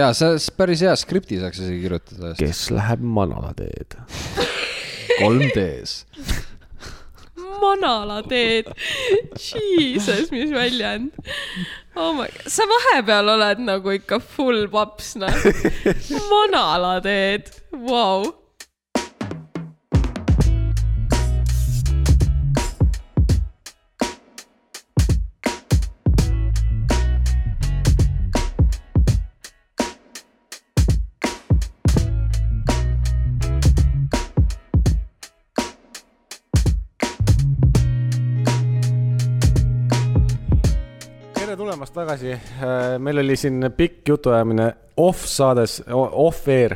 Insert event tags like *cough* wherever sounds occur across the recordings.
ja see päris hea skripti saaks isegi kirjutada . kes läheb manala teed ? 3D-s . manala teed . Jesus , mis väljend oh . sa vahepeal oled nagu ikka full paps , noh . manala teed , vau . tere tulemast tagasi . meil oli siin pikk jutuajamine off saades , off air ,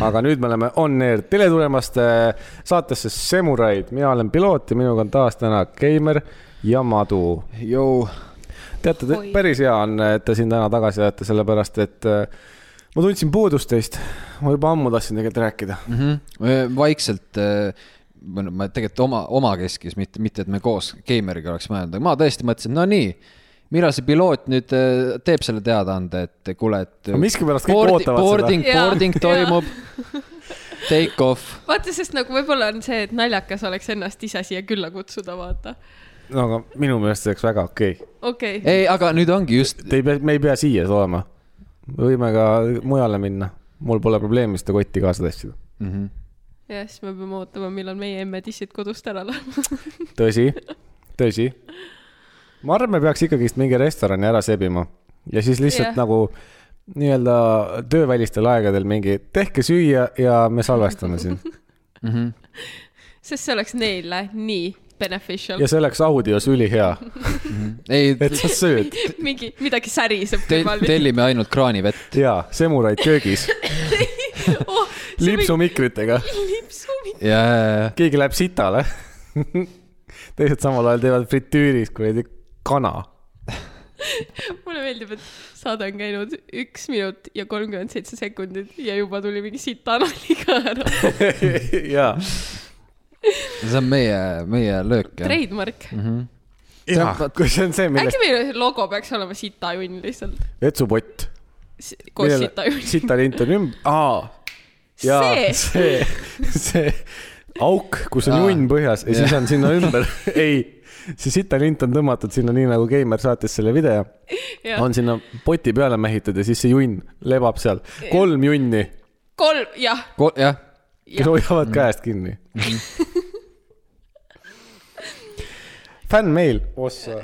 aga nüüd me oleme on air . tere tulemast äh, saatesse Semuraid , mina olen piloot ja minuga on taas täna Keimer ja Madu . Jou , teate Oi. , päris hea on , et te siin täna tagasi olete , sellepärast et äh, ma tundsin puudust teist . ma juba ammu tahtsin tegelikult rääkida . vaikselt , ma tegelikult oma , omakeskis , mitte , mitte et me koos Keimeriga oleks mõelnud , aga ma tõesti mõtlesin , no nii , millal see piloot nüüd eh, teeb selle teadaande , et kuule , et . No miskipärast kõik ootavad seda. boarding, Jaa. seda . boarding toimub , take off . vaata , sest nagu võib-olla on see , et naljakas oleks ennast ise siia külla kutsuda , vaata . no aga minu meelest see oleks väga okei okay. . okei okay. , ei , aga nüüd ongi just , Te ei pea , me ei pea siia olema . me võime ka mujale minna . mul pole probleemi seda kotti kaasa tassida . mhm. ja siis me peame ootama , millal meie emme-dissid kodust ära lähevad . tõsi , tõsi . ma arvan , me peaks ikkagist mingi restorani ära sebima ja siis lihtsalt Jah. yeah. nagu nii-öelda töövälistel aegadel mingi tehke süüa ja me salvestame siin sest see oleks neile nii beneficial ja . see oleks audios ülihea , ei et sa sööd mingi , midagi säriseb te, kõrval . tellime ainult kraanivett . ja semuraid köögis oh, . lipsumikritega , lipsumi . ja , ja , keegi läheb sitale . *laughs* teised samal ajal teevad fritüüris kuradi kana *laughs* mulle meeldib , et saade on käinud üks minut ja kolmkümmend seitse sekundit ja juba tuli mingi sita nali ka *laughs* ära . ja , see on meie , meie löök . Trademark . ja kui see on see , Mhm. millest äkki meil logo peaks olema sitajunn lihtsalt . vetsupott , koos sitajunn . sitalint on ümber , aa , ja see , *laughs* see , see auk , kus on Aa. junn põhjas ja siis Jah. on sinna ümber , *laughs* ei , see sitalint on tõmmatud sinna nii nagu Keimer saatis selle video , jah , on sinna poti peale mähitud ja siis see junn lebab seal , kolm junni , kolm , jah , jah , kes hoiavad käest kinni . fännmeil , ossa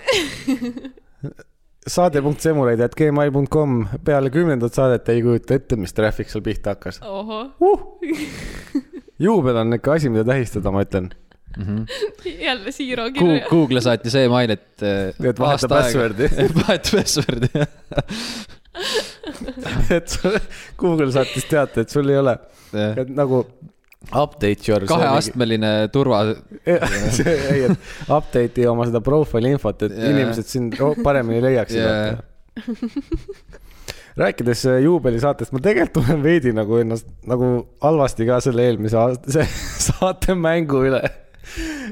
saade.semuraid.gmail.com peale kümnendat saadet ei kujuta ette , mis traffic seal pihta hakkas . ohoh , juubel on ikka asi , mida tähistada , ma ütlen . jälle Siiro kirja . Google saatis email , *laughs* et . äh, Et vaheta *laughs* password'i. vaheta password'i , jah . et sul- Google saatis teate , et sul ei ole , et nagu update your . kaheastmeline turva , see ei , et update'i oma seda profile infot , et Jaa. yeah. inimesed sind ro- paremini leiaksid Jaa. yeah. . rääkides äh, juubelisaatest , ma tegelikult tunnen veidi nagu ennast nagu halvasti ka selle eelmise aasta , see *laughs* saate mängu üle .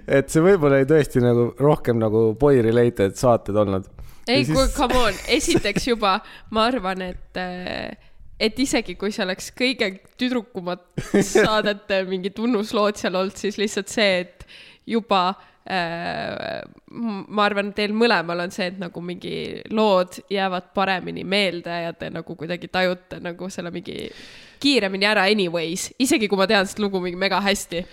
et see võib-olla oli tõesti nagu rohkem nagu boy related saated olnud . ei , ja kuule , siis- come on , esiteks juba ma arvan , et , et isegi kui see oleks kõige tüdrukumad saadete mingi tunnuslood seal olnud , siis lihtsalt see , et juba äh, m- ma arvan , teil mõlemal on see , et nagu mingi lood jäävad paremini meelde ja te nagu kuidagi tajute nagu selle mingi kiiremini ära anyways , isegi kui ma tean seda lugu mingi mega hästi .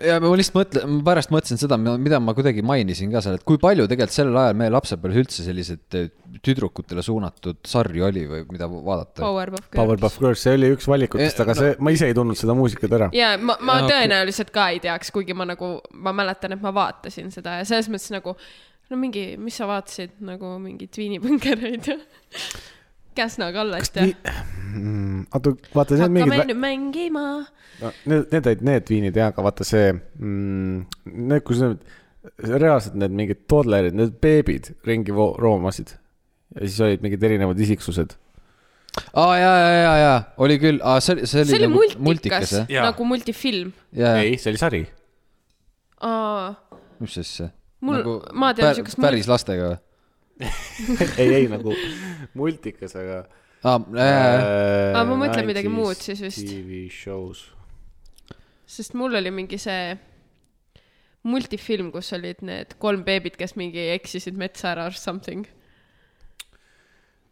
ja ma lihtsalt mõtlen , ma pärast mõtlesin seda , mida ma kuidagi mainisin ka seal , et kui palju tegelikult sellel ajal meie lapsepõlves üldse selliseid eh, tüdrukutele suunatud sarju oli või mida vaadata . Powerpuff Girls . Powerpuff Girls , see oli üks valikutest , aga see , ma ise ei tundnud seda muusikat ära . ja ma , ma Ja, ja, tõenäoliselt ka ei teaks , kuigi ma nagu , ma mäletan , et ma vaatasin seda ja selles mõttes nagu no mingi , mis sa vaatasid nagu mingeid viinipõnkereid ja *laughs* Käsna kallast ja Mm, oota , vaata , need hakkame mingid mingid... , nüüd mängima . no, need , need olid need viinid ja , aga vaata see mm, , need , kus need reaalselt need mingid toddlerid , need beebid ringi vo- roomasid . ja siis olid mingid erinevad isiksused . aa , ja , ja , ja , ja oli küll , aa , see oli , see oli see oli nagu multikas, multikas , jah ? Jaa. nagu multifilm . ja , ja , see oli *laughs* sari . aa , mis asja ? Nagu Mul- ma tean siukest mul- päris lastega või ? ei , ei nagu multikas , aga äh, aa , Aa, ma mõtlen midagi muud siis vist. TV shows . sest mul oli mingi see multifilm , kus olid need kolm beebit , kes mingi eksisid metsa ära or something .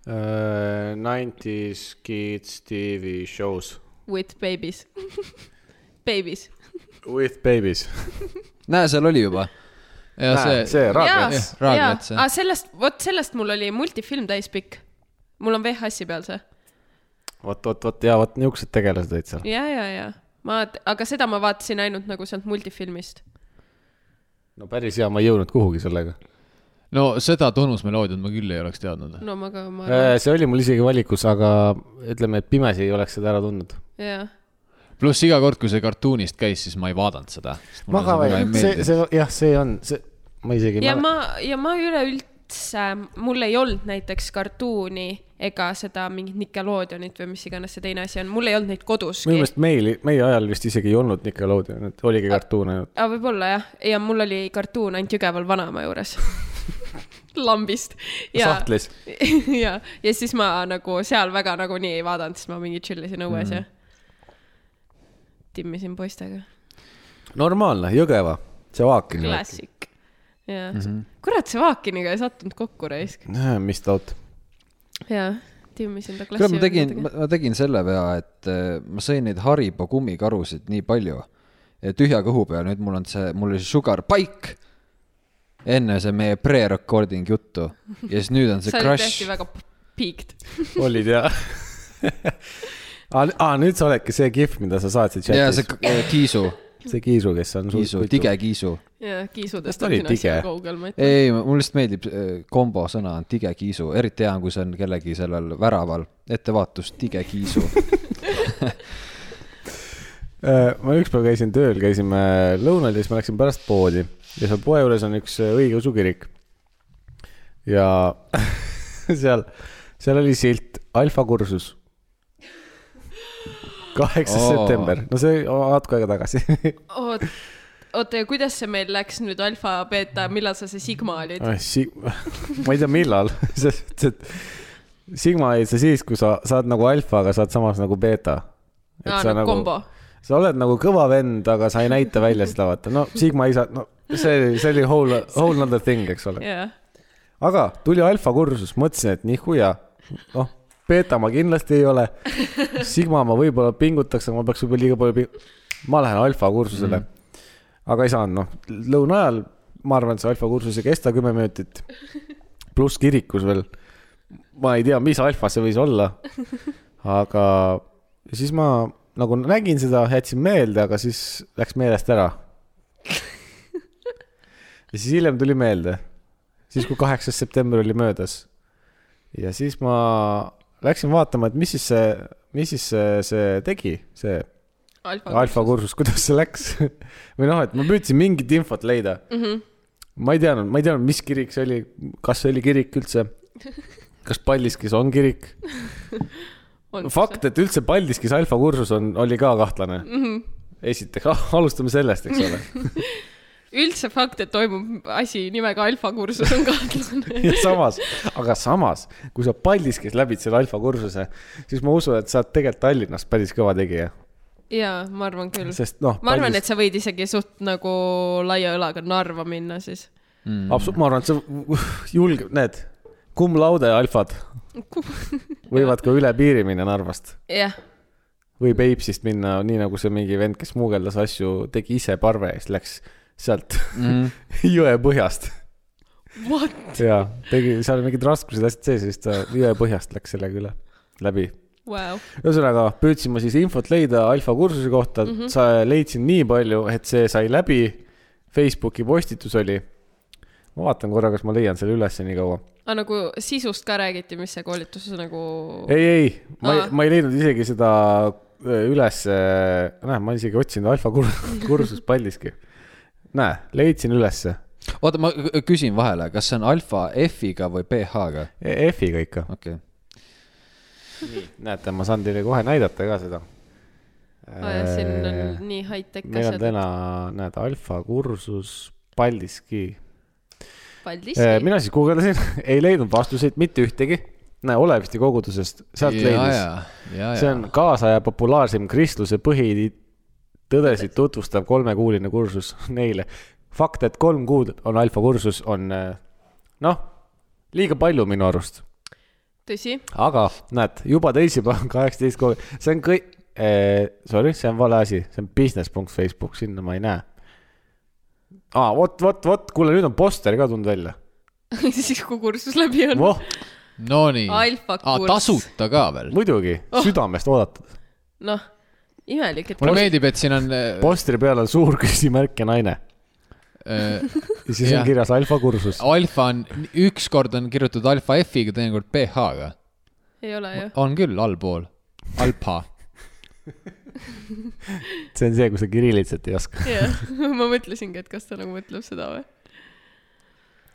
Äh, Nineties kids TV shows . With babies . *laughs* Babies . With babies . näe , seal oli juba . ja see, see. , see Raadmets . Raadmets, jah. aa , sellest , vot sellest mul oli multifilm täispikk . mul on VHS-i peal see . vot , vot , vot ja vot niisugused tegelased olid seal . ja , ja , ja ma , aga seda ma vaatasin ainult nagu sealt multifilmist . no päris hea , ma ei jõudnud kuhugi sellega . no seda tunnusmeloodiat ma küll ei oleks teadnud . no ma ka , ma arvan , Äh, see oli mul isegi valikus , aga ütleme , et pimesi ei oleks seda ära tundnud . jah . pluss iga kord , kui see kartuunist käis , siis ma ei vaadanud seda . magava , see , see , jah , see on , see , ma isegi ei ja mäleta . ma , ja ma üleüldse , mul ei olnud näiteks kartuuni ega seda mingit Nickelodeonit või mis iganes see teine asi on , mul ei olnud neid koduski minu . meelest meil , meie ajal vist isegi ei olnud Nickelodeonit , oligi kartuun ainult . aga võib-olla jah , ja mul oli kartuun ainult Jõgeval vanaema juures . *laughs* lambist . Sahtlis. . *laughs* ja , ja siis ma nagu seal väga nagunii ei vaadanud , siis ma mingi tšillisin õues mm. ja timmisin poistega . normaalne , Jõgeva , see Vaakin . klassik . jah mm Mhm. -hmm. , kurat , see Vaakiniga ei sattunud kokku raisk . mis taut . jaa , timmisin ta klassi . kuule , ma tegin , ma tegin selle vea , et eh, ma sõin neid Haribo kummikarusid nii palju eh, tühja kõhu peal , nüüd mul on see , mul oli see Sugar Pike enne see meie pre-recording juttu ja siis nüüd on see *laughs* sa olid Crush tõesti . väga p- piikt . olid jah ? aa , nüüd sa oledki see kihv , mida sa saatsid ja see chatis . k- eh, Kiisu , see Kiisu , kes on Kiisu , tige . Kiisu . jaa , Kas kiisudest nagu ta oli tige? kaugel , ma ütlen . ei , mul lihtsalt meeldib eh, kombo sõna on tige Kiisu , eriti hea on , kui see on kellegi sellel väraval , ettevaatus tige Kiisu . ma ükspäev käisin tööl , käisime lõunal ja siis ma läksin pärast poodi ja seal poe juures on üks õigeusu kirik . ja seal , seal oli silt alfakursus . kaheksas Oo. oh. september , no see oli natuke aega tagasi . oot , oota ja kuidas see meil läks nüüd alfa , beeta , millal sa see Sigma olid ? Si- , *laughs* ma ei tea , millal , *laughs* selles mõttes , et Sigma olid sa siis , kui sa saad nagu alfa , aga saad samas nagu beeta . aa , no nagu... kombo . sa oled nagu kõva vend , aga sa ei näita välja seda , vaata , no Sigma ei saa , no see , see oli whole , whole other thing , eks ole . jah , aga tuli alfa kursus , mõtlesin , et nihuja , noh , beeta ma kindlasti ei ole . Sigma ma võib-olla pingutaks , aga ma peaks võib-olla liiga palju ping- , ma lähen alfa kursusele mm. . aga ei saanud , noh , lõuna ajal , ma arvan , et see alfa kursus ei kesta kümme minutit . pluss kirikus veel . ma ei tea , mis alfa see võis olla aga siis ma nagu nägin seda , jätsin meelde , aga siis läks meelest ära . ja siis hiljem tuli meelde , siis kui kaheksas september oli möödas . ja siis ma läksin vaatama , et mis siis see , mis siis see, see tegi , see alfa, alfa . kursus , kuidas see läks *laughs* või noh , et ma püüdsin mingit infot leida mm . -hmm. ma ei teadnud , ma ei teadnud , mis kirik see oli , kas see oli kirik üldse , kas Paldiskis on kirik fakt ,. et üldse Paldiskis alfa kursus on , oli ka kahtlane mm . -hmm. esiteks , alustame sellest , eks ole . üldse fakt , et toimub asi nimega alfa kursus on kahtlane . *laughs* ja samas , aga samas , kui sa Paldiskis läbid selle alfa kursuse , siis ma usun , et sa oled tegelikult Tallinnas päris kõva tegija , jaa , ma arvan küll . sest noh . Mhm. ma arvan , et sa võid isegi suht nagu laia õlaga Narva minna siis . absoluutselt , ma arvan , et sa julge , need cum laude alfad võivad ka üle piiri minna Narvast jah , või Peipsist minna , nii nagu see mingi vend , kes smugeldas asju , tegi ise parve ja siis läks sealt *laughs* Mm. jõe põhjast what ? jaa , tegi , seal olid mingid raskused asjad sees ja siis ta jõe põhjast läks sellega üle , läbi . Wow. ühesõnaga püüdsin ma siis infot leida alfa kursuse kohta mm , Mhm. -hmm. sa leidsin nii palju , et see sai läbi . Facebooki postitus oli . ma vaatan korra , kas ma leian selle üles nii kaua . aga nagu sisust ka räägiti , mis see koolitus nagu . ei , ei , ma ei Aa. , ma ei leidnud isegi seda öö, üles , näe , ma isegi otsinud alfa kur- *laughs* kursust Paldiski . näe , leidsin ülesse oota , ma k- küsin vahele , kas see on alfa F-iga või PH-ga ? E , F-iga ikka . okei okay. , Ah. näete , ma saan teile kohe näidata ka seda . Oh, siin on nii high-tech meil on asjad . täna , näed , alfa kursus Paldiski . Paldiski . Äh, *laughs* mina siis guugeldasin , ei leidnud vastuseid , mitte ühtegi . näe Olevisti kogudusest , sealt leidis . ja , see on kaasaja populaarsim kristluse põhitõdesid tutvustav kolmekuuline kursus *laughs* neile . fakt , et kolm kuud on alfakursus , on äh, noh , liiga palju minu arust , tõsi , *laughs* aga näed , juba teisipäev on *laughs* kaheksateist kolm , see on kõik eh, , sorry , see on vale asi , see on business.facebook , sinna ma ei näe . aa , vot , vot , vot , kuule , nüüd on poster ka tulnud välja . siis kui kursus läbi on voh , Nonii . Alfa kurss. tasuta ka veel . *laughs* muidugi oh. , südamest oodatud . noh , imelik , et mulle meeldib , et siin on äh, postri peal on suur küsimärk ja naine äh, ja siis ja. Jah. on kirjas alfakursus . Oh. alfa on , ükskord on kirjutatud alfa F-iga , teinekord PH-ga . ei ole ju . on küll allpool , alpa . see on see , kui sa kirillitsat ei oska . jah , *laughs* ma mõtlesingi , et kas ta nagu mõtleb seda või .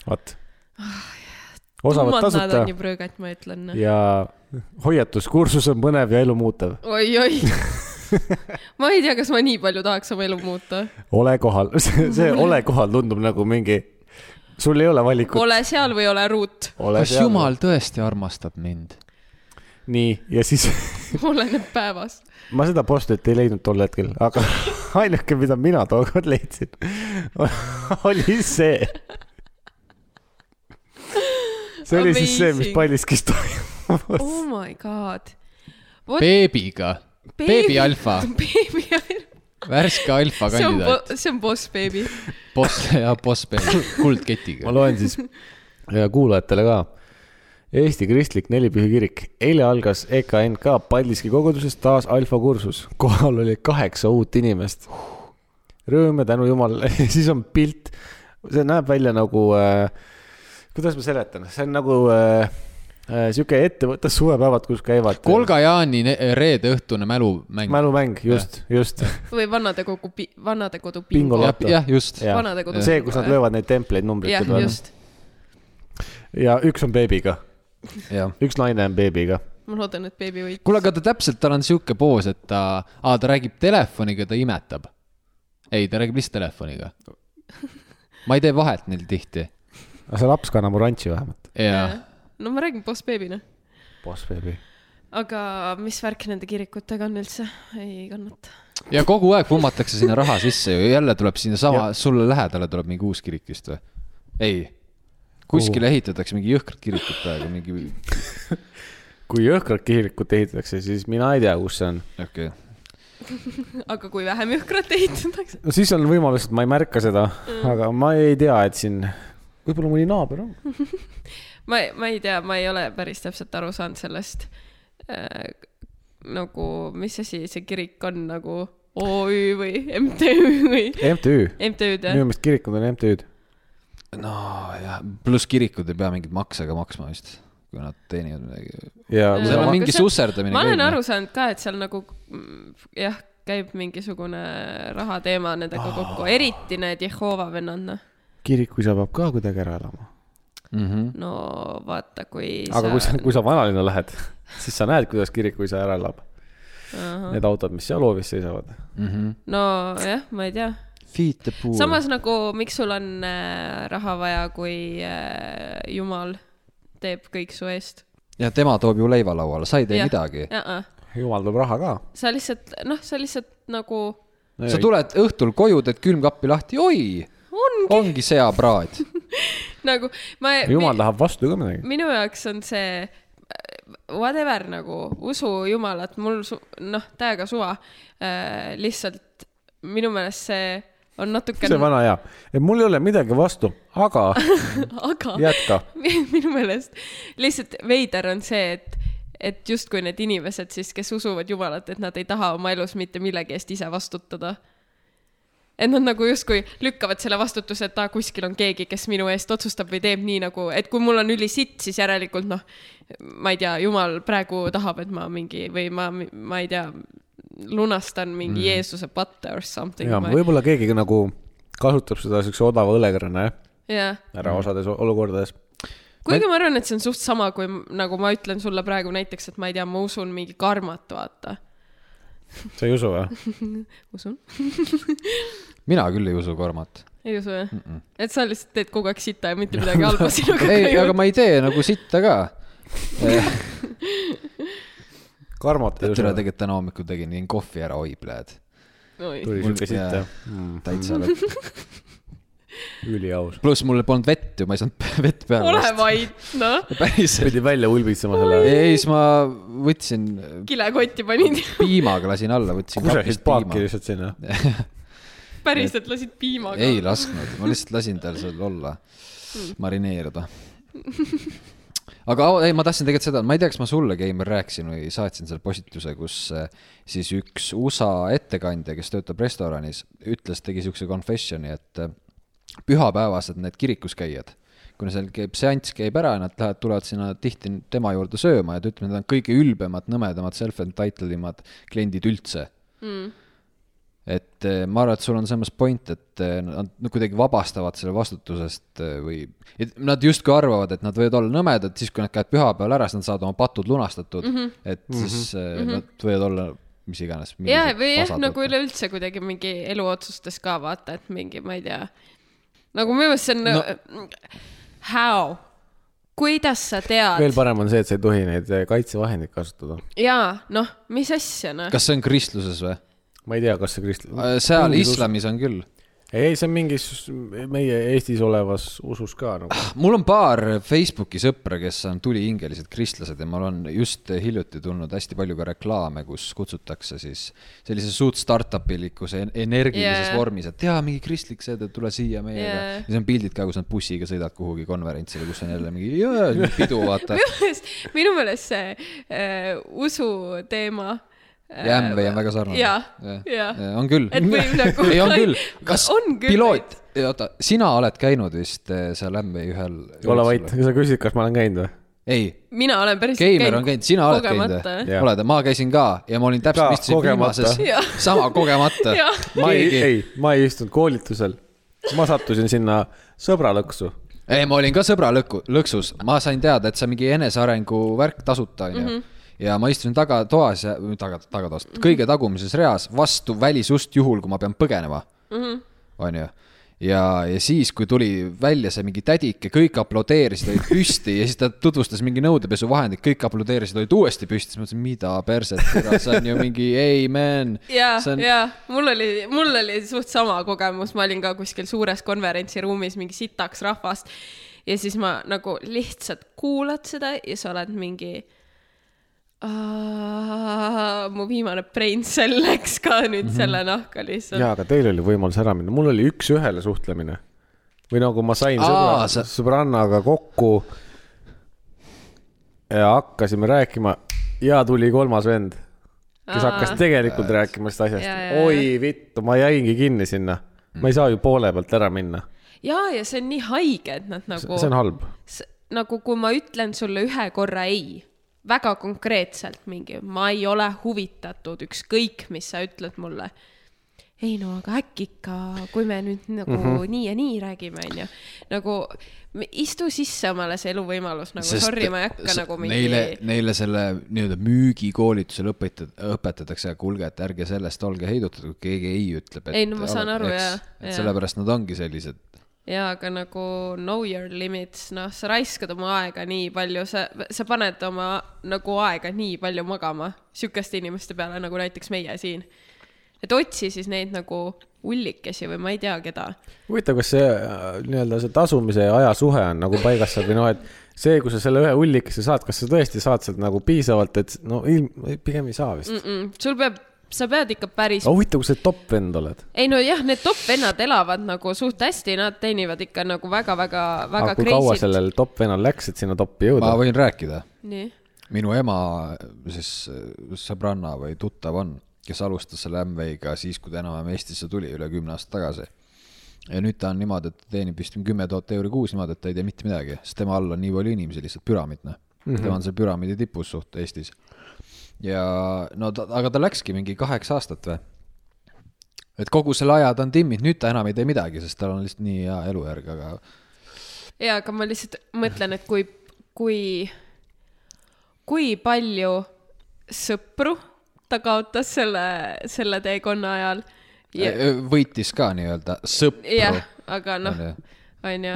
vot . osavad tasuta on ju pröögad , ma ütlen . noh. ja hoiatuskursus on põnev ja elu muutev . *laughs* oi-oi . ma ei tea , kas ma nii palju tahaks oma elu muuta . ole kohal , *laughs* see ole kohal tundub nagu mingi , sul ei ole valikut . ole seal või ole ruut . kas jumal ? tõesti armastab mind ? nii , ja siis *laughs* oleneb päevas . ma seda postrit ei leidnud tol hetkel , aga *laughs* ainuke , mida mina tookord leidsin *laughs* oli see . see oli siis see , mis Amazing. Paldiskis toimus . oh my god . beebiga , beebi *laughs* alfa , beebi alfa . värske alfa see on kandidaat ,, see on boss beebi . boss ja boss beebi , ma kuldketiga . loen siis ja kuulajatele ka . Eesti Kristlik Nelipühi Kirik . eile algas E EKNK Paldiski koguduses taas alfakursus . kohal oli kaheksa uut inimest . Rõõm ja tänu jumalale , *laughs* siis on pilt . see näeb välja nagu äh, , kuidas ma seletan , see on nagu äh, äh, sihuke ettevõtte suvepäevad , kus käivad . Kolga Jaani ne- reede õhtune mälumäng . mälumäng , just , just . või vanadekogu , vanadekodu Bingo bingo . lot. jah , jah , just . Vanadekodu see , kus nad löövad neid templeid numbrite jah , peale . just . ja üks on beebiga , jah . üks naine on beebiga . ma loodan , et beebi võit- . kuule , aga ta täpselt , tal on sihuke poos , et ta , aa , ta räägib telefoniga , ta imetab . ei , ta räägib lihtsalt *laughs* telefoniga . ma ei tee vahet neil tihti . aga see laps kannab oranži vähemalt . jaa . no ma räägin boss beebina . boss beebi aga mis värk nende kirikutega on üldse ? ei kannata . ja kogu aeg pummatakse sinna raha sisse ju , jälle tuleb sinnasama , sulle lähedale tuleb mingi uus kirik vist või ? ei , kuskile ehitatakse mingi jõhkrat kirikut praegu , mingi , kui jõhkrat kirikut ehitatakse , siis mina ei tea , kus see on . okei okay. . aga kui vähem jõhkrat ehitatakse ? no siis on võimalus , et ma ei märka seda , aga ma ei tea , et siin , võib-olla mõni naaber on . ma , ma ei tea , ma ei ole päris täpselt aru saanud sellest äh, nagu , mis asi see kirik on nagu OÜ või MTÜ või MTÜ , MTÜ-d minu jah ? meelest kirikud on MTÜ-d . nojah , pluss kirikud ei pea mingeid makse ka maksma vist , kui nad teenivad midagi . ja Äh, kui sa seal on Aga mingi see- susserdamine . ma noh. olen aru saanud ka , et seal nagu mm, jah , käib mingisugune rahateema nendega kokku , eriti need Jehova vennad , noh . kirikuisa peab ka kuidagi ära elama . mm . Mhm. -hmm. no vaata , kui aga kui sa , kui sa vanalinna lähed , siis sa näed , kuidas kirikuisa ära elab . sa... Need autod , mis seal hoovis seisavad . mm -hmm. nojah , ma ei tea Feed the poor . samas nagu , miks sul on äh, raha vaja , kui äh, jumal teeb kõik su eest ? ja tema toob ju leiva lauale , sa ei tee ja. midagi . sa jumal toob raha ka . lihtsalt , noh , sa lihtsalt nagu sa tuled õhtul koju , teed külmkappi lahti , oi , on ongi seapraad . nagu ma . jumal tahab vastu ka midagi . minu jaoks on see äh, whatever nagu usu jumalat , mul su- noh , täiega suva äh, . lihtsalt minu meelest see on natuke see , vana hea , et mul ei ole midagi vastu , aga *laughs* aga jätka . *laughs* minu meelest lihtsalt veider on see , et , et justkui need inimesed siis , kes usuvad Jumalat , et nad ei taha oma elus mitte millegi eest ise vastutada . et nad nagu justkui lükkavad selle vastutuse , et aa , kuskil on keegi , kes minu eest otsustab või teeb nii nagu , et kui mul on ülisitt , siis järelikult noh , ma ei tea , Jumal praegu tahab , et ma mingi või ma , ma ei tea , lunastan mingi mm. Jeesuse patte or something . ja võib-olla keegi nagu kasutab seda siukse odava õlekõrna , jah jah , ära osades olukordades . kuigi ma arvan , et see on suht sama , kui m- nagu ma ütlen sulle praegu näiteks , et ma ei tea , ma usun mingi karmat , vaata . sa ei usu või ? usun ? mina küll ei usu karmat . ei usu jah mm ? -mm. et sa lihtsalt teed kogu aeg sita ja mitte midagi halba sinuga ei , *laughs* aga ei ma ei tee nagu sitta ka . *laughs* karmot ei tere , usu . tegelikult täna hommikul tegin , jõin kohvi ära , oi , pljääd . oi , tuli Mul- siuke sitt jaa. jah *laughs* mm, , täitsa lõpp . *laughs* üliaus . pluss mul polnud vett ju , ma ei saanud *laughs* vett peale ole . vait , noh . päriselt . pidi välja ulbitsema selle . ei , siis ma võtsin , kilekotti panid , piimaga lasin alla , võtsin kusagilt kapist paaki piima . lihtsalt sinna . *laughs* päriselt lasid piimaga . ei lasknud , ma lihtsalt lasin tal seal olla , marineeruda . aga au- ei , ma tahtsin tegelikult seda , ma ei tea , kas ma sulle , Keimar , rääkisin või saatsin selle postituse , kus äh, siis üks USA ettekandja , kes töötab restoranis , ütles , tegi siukse confession'i , et äh, pühapäevased need kirikus käijad , kuna seal käib seanss käib ära , nad lähevad , tulevad sinna tihti tema juurde sööma ja ta ütleb , need on kõige ülbemad , nõmedamad , self-entitled imad kliendid üldse mm. . et eh, ma arvan , et sul on samas point , et eh, nad no kuidagi vabastavad selle vastutusest eh, või , et nad justkui arvavad , et nad võivad olla nõmedad , siis kui nad käivad pühapäeval ära , siis nad saavad oma patud lunastatud Mhm. mm , -hmm. et siis mm -hmm. nad võivad olla mis iganes . ja , Mhm. või jah , nagu . üleüldse kuidagi mingi eluotsustes ka vaata , et mingi , ma ei tea . nagu minu meelest see on no. , how , kuidas sa veel tead parem on see , et sa ei tohi neid eh, kaitsevahendeid kasutada . ja noh , mis asja noh . kas see on kristluses või ? ma ei tea , kas see kristl- . seal . islamis on küll . ei , see on mingis meie Eestis olevas usus ka nagu . mul on paar Facebooki sõpra , kes on tulihingelised kristlased ja mul on just hiljuti tulnud hästi palju ka reklaame , kus kutsutakse siis sellises suht startup'ilikus en- energilises Yeah. yeah. vormis , et jaa , mingi kristlik sede , tule siia meiega Yeah. yeah. . ja siis on pildid ka , kus nad bussiga sõidavad kuhugi konverentsile , kus on jälle mingi jaa, pidu , *laughs* vaata . minu meelest , minu meelest see äh, usu teema äh, Jämve on väga sarnane . jaa , jaa . on küll . Et *laughs* võib nagu- ei , on küll . kas On küll, piloot , oota , sina oled käinud vist eh, seal Jämve ühel ? ole vait , sa küsid , kas ma olen käinud või ? ei mina olen päris . Keimer on käinud , sina oled käinud Jah. või ? oled , ma käisin ka ja ma olin Ka täpselt istusin kogemata. viimases Jah. , sama kogemata Jah. . ma ei , ei , ma ei istunud koolitusel . ma sattusin sinna sõbralõksu . ei , ma olin ka sõbra lõku , lõksus , ma sain teada , et see on mingi enesearengu värk tasuta onju . ja ma istusin tagatoas ja , taga , tagatoas , kõige tagumises reas vastu välisust , juhul kui ma pean põgenema . onju . ja , ja siis , kui tuli välja see mingi tädike , kõik aplodeerisid , olid püsti ja siis ta tutvustas mingi nõudepesuvahendit , kõik aplodeerisid , olid uuesti püsti , siis ma mõtlesin , mida perset , see on ju mingi amen . ja , See on- ja mul oli , mul oli suht sama kogemus , ma olin ka kuskil suures konverentsiruumis mingi sitaks rahvast ja siis ma nagu lihtsalt kuulad seda ja sa oled mingi . mu viimane brain cell läks ka nüüd Mhm. selle nahka lihtsalt . jaa , aga teil oli võimalus ära minna , mul oli üks-ühele suhtlemine . või nagu ma sain Aa, sõbra sa- sa... , sõbrannaga kokku . ja hakkasime rääkima ja tuli kolmas vend , kes Aa. hakkas tegelikult rääkima sellest Jaa, asjast jaa, . jaa. oi vittu , ma jäingi kinni sinna . ma ei saa ju poole pealt ära minna . ja , ja see on nii haige , et nad nagu see on halb . S- nagu kui ma ütlen sulle ühe korra ei , väga konkreetselt mingi , ma ei ole huvitatud , ükskõik , mis sa ütled mulle . ei no aga äkki ikka , kui me nüüd nagu mm Mhm. -hmm. nii ja nii räägime , onju , nagu m- istu sisse omale see eluvõimalus nagu , sorry , ma ei hakka s- nagu mingi . Neile , neile selle nii-öelda müügikoolitusel õpetat- , õpetatakse , aga kuulge , et ärge sellest olge heidutatud , kui keegi ei ütleb . Ei, no ma saan aru, jaa, jaa. sellepärast nad ongi sellised . jaa , aga nagu know your limits , noh , sa raiskad oma aega nii palju , sa , sa paned oma nagu aega nii palju magama sihukeste inimeste peale , nagu näiteks meie siin . et otsi siis neid nagu ullikesi või ma ei tea keda . huvitav , kas see äh, nii-öelda see tasumise ja aja suhe on nagu paigas seal või noh , et see , kui sa selle ühe hullikese saad , kas sa tõesti saad sealt nagu piisavalt , et no ilm , pigem ei saa vist mm. . sul peab , sa pead ikka päris aga huvitav , kui sa top vend oled . ei no jah , need top vennad elavad nagu suht hästi , nad teenivad ikka nagu väga-väga , aga väga Ah, kui kaua crazy't . sellel top vennal läks , et sinna toppi jõuda ma ? võin rääkida , nii , minu ema siis äh, sõbranna või tuttav on , kes alustas selle Amway'ga siis , kui ta enam-vähem Eestisse tuli , üle kümne aasta tagasi ja nüüd ta on niimoodi , et ta teenib vist kümme tuhat euri kuus niimoodi , et ta ei tee mitte midagi , sest tema all on nii palju inimesi lihtsalt püramiid , noh mm -hmm. . tema on seal püramiidi tipus suht Eestis . ja no ta , aga ta läkski mingi kaheksa aastat või ? et kogu selle aja ta on timminud , nüüd ta enam ei tee midagi , sest tal on lihtsalt nii hea elujärg , aga jaa , aga ma lihtsalt mõtlen , et kui , kui , kui palju sõpru ta kaotas selle , selle teekonna ajal . yeah. võitis ka nii-öelda sõpru jah , aga noh On ju. , onju ,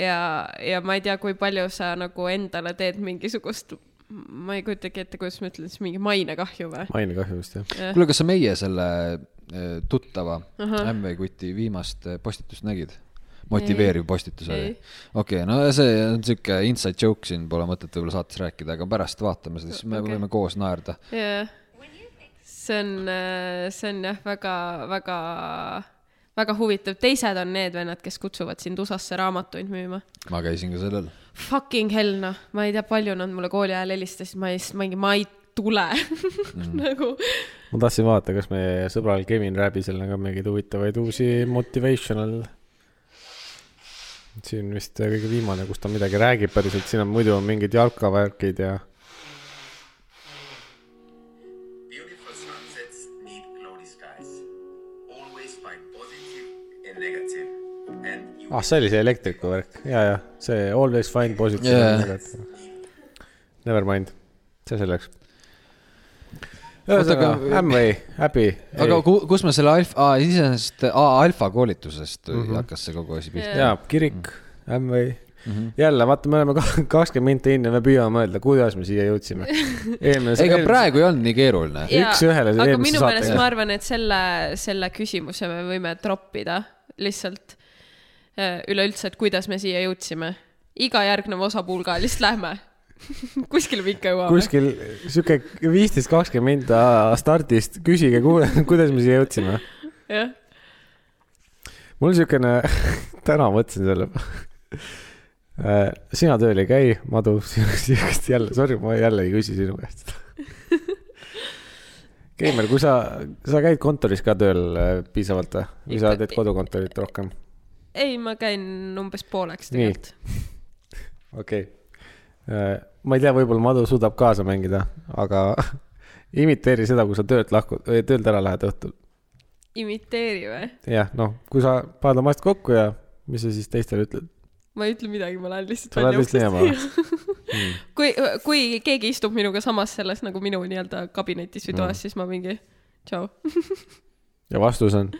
ja , ja ma ei tea , kui palju sa nagu endale teed mingisugust , ma ei kujutagi ette , kuidas ma ütlen siis , mingi mainekahju või ? mainekahju vist jah . kuule , kas sa meie selle eh, tuttava Ämve kuti viimast eh, postitust nägid ? motiveeriv postitus oli Ei. . okei , no see on sihuke inside joke siin , pole mõtet võib-olla saates rääkida , aga pärast vaatame seda , siis me Okei. võime koos naerda . jah , see on , see on jah , väga , väga , väga huvitav . teised on need vennad , kes kutsuvad sind USA-sse raamatuid müüma . ma käisin ka sellel . Fucking hell noh , ma ei tea , palju nad mulle kooli ajal helistasid , ma ei , mingi , ma ei tule *laughs* Mhm. nagu ma tahtsin vaadata , kas meie sõbral Kevin Räbisel on ka mingeid huvitavaid uusi motivational . siin vist kõige viimane , kus ta midagi räägib päriselt , siin on muidu on mingid jalkavärkid ja Beautiful sunsets need cloudy skies. Always find positive and negative, and you ah , see oli see elektrikuvärk ja , ja see Always find positive Jaa. yeah. . Never mind , see selleks . Oota, aga- ühesõnaga , Amway , Happy . aga ku- , kus me selle alfa , aa , iseenesest , aa , alfa koolitusest mm -hmm. hakkas see kogu asi pihta . jaa , kirik , Amway mm . Mhm. -hmm. jälle vaata , me oleme *laughs* kakskümmend minti enne , me püüame mõelda , kuidas me siia jõudsime . eelmine ega praegu ei olnud nii keeruline . Üks-ühele aga eelmise minu saate meelest järel. ma arvan , et selle , selle küsimuse me võime troppida lihtsalt äh, üleüldse , et kuidas me siia jõudsime . iga järgneva osa puhul ka lihtsalt lähme . *laughs* kuskile me ikka jõuame . kuskil sihuke viisteist , kakskümmend minta stardist , küsige , *laughs* kuidas me siia jõudsime . jah , mul on siukene , *laughs* täna mõtlesin selle . *laughs* sina tööl ei käi , Madu , *laughs* sihukest jälle , sorry , ma jälle ei küsi sinu käest . Keimer , kui sa , sa käid kontoris ka tööl äh, piisavalt või ? või sa Ikka- teed kodukontorit rohkem ? ei , ma käin umbes pooleks Nii. tegelikult . okei okay. . ma ei tea , võib-olla Madu suudab kaasa mängida , aga *laughs* imiteeri seda , kui sa töölt lahkud , töölt ära lähed õhtul . imiteeri või ? jah , noh , kui sa paned oma asjad kokku ja mis sa siis teistele ütled ? ma ei ütle midagi , ma lähen lihtsalt Sa lähed välja lihtsalt uksest . kui , kui keegi istub minuga samas selles nagu minu nii-öelda kabinetis või Mm. toas , siis ma mingi tšau , ja vastus on ,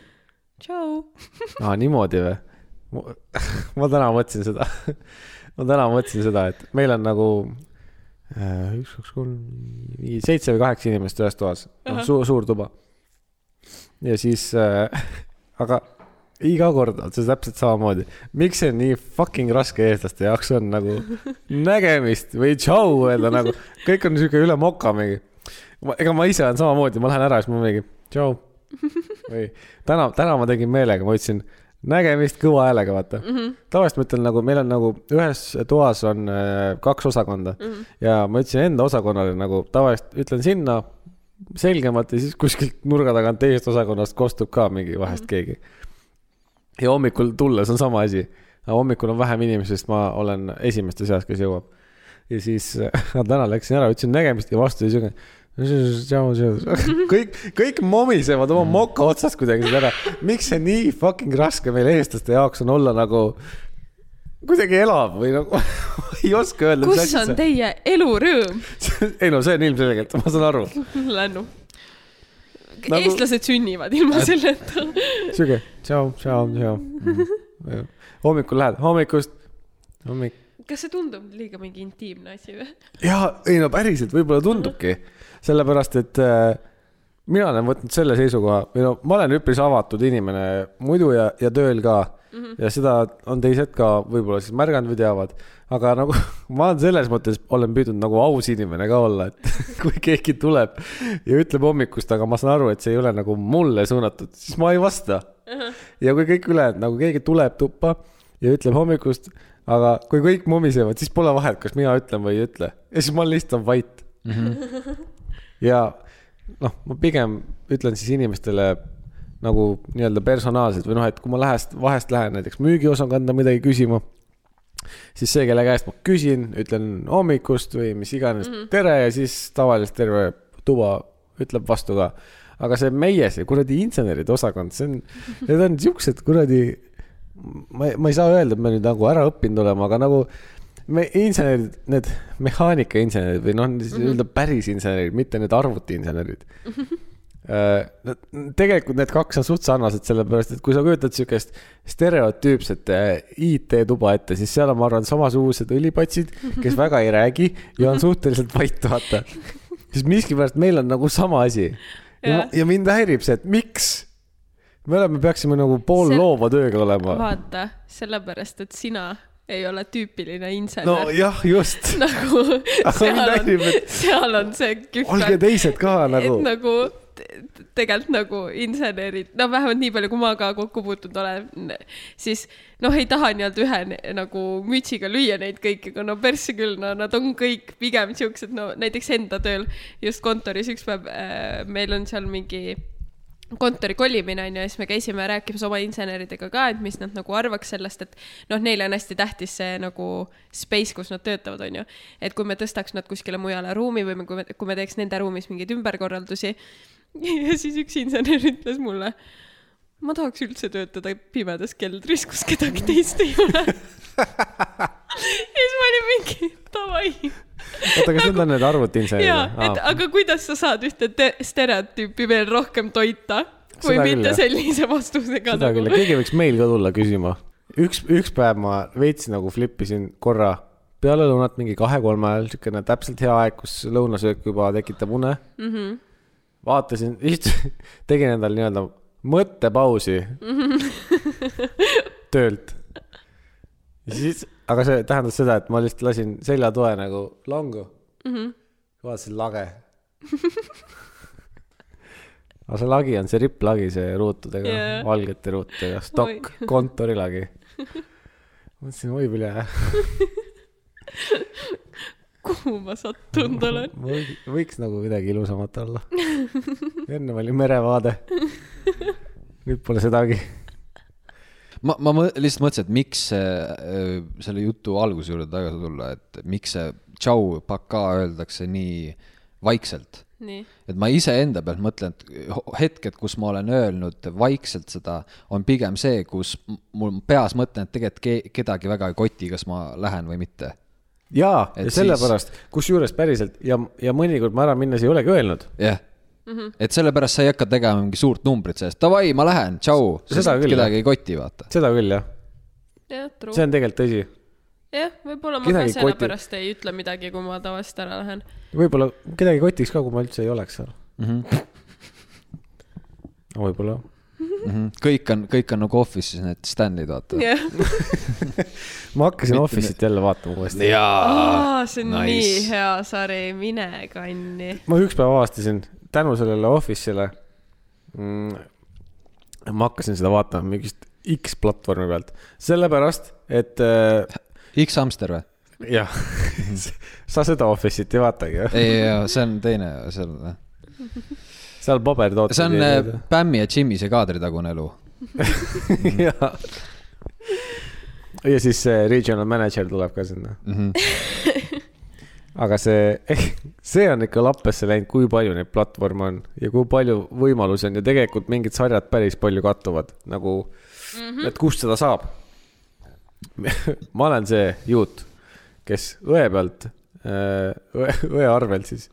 tšau . aa niimoodi või ? *laughs* ma täna mõtlesin seda , ma täna mõtlesin seda , et meil on nagu äh, üks , kaks , kolm , viis , seitse või kaheksa inimest ühes toas , noh suur , suur tuba . ja siis äh, , *laughs* aga iga kord on see täpselt samamoodi , miks see nii fucking raske eestlaste jaoks on nagu nägemist või tšau öelda nagu , kõik on siuke üle moka mingi . ega ma ise olen samamoodi , ma lähen ära , siis ma mingi tšau või täna , täna ma tegin meelega , ma ütlesin nägemist kõva häälega , vaata mm -hmm. . tavaliselt ma ütlen nagu , meil on nagu ühes toas on äh, kaks osakonda mm -hmm. ja ma ütlesin enda osakonnale nagu tavaliselt ütlen sinna selgemalt ja siis kuskilt nurga tagant teisest osakonnast kostub ka mingi Mhm. vahest keegi . ja hommikul tulles on sama asi . aga hommikul on vähem inimesi , sest ma olen esimeste seas , kes jõuab . ja siis *laughs* äh, täna läksin ära , ütlesin nägemist ja vastu oli siuke . *laughs* kõik , kõik momisevad oma moka otsast kuidagi seda ära . miks see nii fucking raske meil eestlaste jaoks on olla nagu , kuidagi elab või nagu *laughs* ei oska öelda . kus on ? teie elurõõm , *laughs* *laughs* ei no see on ilmselgelt , ma saan aru . Lännu ? Nagu- eestlased sünnivad ilma selleta . *laughs* sihuke tšau , tšau , tšau . hommikul lähed , hommikust , hommik . kas see tundub liiga mingi intiimne asi või ? ja ei no päriselt võib-olla tundubki , sellepärast et äh, mina olen võtnud selle seisukoha või no ma olen üpris avatud inimene muidu ja , ja tööl ka mm . -hmm. ja seda on teised ka võib-olla siis märganud või teavad , aga nagu *laughs* ma olen selles mõttes olen püüdnud nagu aus inimene ka olla , et *laughs* kui keegi tuleb ja ütleb hommikust , aga ma saan aru , et see ei ole nagu mulle suunatud , siis ma ei vasta ja kui kõik ülejäänud nagu keegi tuleb tuppa ja ütleb hommikust , aga kui kõik mumisevad , siis pole vahet , kas mina ütlen või ei ütle ja siis ma lihtsalt vait mm . -hmm. ja noh , ma pigem ütlen siis inimestele nagu nii-öelda personaalselt või noh , et kui ma lähest , vahest lähen näiteks müügiosakonda midagi küsima , siis see , kelle käest ma küsin , ütlen hommikust või mis iganes mm , -hmm. tere ja siis tavaliselt terve tuba ütleb vastu ka . aga see meie , see kuradi inseneride osakond , see on , need on siuksed kuradi , ma ei , ma ei saa öelda , et me nüüd nagu ära õppinud oleme , aga nagu me insenerid , need mehaanikainsenerid või noh , nii-öelda päris insenerid , mitte need arvutiinsenerid . tegelikult need kaks on suht sarnased , sellepärast et kui sa kujutad siukest stereotüüpset äh, IT-tuba ette , siis seal on , ma arvan , samasugused õlipatsid , kes väga ei räägi ja on suhteliselt vait , vaata . siis miskipärast meil on nagu sama asi . Jah. ja mind häirib see , et miks . me oleme , peaksime nagu pool See- loova tööga olema . vaata , sellepärast , et sina ei ole tüüpiline insener . nojah , just . *laughs* *laughs* nagu seal on näib, , et- seal on see olge kühvel , teised ka et nagu . nagu te- tegelikult nagu insenerid , no vähemalt nii palju , kui ma ka kokku puutunud olen , siis noh , ei taha nii-öelda ühe ne- nagu mütsiga lüüa neid kõiki , aga no persse küll , no nad on kõik pigem siuksed , no näiteks enda tööl just kontoris üks päev äh, meil on seal mingi kontori kolimine on ju , siis me käisime rääkimas oma inseneridega ka , et mis nad nagu arvaks sellest , et noh , neile on hästi tähtis see nagu space , kus nad töötavad , on ju . et kui me tõstaks nad kuskile mujale ruumi või me- kui me , kui me teeks nende ruumis mingeid ümberkorraldusi . *laughs* ja siis üks insener ütles mulle , ma tahaks üldse töötada pimedas keldris , kus kedagi teist ei ole . *laughs* ja siis ma olin mingi davai oota , kas need on need arvutiinsenerid ? nagu- jaa , et aga kuidas sa saad ühte te- stereotüüpi veel rohkem toita , kui Seda küll, mitte jah. sellise vastusega seda nagu küll , keegi võiks meil ka tulla küsima . üks , üks päev ma veits nagu flip isin korra peale lõunat mingi kahe-kolme ajal , siukene täpselt hea aeg , kus lõunasöök juba tekitab une mm . -hmm. Mhm. vaatasin , *laughs* tegin endale nii-öelda mõttepausi mm Mhm. *laughs* -hmm. töölt . siis , aga see tähendas seda , et ma lihtsalt lasin seljatoe nagu langu mm . Mhm. -hmm. vaatasin lage *laughs* aga see lagi on see ripplagi , see ruutudega Jaa. yeah. , valgete ruutudega , stokk Oi. , kontorilagi . mõtlesin , oi pile , kuhu ma *laughs* sattunud olen . võiks nagu midagi ilusamat olla . ennem oli merevaade . nüüd pole sedagi . ma , ma mõ- lihtsalt mõtlesin , et miks see, öö, selle jutu alguse juurde tagasi tulla , et miks see tšau paka öeldakse nii vaikselt . nii , et ma iseenda pealt mõtlen , et ho- hetked , kus ma olen öelnud vaikselt seda , on pigem see , kus m- mul peas mõtlen , et tegelikult ke- kedagi väga ei koti , kas ma lähen või mitte . jaa , Et ja siis- sellepärast , kusjuures päriselt ja , ja mõnikord ma ära minnes ei olegi öelnud . jah mm Mhm. -hmm. , et sellepärast sa ei hakka tegema mingi suurt numbrit sellest , davai , ma lähen , tšau . Seda küll, jah. kedagi ei koti , vaata . seda küll jah , jah , true see . on tegelikult tõsi . jah , võib-olla ma ka Kedagi koti- sellepärast ei ütle midagi , kui ma tavaliselt ära lähen . võib-olla kedagi kotiks ka , kui ma üldse ei oleks seal mm . Mhm. -hmm. võib-olla . Mhm. kõik on , kõik on nagu office'is need Stanley'd , vaata . jah , ma hakkasin Office'it jälle vaatama uuesti . Ah, see on nice. nii hea sari , mine kanni . ma üks päev avastasin tänu sellele Office'ile mm, . ma hakkasin seda vaatama mingist X platvormi pealt , sellepärast et äh, X-Hamster või ? jah , *laughs* sa seda Office'it ei vaatagi jah , ei , see on teine , see on , seal pabertooted . see on äh, Bämmi ja Jimmy see kaadritagune elu . *laughs* ja. ja siis see regional manager tuleb ka sinna mm . -hmm. *laughs* aga see , *laughs* see on ikka lappesse läinud , kui palju neid platvorme on ja kui palju võimalusi on ja tegelikult mingid sarjad päris palju kattuvad nagu mm , -hmm. et kust seda saab . ma olen see juut , kes õe pealt , õe , õe arvelt siis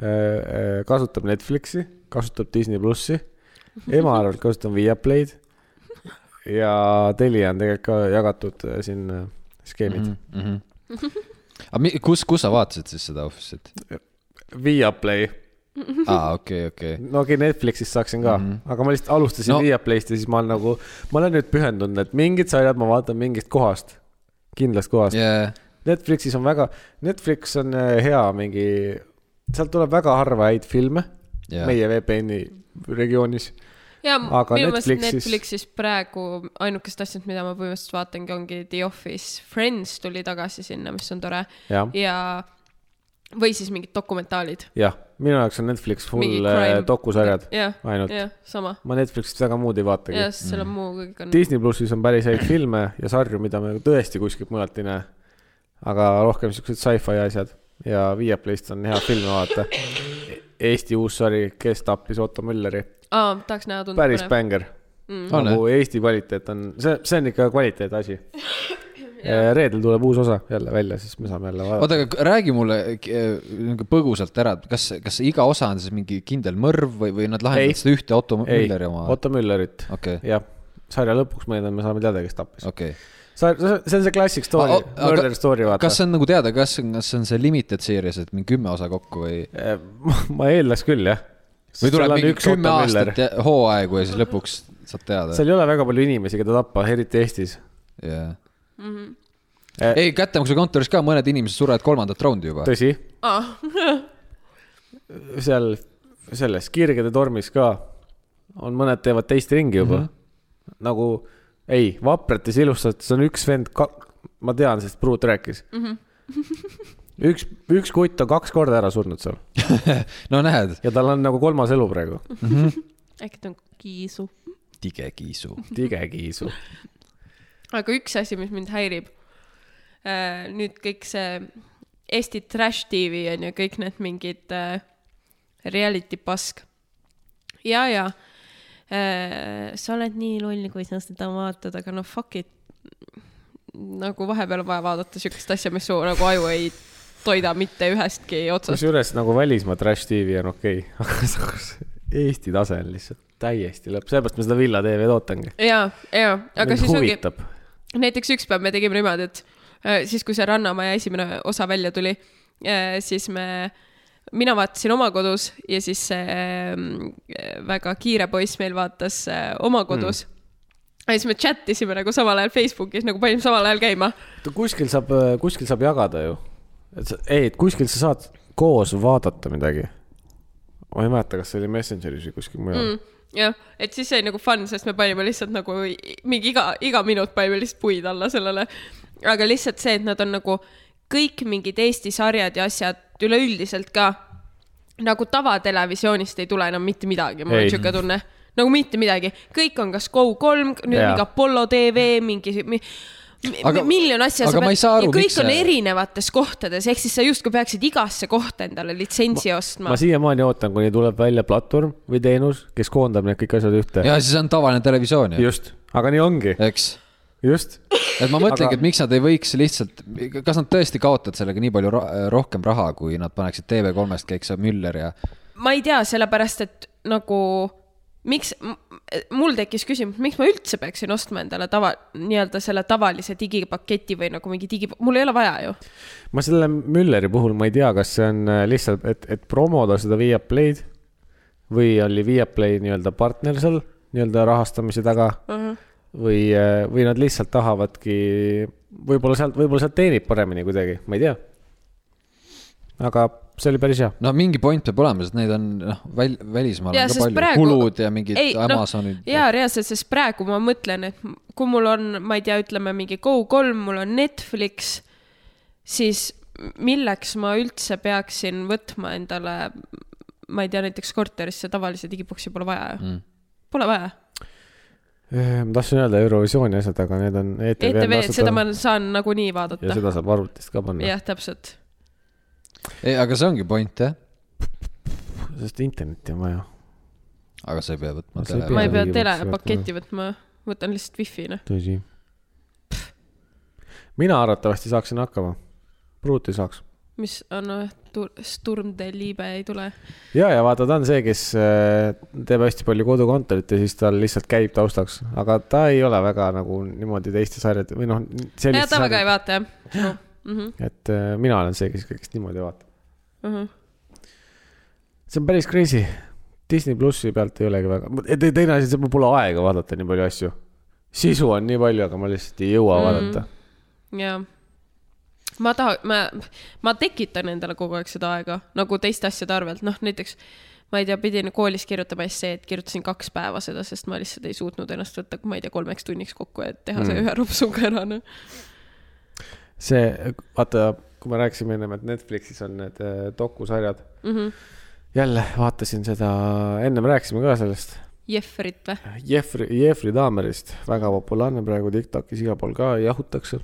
äh, äh, kasutab Netflixi , kasutab Disney plussi , ema arvelt kasutan Viaplay'd ja Telia on tegelikult ka jagatud äh, siin äh, skeemid mm . Mhm. aga mi- kus , kus sa vaatasid siis seda Office'it ? -hmm. Viaplay , aa , okei , okei . no okei okay, , Netflixist saaksin ka mm , -hmm. aga ma lihtsalt alustasin no. No. Viaplayst ja siis ma olen nagu , ma olen nüüd pühendunud , et mingid sarjad ma vaatan mingist kohast , kindlast kohast yeah. . jaa , Netflixis on väga , Netflix on äh, hea mingi , sealt tuleb väga harva häid filme yeah. Jaa. meie VPN-i regioonis ja Aga minu meelest Netflixis- Netflixis praegu ainukest asjad , mida ma põhimõtteliselt vaatangi , ongi The Office , Friends tuli tagasi sinna , mis on tore Jah. ja või siis mingid dokumentaalid . jah , minu jaoks on Netflix Mingi full crime- äh, dokusarjad jah , ainult Mm. yeah. , jah , sama . ma Netflixist väga muud ei vaatagi jah , sest selle muu kõik on . Disney plussis on päris häid filme ja sarju , mida me tõesti kuskilt mujalt ei näe . aga rohkem siuksed sci-fi asjad ja Viaplayst on hea filme vaadata . Eesti uus sari , kes tappis Otto Mülleri , aa , tahaks näha tunda päris bänger mm. . On, nagu Eesti kvaliteet on , see , see on ikka kvaliteetasi . reedel tuleb uus osa jälle välja , siis me saame jälle vaadata . oota , aga räägi mulle eh, nagu põgusalt ära , et kas , kas iga osa on siis mingi kindel mõrv või , või nad Ei. lahendavad seda ühte Otto ei Mülleri , oma ? Otto Müllerit , okei , jah . sarja lõpuks meile me saame teada , kes tappis . okei . see on see classic A- story o- , aga- murder story , vaata kas . see on nagu teada , kas , kas see on see limited series , et mingi kümme osa kokku või ? Ehm, *laughs* ma eeldaks küll , jah . või tuleb mingi kümme aastat ja- hooaegu ja siis lõpuks saad teada ? seal ei ole väga palju inimesi , keda tappa , eriti Eestis . jah . Eh. ei , kättemaksu kontoris ka mõned inimesed surevad kolmandat raundi juba . tõsi , ah, . *laughs* seal selles Kirgede tormis ka on , mõned teevad teist ringi juba mm . -hmm. Mhm. nagu ei , Vaprates ja Ilustates on üks vend , ma tean , sest Pruut rääkis mm . -hmm. *laughs* üks , üks kutt on kaks korda ära surnud seal no näed , ja tal on nagu kolmas elu praegu . äkki ta on kiisu . tige kiisu . tige kiisu . aga üks asi , mis mind häirib . nüüd kõik see Eesti Trash TV on ju kõik need mingid äh, reality pask . ja , ja äh, sa oled nii loll , kui sa seda vaatad , aga no fuck it . nagu vahepeal on vaja vaadata siukest asja , mis su nagu aju ei toida mitte ühestki otsast . kusjuures nagu välismaa trash tv on okei *laughs* okay. , aga samas Eesti tase on lihtsalt täiesti lõpp , sellepärast ma seda Villa TV-d ootangi . ja , ja , aga mind siis ongi huvitab . näiteks üks päev me tegime niimoodi , et äh, siis , kui see Rannamaja esimene osa välja tuli , siis me , mina vaatasin oma kodus ja siis see ähm, väga kiire poiss meil vaatas äh, oma kodus mm. . ja siis me chat isime nagu samal ajal Facebookis , nagu panime samal ajal käima . kuskil saab , kuskil saab jagada ju . et sa , ei , et kuskil sa saad koos vaadata midagi . ma ei mäleta , kas see oli Messengeris või kuskil mujal mm. . jah , et siis see oli nagu fun , sest me panime lihtsalt nagu i- mingi iga , iga minut panime lihtsalt puid alla sellele . aga lihtsalt see , et nad on nagu kõik mingid Eesti sarjad ja asjad üleüldiselt ka nagu tavatelevisioonist ei tule enam mitte midagi , mul Ei. on sihuke tunne , nagu mitte midagi , kõik on kas Go3 , nüüd Jaa. yeah. mingi Apollo tv , mingi mi, mi- Aga- miljon asja . aga ma ei saa aru, ja kõik miks on see- erinevates kohtades , ehk siis sa justkui peaksid igasse kohta endale litsentsi ostma ma . siiamaani ootan , kuni tuleb välja platvorm või teenus , kes koondab need kõik asjad *laughs* ühte . ja siis on tavaline televisioon ju , just , aga nii ongi , eks just . et ma mõtlengi Aga- aga... , et miks nad ei võiks lihtsalt , kas nad tõesti kaotavad sellega nii palju ra rohkem raha , kui nad paneksid TV3-st kõik see Müller ja . ma ei tea , sellepärast et nagu miks , mul tekkis küsimus , miks ma üldse peaksin ostma endale tava , nii-öelda selle tavalise digipaketi või nagu mingi digi , mul ei ole vaja ju . ma selle Mülleri puhul ma ei tea , kas see on äh, lihtsalt , et , et promoda seda Viaplay'd või oli Viaplay nii-öelda partner seal nii-öelda rahastamise taga uh Mhm. -huh. või , või nad lihtsalt tahavadki , võib-olla sealt , võib-olla sealt teenib paremini kuidagi , ma ei tea . aga see oli päris hea . no mingi point peab olema , sest neid on noh , väl- , välismaal on ka palju praegu... , kulud ja mingid ei, Amazonid no, . jaa , reaalselt , sest praegu ma mõtlen , et kui mul on , ma ei tea , ütleme mingi Go3 , mul on Netflix , siis milleks ma üldse peaksin võtma endale , ma ei tea , näiteks korterisse tavalise digiboksi pole vaja ju mm. . Pole vaja ma Ehm, tahtsin öelda Eurovisiooni asjad , aga need on E ETV . ETV-d , E seda ma saan nagunii vaadata ja . seda saab arvutist ka panna , jah , täpselt . ei , aga see ongi point jah , sest internetti on vaja . aga sa ei pea No võtma sa ei tele pea. ma ei pea Riigikogus telepaketti võtma , võtan lihtsalt noh. wifi'na . tõsi . mina arvatavasti saaksin hakkama . Pruut ei saaks . mis on , noh , Sturm der Liebe ei tule . ja , ja vaata , ta on see , kes äh, teeb hästi palju kodukontorit ja siis tal lihtsalt käib taustaks , aga ta ei ole väga nagu niimoodi teiste sarjade või noh , ja selliste ta väga sarjade , ei vaata jah Oh, mhm, no. . mhmh , et äh, mina olen see , kes kõigest niimoodi vaatab . mhmh . see on päris crazy . Disney plussi pealt ei olegi väga , teine asi , mul pole aega vaadata nii palju asju . sisu on nii palju , aga ma lihtsalt ei Mhm. jõua mm. vaadata . jaa . ma taha- , ma , ma tekitan endale kogu aeg seda aega nagu teiste asjade arvelt , noh näiteks ma ei tea , pidin koolis kirjutama esseed , kirjutasin kaks päeva seda , sest ma lihtsalt ei suutnud ennast võtta , ma ei tea , kolmeks tunniks kokku , et teha see Mm. ühe rupsuga ära , noh . see , vaata , kui me rääkisime ennem , et Netflixis on need äh, dokusarjad . Mhm. jälle vaatasin seda , ennem rääkisime ka sellest Jefferit või ? Jeffrey , Jeffrey Dahmerist , väga populaarne praegu Tiktokis igal pool ka jahutakse .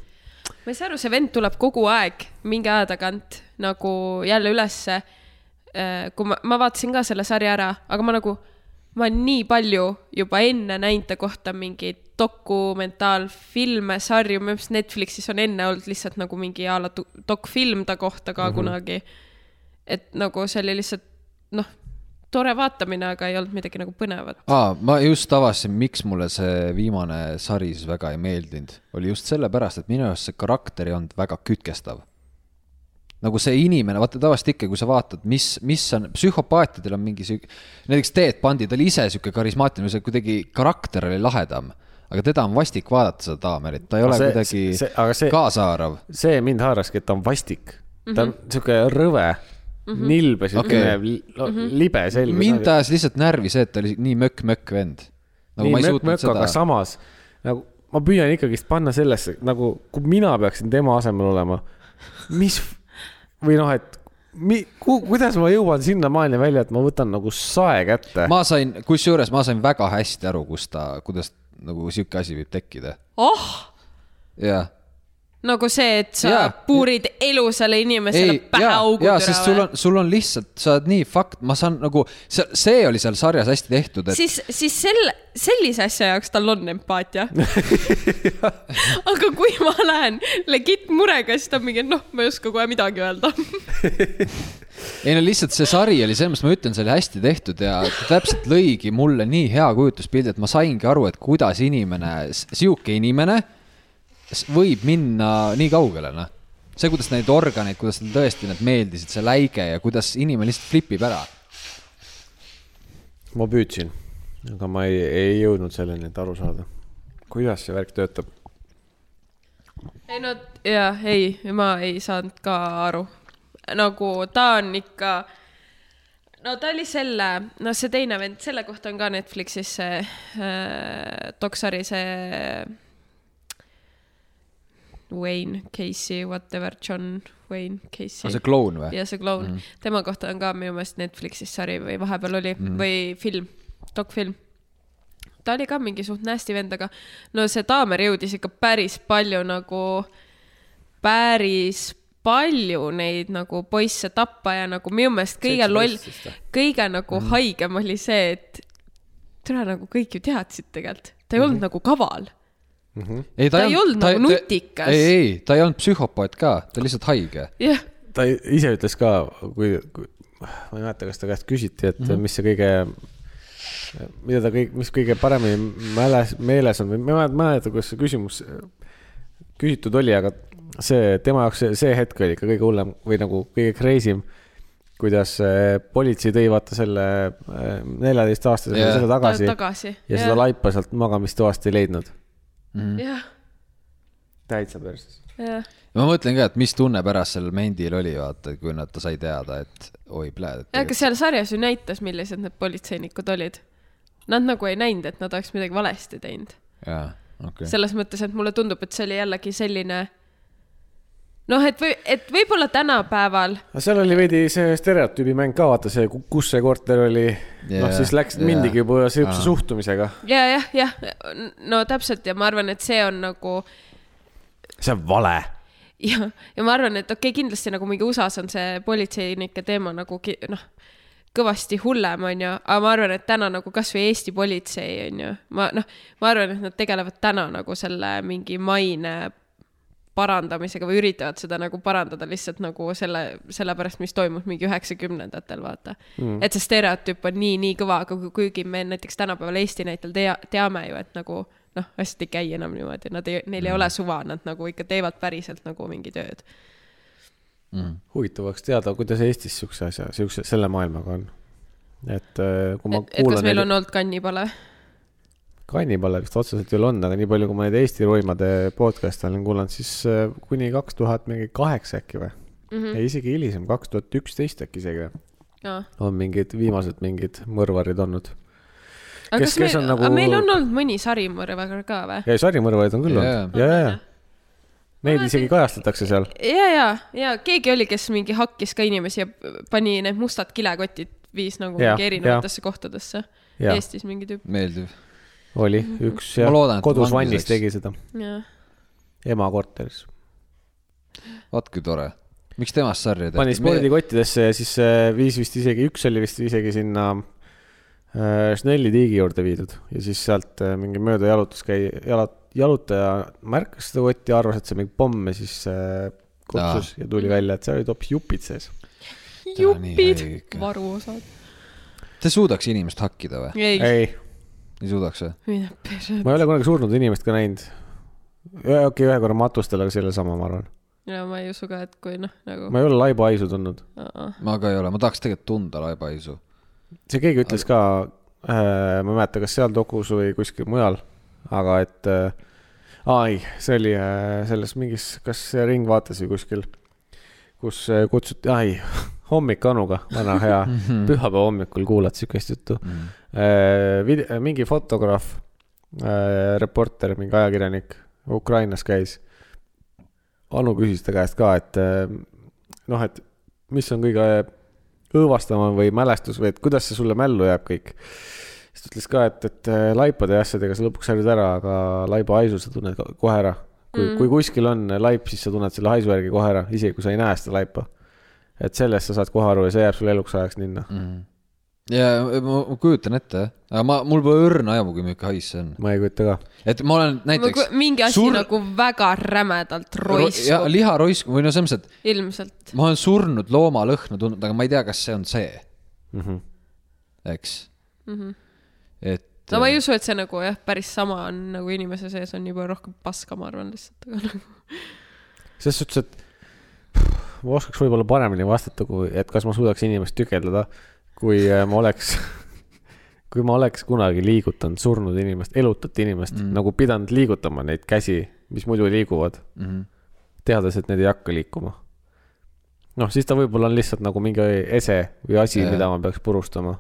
ma ei saa aru , see vend tuleb kogu aeg mingi aja tagant Äh, nagu jälle ülesse . kui ma , ma vaatasin ka selle sarja ära , aga ma nagu , ma olen nii palju juba enne näinud ta kohta mingeid dokumentaalfilme, sarju, minu meelest Netflixis on enne olnud lihtsalt nagu mingi a la tu- dokfilm ta kohta ka mm Mhm. -hmm. kunagi. et nagu see oli lihtsalt noh, tore vaatamine, aga ei olnud midagi nagu põnevat. aa , ma just avastasin , miks mulle see viimane sari siis väga ei meeldinud , oli just sellepärast , et minu arust see karakter ei olnud väga kütkestav . nagu see inimene , vaata tavaliselt ikka , kui sa vaatad , mis , mis on , psühhopaatidel on mingi sihuke , näiteks Teet Pandi , ta oli ise sihuke karismaatiline , see kuidagi karakter oli lahedam , aga teda on vastik vaadata , seda Dahmerit , ta ei Aga ole see- see- aga kuidagi see- kaasahaarav . see mind haaraski , et ta on vastik mm . -hmm. ta on sihuke rõve mm , -hmm. nilbe , sihuke Okei. okay. libe selg . nagu. mind ajas lihtsalt närvi see , et ta oli nii mökk-mökk vend . nagu ma ei suutnud seda , aga samas nagu ma püüan ikkagist panna sellesse nagu , kui mina peaksin tema asemel olema , mis või noh , et mi, ku, kuidas ma jõuan sinnamaani välja , et ma võtan nagu sae kätte ma... . ma sain , kusjuures ma sain väga hästi aru , kus ta , kuidas nagu sihuke asi võib tekkida oh , jah . nagu see , et sa Jaa. ja. puurid elu selle inimesele ei , pähe ja , augu ja , sest sul või ? on , sul on lihtsalt , sa oled nii fakt , ma saan nagu , see , see oli seal sarjas hästi tehtud , et siis , siis selle , sellise asja jaoks tal on *laughs* empaatia . aga kui ma lähen legit murega , siis ta on mingi , noh , ma ei oska kohe midagi *laughs* öelda . ei no lihtsalt see sari oli selles mõttes , ma ütlen , see oli hästi tehtud ja ta täpselt lõigi mulle nii hea kujutluspildi , et ma saingi aru , et kuidas inimene , sihuke inimene s- võib minna nii kaugele , noh . see , kuidas neid organeid , kuidas neile tõesti need meeldisid , see läige ja kuidas inimene lihtsalt flipib ära . ma püüdsin , aga ma ei, ei jõudnud selleni , et aru saada , kuidas see värk töötab . ei no , jah , ei , ma ei saanud ka aru . nagu ta on ikka , no ta oli selle , no see teine vend , selle kohta on ka Netflixis see äh, doksari see Wayne Casey , whatever , John Wayne Casey on see kloun või ? ja see kloun mm , -hmm. tema kohta on ka minu meelest Netflixis sari või vahepeal oli mm -hmm. või film , dokfilm . ta oli ka mingi suht nasty vend , aga no see Daamer jõudis ikka päris palju nagu , päris palju neid nagu poisse tappa ja nagu minu meelest kõige loll , kõige nagu mm -hmm. haigem oli see , et tule nagu kõik ju teadsid tegelikult , ta ei olnud mm -hmm. nagu kaval ei , Ta ei olnud nagu nutikas. ei , ei , ta ei olnud psühhopaat ka , ta oli lihtsalt haige . jah , ta ise ütles ka , kui, kui , ma ei mäleta , kas ta käest küsiti , et mm -hmm. mis see kõige , mida ta kõik , mis kõige paremini mäles , meeles on või ma ei mäleta , kuidas see küsimus küsitud oli , aga see tema jaoks see, see hetk oli ikka kõige hullem või nagu kõige crazy im , kuidas eh, politsei tõi vaata selle eh, neljateistaastase Jah. yeah. selle tagasi tagasi, ja tagasi. . seda laipa sealt magamistoast ei leidnud . jah , täitsa perses . jah . ma mõtlen ka , et mis tunne pärast sellel mendil oli , vaata , kui nad , ta sai teada , et oi , pläed . jah , aga seal sarjas ju näitas , millised need politseinikud olid . Nad nagu ei näinud , et nad oleks midagi valesti teinud jaa , okei okay. . selles mõttes , et mulle tundub , et see oli jällegi selline noh , et või , et võib-olla tänapäeval no seal oli veidi see stereotüübi mäng ka , vaata see , kus see korter oli yeah, , noh Jaa, siis läks jaa. yeah. , mindigi juba Aa. sihukese suhtumisega . ja , jah , jah , no täpselt ja ma arvan , et see on nagu see on vale . ja , ja ma arvan , et okei okay, , kindlasti nagu mingi USA-s on see politseinike teema nagu ki- noh , kõvasti hullem , onju , aga ma arvan , et täna nagu kasvõi Eesti politsei , onju , ma noh , ma arvan , et nad tegelevad täna nagu selle mingi maine parandamisega või üritavad seda nagu parandada lihtsalt nagu selle , sellepärast , mis toimus mingi üheksakümnendatel , vaata mm. . et see stereotüüp on nii , nii kõva , aga kui- kuigi me näiteks tänapäeval Eesti näitel tea- , teame ju , et nagu noh , asjad ei käi enam niimoodi , nad ei , neil ei ole Mm. suva , nad nagu ikka teevad päriselt nagu mingi tööd . Mhm, huvitav oleks teada , kuidas Eestis sihukese asja , sihukese , selle maailmaga on . et äh, kui ma et kas meil neid- on olnud kannipale ? kannipale vist otseselt ei ole olnud , aga nii palju , kui ma neid Eesti roimade podcast'e olen kuulanud , siis äh, kuni kaks tuhat mingi kaheksa äkki või mm ? Mhm. -hmm. ja isegi hilisem , kaks tuhat üksteist äkki isegi või? jaa . on mingid viimased mingid mõrvarid olnud . aga Kes- kas kes meil , on nagu... nagu- aga meil on olnud mõni sarimõrvaga ka või ? ja sarimõrvarid on küll olnud , ja , ja , ja . Neid isegi kajastatakse seal . ja , ja , ja keegi oli , kes mingi hakkis ka inimesi ja pani need mustad kilekotid , viis nagu Jaa, ja, mingi erinevatesse ja. kohtadesse . Jaa. Eestis mingi tüüp , meeldiv . oli üks Ma jah loodan, et , kodus vangis vannis läks. tegi seda , jah . ema korteris . vaat kui tore . miks temast sarja pani tehti ? spordikottidesse ja siis äh, viis vist isegi , üks oli vist isegi sinna Schnelli tiigi juurde viidud ja siis sealt äh, mingi mööda jalutus käi- , jala- , jalutaja märkas seda kotti , arvas , et see on mingi pomm ja siis äh, kutsus ja tuli välja , et seal olid hoopis jupid sees . jupid nii haige. , varuosad . Te suudaks inimest hakkida või ? ei , noh, ei , ei suudaks või ? mine perse . ma ei ole kunagi surnud inimest ka näinud . okei okay, , ühe korra matustel , aga see ei ole sama , ma arvan . no ma ei usu ka , et kui noh , nagu ma ei ole laibahaisu tundnud . ma... . ma ka ei ole , ma tahaks tegelikult tunda laibaisu . see keegi ütles ka äh, , ma ei mäleta , kas seal dokus või kuskil mujal , aga et äh, , aa ei , see oli äh, selles mingis , kas Ringvaates või kuskil , kus äh, kutsuti , aa ei , *laughs* hommik Anuga , vana hea pühapäeva hommikul kuulad siukest juttu äh, . Vide- , mingi fotograaf äh, , reporter , mingi ajakirjanik Ukrainas käis . Anu küsis ta käest ka , et äh, noh , et mis on kõige õõvastavam või mälestus või et kuidas see sulle mällu jääb kõik . siis ta ütles ka , et , et äh, laipade ja asjadega sa lõpuks harjud ära , aga laiba haisu sa tunned ko- kohe ära . kui mm. , kui kuskil on laip , siis sa tunned selle haisu järgi kohe ära , isegi kui sa ei näe seda laipa . et sellest sa saad kohe aru ja see jääb sulle eluks ajaks ninna mm. . ja ma, ma kujutan ette jah , aga ma , mul pole õrna aimu , kui milline hais see on . ma ei kujuta ka . et ma olen näiteks Näiteks, mingi asi sur... nagu väga rämedalt ja roiskub , liharoisku või no selles mõttes , ilmselt . et ma olen surnud looma lõhna tundnud , aga ma ei tea , kas see on see , Mm -hmm. eks mm . -hmm. et Mhm. no ma ei usu , et see nagu jah , päris sama on nagu inimese sees on juba rohkem paska , ma arvan lihtsalt , aga nagu selles suhtes , et ma oskaks võib-olla paremini vastata , kui , et kas ma suudaks inimest tükeldada , kui äh, ma oleks , *laughs* kui ma oleks kunagi liigutanud surnud inimest , elutatud inimest mm. , nagu pidanud liigutama neid käsi , mis muidu liiguvad mm . -hmm. teades , et need ei hakka liikuma . noh , siis ta võib-olla on lihtsalt nagu mingi ese või asi Jajah. yeah. , mida ma peaks purustama .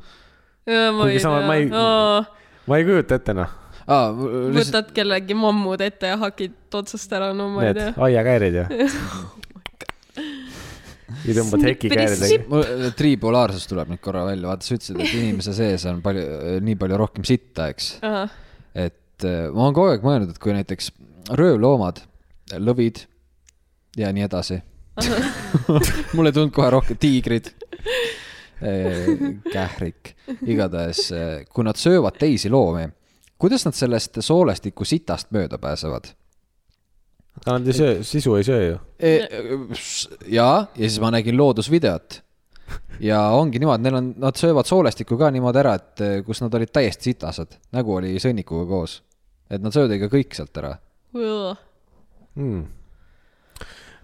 Ja ma Kuigi ei sama- ma ei- tea , ei... ma ei kujuta ette , noh , äh, aa, mul lihtsalt , võtad kellegi mammud ette ja hakid otsast ära , no ma need Need. ei tea . Oh aiakäärid *laughs* ja . ja tõmbad heki Snippidi kääridega sipp. . mul tripolaarsus tuleb nüüd korra välja , vaata sa ütlesid , et inimese sees on palju , nii palju rohkem sitta , eks . et äh, ma olen kogu aeg mõelnud , et kui näiteks röövloomad , lõvid ja nii edasi . *laughs* mulle ei tulnud kohe rohkem tiigrid , kährik , igatahes , kui nad söövad teisi loomi , kuidas nad sellest soolestiku sitast mööda pääsevad ? aga nad ei söö , sisu ei söö ju E, ja , ja siis ma nägin loodusvideot ja ongi niimoodi , neil on , nad söövad soolestikku ka niimoodi ära , et eh, kus nad olid täiesti sitased , nägu oli sõnnikuga koos . et nad söövad ikka kõik sealt ära mm. .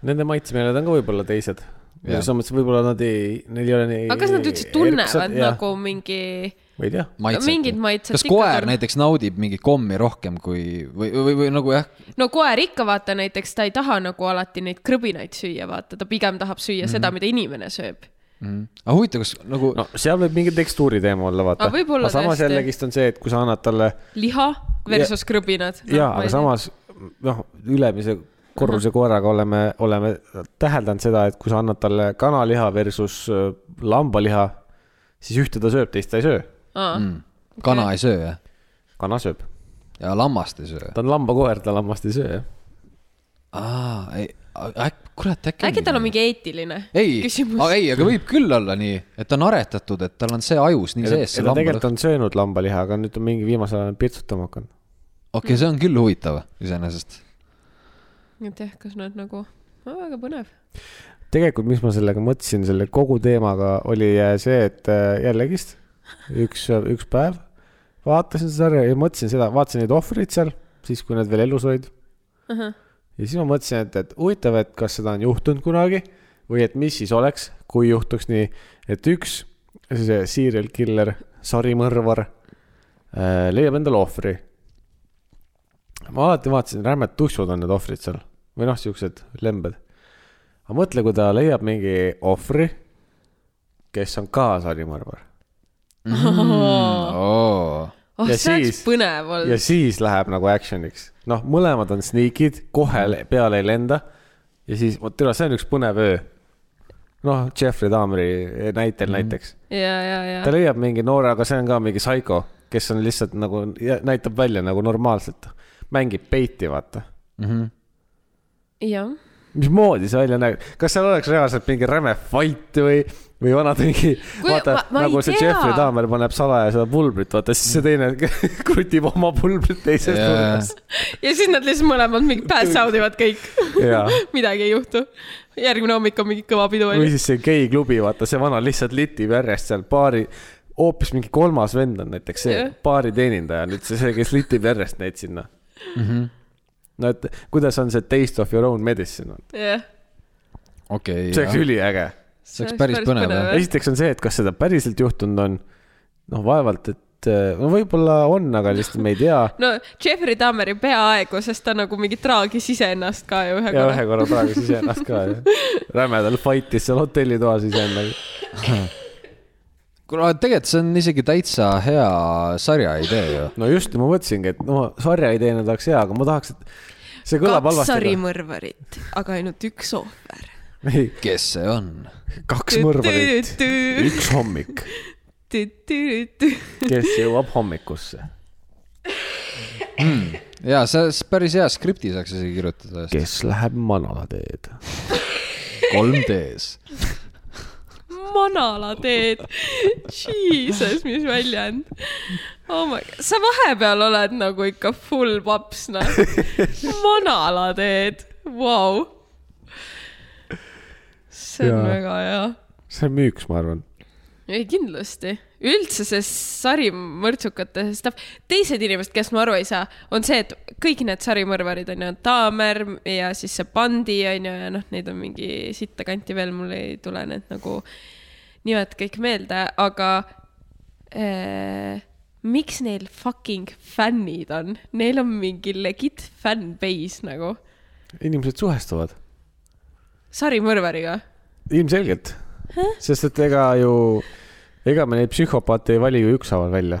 Nende maitsemeeled on ka võib-olla teised . Jah. selles mõttes võib-olla nad ei , neil ei ole nii . aga kas nad üldse tunnevad ? nagu mingi , ma ei tea . maitsed . Mingid maitsed kas ikka koer tunne- näiteks naudib mingi kommi rohkem kui , või , või , või nagu jah , no koer ikka vaata näiteks , ta ei taha nagu alati neid krõbinaid süüa , vaata , ta pigem tahab süüa mm -hmm. seda , mida inimene sööb . mhm. aga huvitav , kas nagu no. no seal võib mingi tekstuuri teema olla , vaata . Aga võib-olla samas tõesti. Noh, jällegist on see , et kui sa annad talle liha versus ja. krõbinad no, . jaa , aga . samas noh , ülemise Mhm. korruse koeraga oleme , oleme täheldanud seda , et kui sa annad talle kanaliha versus öö, lambaliha , siis ühte ta sööb , teist ta ei söö . Mm. kana ei söö jah , kana sööb . ja lammast ei söö . ta on lambakoer , ta lammast ei söö , jah . aa , ei , äkki , kurat , äkki . äkki tal on mingi eetiline ei , küsimus ? ei , aga võib küll olla nii , et ta on aretatud , et tal on see ajus nii ja ta- sees , ja see ta lamba tegelikult on söönud lambaliha , aga nüüd on mingi viimasel ajal pirtsutama hakanud . okei , see on küll huvitav iseenesest . et jah , kas nad nagu , no väga põnev . tegelikult , mis ma sellega mõtlesin , selle kogu teemaga oli äh, see , et äh, jällegist üks , üks päev vaatasin seda sarja ja mõtlesin seda , vaatasin neid ohvreid seal , siis kui nad veel elus olid uh . -huh. ja siis ma mõtlesin , et , et huvitav , et kas seda on juhtunud kunagi või et mis siis oleks , kui juhtuks nii , et üks see serial killer , sarimõrvar äh, leiab endale ohvri . ma alati vaatasin , rämmed tussud on need ohvrid seal või noh , siuksed lembed aga mõtle , kui ta leiab mingi ohvri , kes on ka sarimõrvar oo , oh , Ja see oleks siis- põnev ja olnud . siis läheb nagu action'iks . noh , mõlemad on sneak'id , kohe le- peale ei lenda . ja siis , vot üle , see on üks põnev öö . noh , Jeffrey Dahmeri näitel mm. näiteks . ja , ja , ja ta . leiab mingi noore , aga see on ka mingi psycho , kes on lihtsalt nagu , näitab välja nagu normaalselt . mängib peiti , vaata . jah , mismoodi see välja näeb , kas seal oleks reaalselt mingi räme fight või , või vanad mingi , Kui- vaata ma- ma ei nagu see tea. Jeffrey Dahmer paneb salaja seda pulbrit , vaata siis see teine *laughs* krutib oma pulbrit teises Jaa. nurgas . ja siis nad lihtsalt mõlemad mingi pass out ivad kõik Jaa. . *laughs* midagi ei juhtu . järgmine hommik on mingi kõva pidu või onju . siis see geiklubi , vaata see vana lihtsalt litib järjest seal baari , hoopis mingi kolmas vend on näiteks see Jah. baariteenindaja nüüd see , see , kes litib järjest neid sinna mm . -hmm. no et kuidas on see taste of your own medicine , jah . okei see oleks . üliäge . see oleks päris põnev, jah. esiteks on see , et kas seda päriselt juhtunud on , noh vaevalt , et eh, no võib-olla on , aga lihtsalt me ei tea . no Jeffrey Dahmeri peaaegu , sest ta nagu mingi traagis iseennast ka ju ühe ja ühe korra . korra praegu siis ennast ka , rämedal fight'is seal hotellitoas iseendaga . kuule , tegelikult see on isegi täitsa hea sarja idee ju . no just , ma mõtlesingi , et no sarja ideena oleks hea , aga ma tahaks , et see kõlab kaks halvasti . sarimõrvarit , aga ainult üks ohver . ei , kes see on ? kaks mõrvarit , üks hommik , kes jõuab hommikusse , ja see s- päris hea skripti saaks isegi kirjutada . kes läheb manala teed . 3D-s . manala teed . Jesus , mis väljend oh my... . sa vahepeal oled nagu ikka full paps , noh . manala teed , vau . see on Jaa. väga hea . see müüks , ma arvan . ei , kindlasti . üldse see sarimõrtsukate stuff , teised inimesed , kes ma aru ei saa , on see , et kõik need sarimõrvarid on ju , Taamer ja siis see Bandi on ju ja noh , neid on mingi sitta kanti veel , mul ei tule need nagu nimed kõik meelde , aga äh, miks neil fucking fännid on , neil on mingi legit fanbase nagu inimesed suhestuvad , sarimõrvariga . ilmselgelt , sest et ega ju , ega me neid psühhopaate ei vali ju ükshaaval välja .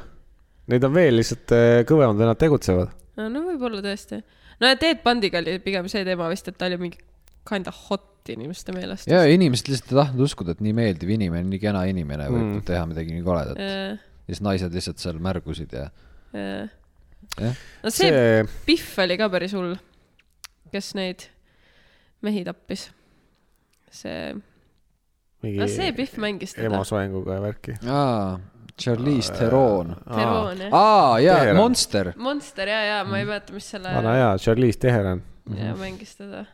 Neid on veel lihtsalt eh, kõvemad ja nad tegutsevad . no, no võib-olla tõesti . no ja Teet Pandiga oli pigem see teema vist , et ta oli mingi kinda hot inimeste meelest . ja inimesed lihtsalt ei tahtnud uskuda , et nii meeldiv inimene , nii kena inimene võib mm. teha midagi nii koledat . ja siis naised lihtsalt seal märgusid ja , no jah . see, see... see , Pihv oli ka päris hull , kes neid mehi tappis . see , no see mingi Pihv mängis teda . emasoenguga ja värki . aa , Charlize Theron . Teroon jah . aa , jaa , Teheran. Monster . Monster ja , ja ma ei mäleta , mis selle Mm. vana hea Charlize Teheran . ja, mängis teda .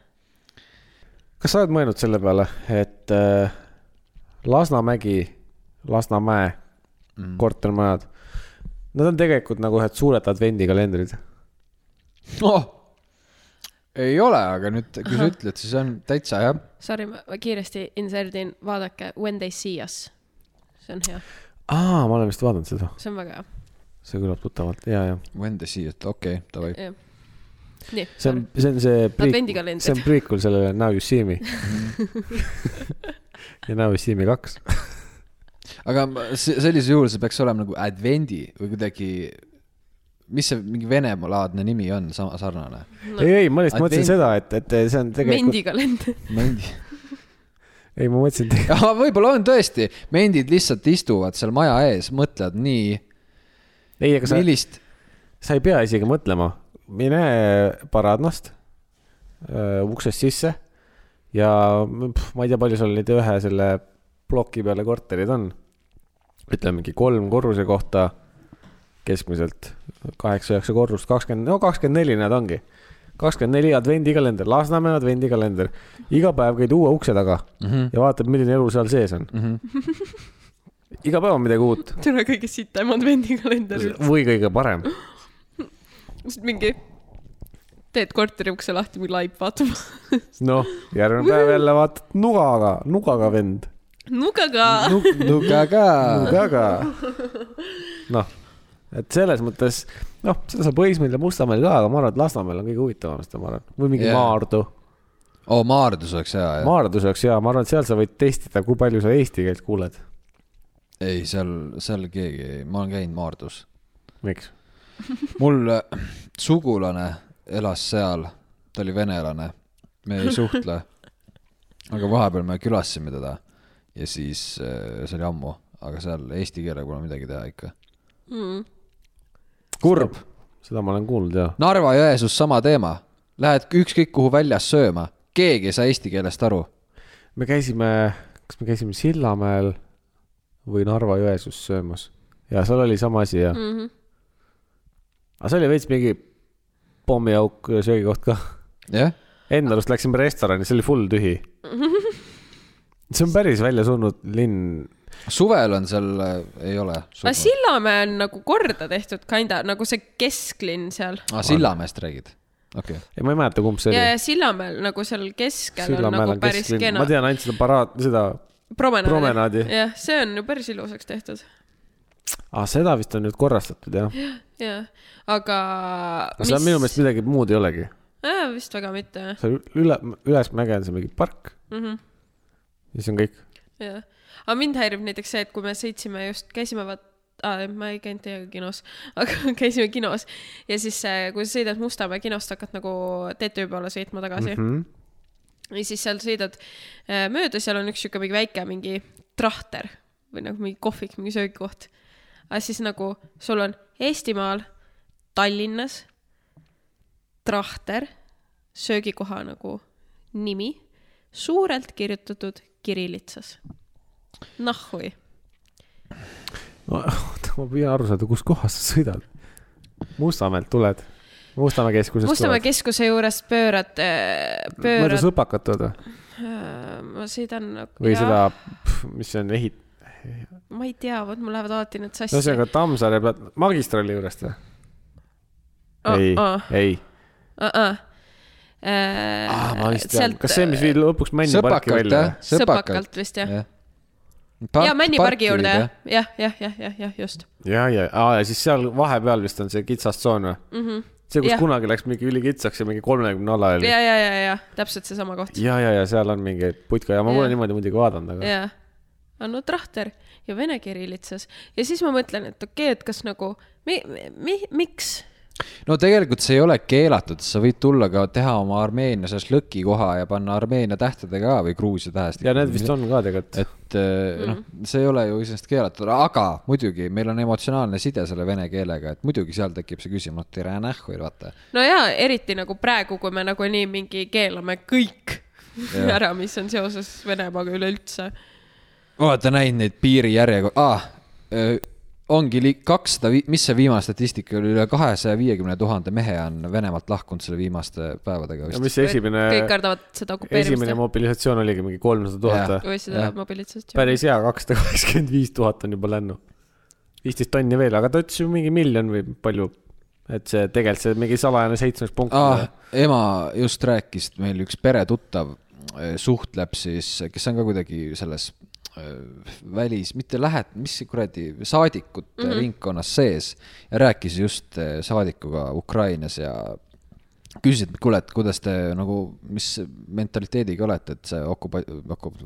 kas sa oled mõelnud selle peale , et äh, Lasnamägi , Lasnamäe mm. kortermajad , nad on tegelikult nagu ühed suured advendikalendrid . oh. ei ole , aga nüüd , kui sa ütled , siis on täitsa jah . Sorry , ma kiiresti inserdin , vaadake When they see us . see on hea , aa , ma olen vist vaadanud seda , see on väga see kõlab tuttavalt ja , ja When the sea , okei okay, , davai . hea , jah . nii . see on , see on see . Advendikalendrid. see on prequel sellele Now you see me . Mhm. ja Now you see me kaks . aga ma- se- sellisel juhul see peaks olema nagu advendi või kuidagi , mis see mingi Venemaa-laadne nimi on , sama sarnane . No. ei , ei , ma lihtsalt Advent- mõtlesin seda , et , et see on tegelikult , mendikalender . Mendi . ei , ma mõtlesin , *laughs* et võib-olla on tõesti , mendid lihtsalt istuvad seal maja ees , mõtlevad nii , ei , aga sa , millist , sa ei pea isegi mõtlema , mine paradnast öö, uksest sisse ja pff, ma ei tea , palju sul neid ühe selle ploki peale korterid on . ütleme mingi kolm korruse kohta keskmiselt kaheksa-üheksa korrust , kakskümmend , no kakskümmend neli nad ongi . kakskümmend neli advendikalender , Lasnamäe advendikalender , iga päev käid uue ukse taga mm -hmm. ja vaatad , milline elu seal sees on mm . -hmm. iga päev on midagi uut tule kõige sitem advendikalender üldse , või kõige parem sest mingi teed korteri ukse lahti , mingi laip vaatab . *laughs* noh , järgmine päev jälle vaatad nugaga , nugaga vend , nugaga . nuga ka . *laughs* nugaga . noh , et selles mõttes , noh , seda saab Õismäel ja Mustamäel ka , aga ma arvan , et Lasnamäel on kõige huvitavam seda , ma arvan , või mingi Jah. yeah. Maardu . oo , Oh, Maardus oleks hea , jah . Maardus oleks hea , ma arvan , et seal sa võid testida , kui palju sa eesti keelt kuuled . ei , seal , seal keegi , ma olen käinud Maardus . miks ? mul äh, sugulane elas seal , ta oli venelane , me ei suhtle . aga vahepeal me külastasime teda ja siis , see oli ammu , aga seal eesti keelega pole midagi teha ikka . kurb . seda ma olen kuulnud ja . Narva-Jõesuus sama teema , lähed ükskõik kuhu väljas sööma , keegi ei saa eesti keelest aru . me käisime , kas me käisime Sillamäel või Narva-Jõesuus söömas ja seal oli sama asi ja Mhm. mm . -hmm. aga see oli veits mingi pommiauk söögikoht ka . jah , Enda arust läksime restorani , see oli full *laughs* tühi . see on päris välja surnud linn . suvel on seal , ei ole . aga Sillamäe on nagu korda tehtud kinda , nagu see kesklinn seal . aa , Sillamäest Ah, räägid ? okei okay. , ei , ma ei mäleta , kumb see ja , oli . ja Sillamäel nagu seal keskel Sillamäel on nagu on päris kesklinn. kena ma . tean ainult seda paraad , seda , promenaadi, promenaadi. jah , see on ju päris ilusaks tehtud . ah, seda vist on nüüd korrastatud jah . jah , aga see on minu meelest midagi muud ei olegi . äh, . vist väga mitte , seal üle , üles mäge on see mingi park mm . Mhm. ja see on kõik . jah . aga mind häirib näiteks see , et kui me sõitsime just , käisime vaat- , aa , ma ei käinud teiega kinos , *laughs* aga käisime kinos ja siis , kui sa sõidad Mustamäe kinost , hakkad nagu TTÜ peale sõitma tagasi mm . Mhm. -hmm. ja siis seal sõidad äh, mööda , seal on üks sihuke mingi väike mingi trahter või nagu mingi kohvik , mingi söögikoht . aga siis nagu sul on Eestimaal , Tallinnas trahter , söögikoha nagu nimi , suurelt kirjutatud kirillitsas . nahhui . ma *laughs* püüan aru saada , kus kohas sa sõidad . Mustamäelt tuled . Mustamäe keskusest Mustamäe tuled . keskuse juures pöörad , mööda pöörad , sõpakat või ? ma sõidan või ja. seda , mis see on , ehit- , ma ei tea , vot mul lähevad alati need sassi . ühesõnaga Tammsaare pealt , magistrali juurest või ? Oh, ei , ei . Ah, ma vist tean , kas see , mis viib lõpuks Männi parki sõpakalt välja jah või ?, sõpakalt . Äh, sõpakalt vist jah ? ja Männi pargi juurde jah ,, jah , jah , jah , jah , jah , just . ja , ja , aa ja siis seal vahepeal vist on see kitsas tsoon või mm ? -hmm. see , kus ja. Mhm. Jah. kunagi läks mingi ülikitsaks ja mingi kolmekümne ala oli . ja , ja , ja , ja täpselt seesama koht . ja , ja , ja seal on mingi putka ja ma pole Jah. niimoodi muidugi vaadanud , aga jaa , Anno Trahter ja vene kirillitsas ja siis ma mõtlen , et okei okay, , et kas nagu mi, , mi, miks ? no tegelikult see ei ole keelatud , sa võid tulla ka teha oma Armeenia šašlõki koha ja panna Armeenia tähtedega ka või Gruusia tähestikega . ja need vist on ka tegelikult . et eh, noh , Mhm. see ei ole ju iseenesest keelatud , aga muidugi meil on emotsionaalne side selle vene keelega , et muidugi seal tekib see küsimus , et tere nähku , vaata . no jaa , eriti nagu praegu , kui me nagunii mingi keelame kõik ja. *laughs* ära , mis on seoses Venemaaga üleüldse . olete näinud neid piirijärjekord- ah, , ongi li- kakssada , mis see viimane statistika oli , üle kahesaja viiekümne tuhande mehe on Venemaalt lahkunud selle viimaste päevadega ja vist . mis see esimene , kõik kardavad seda esimene okupeerimist . mobilisatsioon oligi mingi kolmsada tuhat Jah. või ? või seda mobiilitsust . päris hea , kakssada kaheksakümmend viis tuhat on juba lännu . viisteist tonni veel , aga ta ütles ju mingi miljon või palju . et see tegelikult see mingi salajane seitsmes punkt ah, ah. . ema just rääkis , et meil üks peretuttav eh, suhtleb siis , kes on ka kuidagi selles eh, välis , mitte lähet- , mis see kuradi saadikute mm -hmm. ringkonnas sees ja rääkis just eh, saadikuga Ukrainas ja küsis , et kuule , et kuidas te nagu , mis mentaliteediga olete , et see okupa- , okup- ,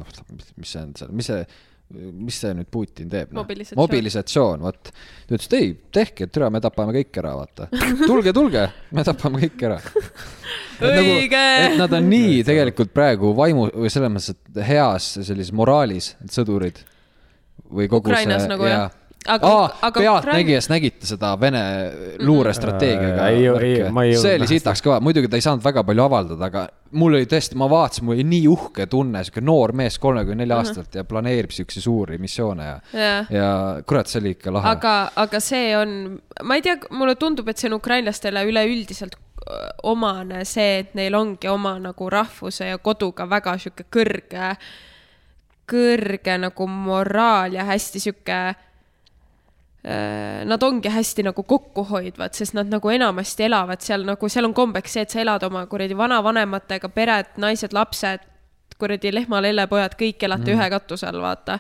mis see on seal , mis see , mis see nüüd Putin teeb ? Mobilisatsioon. mobilisatsioon , vot . ta ütles , et ei , tehke , türa , me tapame kõik ära , vaata . tulge , tulge , me tapame kõik ära . õige et nad on nii tegelikult praegu vaimu või selles mõttes , et heas sellises moraalis , et sõdurid või kogu Ukrainas see nagu, jah. Aga- aga, Aa, aga aga Ukraina- pealtnägijas Ukraina... nägite seda Vene luurestrateegiaga Äh, ei- ei- värki? ma ei jõudnud see oli näha sitaks kõva , muidugi ta ei saanud väga palju avaldada , aga mul oli tõesti , ma vaatasin , mul oli nii uhke tunne , sihuke noor mees , kolmekümne nelja aastaselt ja planeerib siukseid suuri missioone ja , Jah. ja kurat , see oli ikka lahe . aga , aga see on , ma ei tea , mulle tundub , et see on ukrainlastele üleüldiselt öö, omane see , et neil ongi oma nagu rahvuse ja koduga väga sihuke kõrge , kõrge nagu moraal ja hästi sihuke . Äh, Nad ongi hästi nagu kokkuhoidvad , sest nad nagu enamasti elavad seal nagu , seal on kombeks see , et sa elad oma kuradi vanavanematega , pered , naised , lapsed , kuradi lehma , lellepojad , kõik elate mm. ühe katuse all , vaata .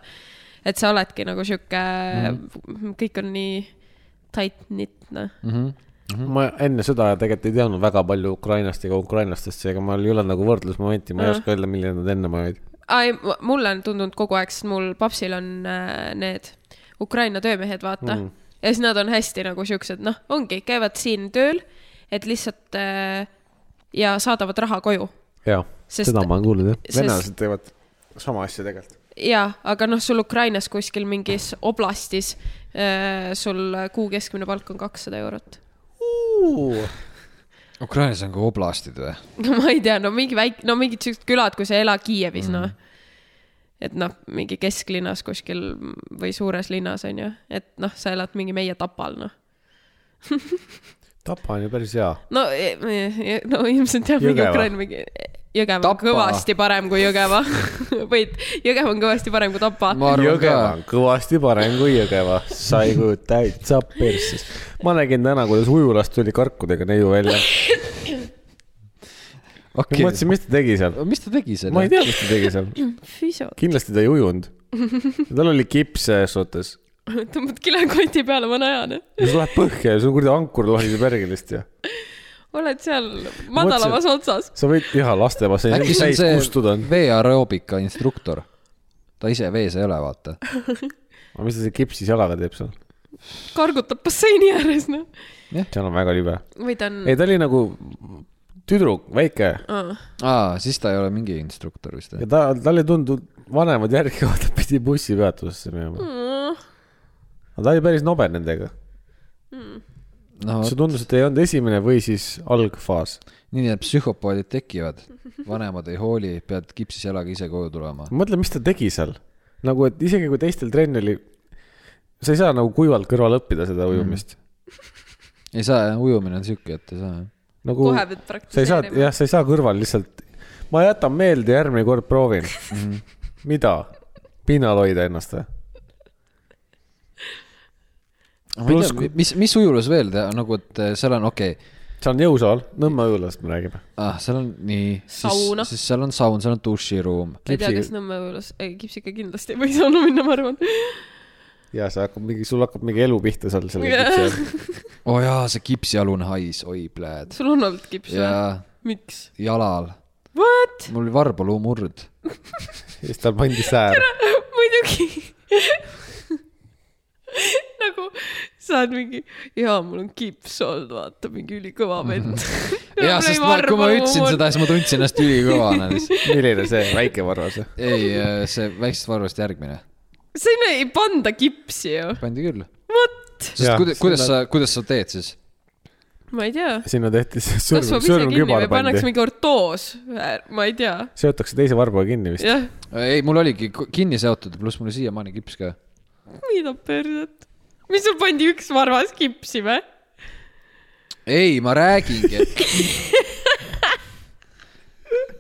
et sa oledki nagu sihuke mm. , kõik on nii tight-knit , noh . Mhm. ma enne sõda tegelikult ei teadnud väga palju Ukrainast ega ukrainlastest , seega mul ei ole nagu võrdlusmomenti , ma ei oska öelda , milline nad enne olid . ai , mulle on tundunud kogu aeg , sest mul papsil on äh, need Ukraina töömehed , vaata mm. . ja siis nad on hästi nagu siuksed , noh , ongi , käivad siin tööl , et lihtsalt äh, ja saadavad raha koju jah , Sest- seda ma olen kuulnud jah . sest- venelased teevad sama asja tegelikult . jaa , aga noh , sul Ukrainas kuskil mingis oblastis äh, sul kuu keskmine palk on kakssada eurot . Ukrainas on ka oblastid või ? *laughs* no ma ei tea , no mingi väike , no mingid siuksed külad , kus ei ela Kiievis mm. , noh . et noh , mingi kesklinnas kuskil või suures linnas on ju , et noh , sa elad mingi meie Tapal , noh . Tapa on ju päris hea . no , no ilmselt jah , mingi Jõgeva. Ukraina mingi , Jõgeva on Tapa. kõvasti parem kui Jõgeva . *laughs* või et Jõgeva on kõvasti parem kui Tapa . ma arvan Jõgeva ka . on kõvasti parem kui Jõgeva , sai kui täitsa persses . ma nägin täna , kuidas ujulast tuli karkudega neiu välja . ma okei , mõtlesin , mis ta tegi seal . mis ta tegi seal ? ma ei tea , mis ta tegi seal . füsio , kindlasti ta ei ujunud . tal oli kips selles suhtes . tõmbad kilekoti peale , ma näen . sul läheb põhja ja sul kuradi ankur lohiseb järgi lihtsalt ja oled seal madalamas otsas . sa võid jah , laste basseini äkki see täis on kustuda see on . veeaeroobika instruktor ? ta ise vees ei ole , vaata . aga mis ta selle kipsis jalaga teeb seal ? kargutab basseini ääres , noh . seal on väga libe . või ta on ei , ta oli nagu tüdruk , väike ah, , aa , siis ta ei ole mingi instruktor vist ja või ? ta , tal ei tundunud vanemad järgi , ta pidi bussipeatusesse minema . aga ta oli päris nobe nendega . no see tundus , et ei olnud esimene või siis algfaas . nii need psühhopaadid tekivad , vanemad ei hooli , pead kipsis jalaga ise koju tulema . mõtle , mis ta tegi seal . nagu , et isegi kui teistel trenn oli , sa ei saa nagu kuivalt kõrval õppida seda ujumist mm. . ei saa , ujumine on sihuke , et ei saa . nagu kohe sa ei pead saa , praktiseerima . jah , sa ei saa kõrval lihtsalt , ma jätan meelde , järgmine kord proovin mm . -hmm. *laughs* mida ? pinnal hoida ennast või ? Pluss kui- mis , mis ujulas veel teha , nagu , et eh, seal on , okei okay, , see on jõusaal , Nõmme ujulast me räägime . ah, seal on nii , Sauna. siis , siis seal on saun , seal on duširuum . ma ei tea , kas Nõmme ujulas , ei Kipsiga kindlasti ei *laughs* või sauna minna , ma arvan . ja see hakkab mingi , sul hakkab mingi elu pihta seal *laughs* selle Jah. kipsi all . oo oh, jaa , see kipsialune hais , oi pläd . sul on olnud kips või ? ja miks ? jalal , What ? mul oli varbaluumurd . ja siis tal pandi säär . muidugi . nagu sa oled mingi , jaa , mul on kips olnud , vaata , mingi ülikõva *laughs* vend . Mhm. jaa , sest ma, kui ma ütlesin seda , siis ma tundsin ennast *laughs* ülikõvana lihtsalt . milline see väike varvas ? ei , see väiksest varvast järgmine . sinna ei panda kipsi ju . pandi küll . What ? sest Jah, kuidas , kuidas sinna- sa , kuidas sa teed siis ? ma ei tea . sinna tehti see sõrm , kasvab ise kinni sõrmkübar või pannakse pandi . mingi ortoos , ma ei tea . seotakse teise varbaga kinni vist . jah , Äh, ei , mul oligi ku- kinni seotud , pluss mul siiamaani kips ka . mida perset . mis sul pandi üks varvas kipsi või ? ei , ma räägingi , *laughs* et .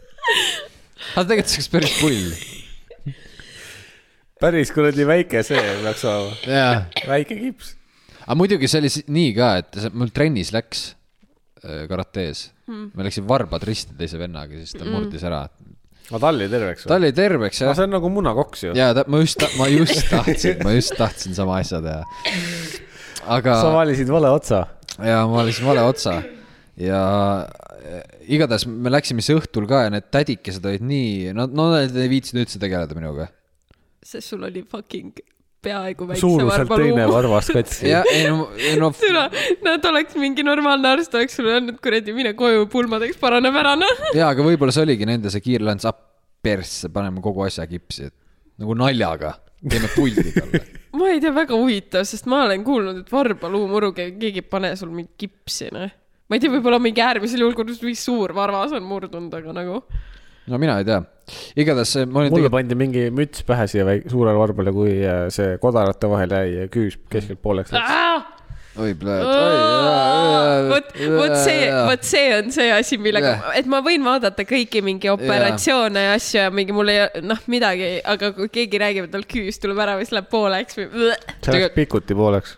aga tegelikult see oleks päris pull . päris kuradi väike see peaks olema . jaa . väike kips . aga muidugi see oli si- nii ka , et see- mul trennis läks äh, karates mm. . ma läksin varbad risti teise vennaga , siis ta mm. murdis ära . aga ta oli terveks ta või ? oli terveks aga jah . see on nagu munakoks ju . ja ta , ma just , ma just tahtsin , ma just tahtsin sama asja teha . aga sa valisid vale otsa . ja ma valisin vale otsa ja igatahes me läksime siis õhtul ka ja need tädikesed olid nii , no , no nad ei viitsinud üldse tegeleda minuga . sest sul oli fucking peaaegu väikse suuruselt teine varbaluum . varvas katsi . ja ei no , ei no türa , nad oleks mingi normaalne arst , oleks sulle öelnud , kuradi , mine koju , pulmadeks paraneb ära , noh . jaa , aga võib-olla see oligi nende see kiirlahendus , ah persse , paneme kogu asja kipsi , et nagu naljaga , teeme puldi talle . ma ei tea , väga huvitav , sest ma olen kuulnud , et varbaluumuru , keegi ei pane sul mingi kipsi , noh . ma ei tea , võib-olla mingi äärmisel juhul , kui mingi suur varvas on murdunud , aga nagu . no mina ei tea , igatahes see- ma olin mulle tegelikult , pandi mingi müts pähe siia väik- , suurele varbale , kui äh, see kodarate vahele jäi ja küüs keskelt pooleks Ah! läks . oi vot , pläät . vot see , vot see on see asi , millega Jah. , et ma võin vaadata kõiki mingi operatsioone ja asju ja mingi mul ei , noh , midagi , aga kui keegi räägib , et tal küüs tuleb ära või siis läheb pooleks või . see läks pikuti pooleks .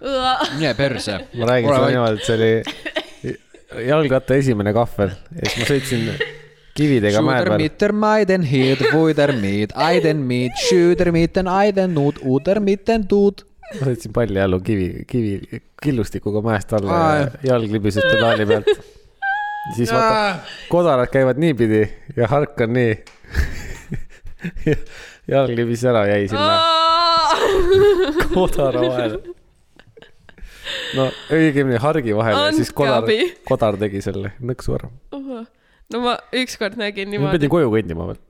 mine perse . ma räägin sulle . niimoodi , et see oli *laughs* jalgratta esimene kahvel ja siis ma sõitsin kividega mäe Shooter peal . mitten maiden hit , puider mit , aiden mit , shooter mitten aiden nut , uuder mitten tuut . ma sõitsin pallijalu kivi , kivi , killustikuga mäest alla Aa, ja jalg libises pedaali pealt . siis vaata , kodarad käivad niipidi ja hark on nii Ja jalg libis ära , jäi sinna kodara vahele . no õigemini hargi vahele , siis Andke kodar abi. , kodar tegi selle nõksu ära . no ma ükskord nägin ma niimoodi Mm, pidin , koju kõndima veel .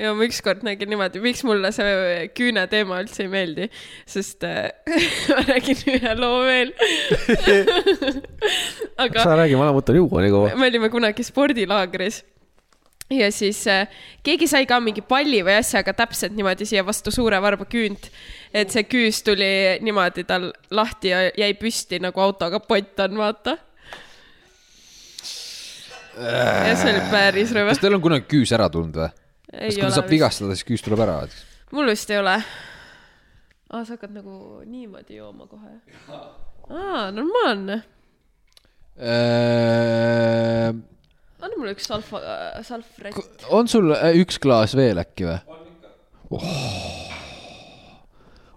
ja ma ükskord nägin niimoodi , miks mulle see küüne teema üldse ei meeldi , *laughs* sest äh, ma räägin ühe loo veel . *laughs* aga sa räägi , ma lähen võtan juua nii kaua . me olime kunagi spordilaagris ja siis äh, keegi sai ka mingi palli või asjaga täpselt niimoodi siia vastu suure varba küünt . et see küüs tuli niimoodi tal lahti ja jäi püsti nagu autokapott on , vaata . ja see oli päris rõve kas . teil on kunagi küüs ära tulnud või ? ei kas kui ta saab vist . vigastada , siis küüs tuleb ära ? mul vist ei ole . aa , sa hakkad nagu niimoodi jooma kohe ? aa , normaalne . anna mulle üks salfa , äh, salvret . Äh, on sul äh, üks klaas veel äkki või ? on ikka . oh,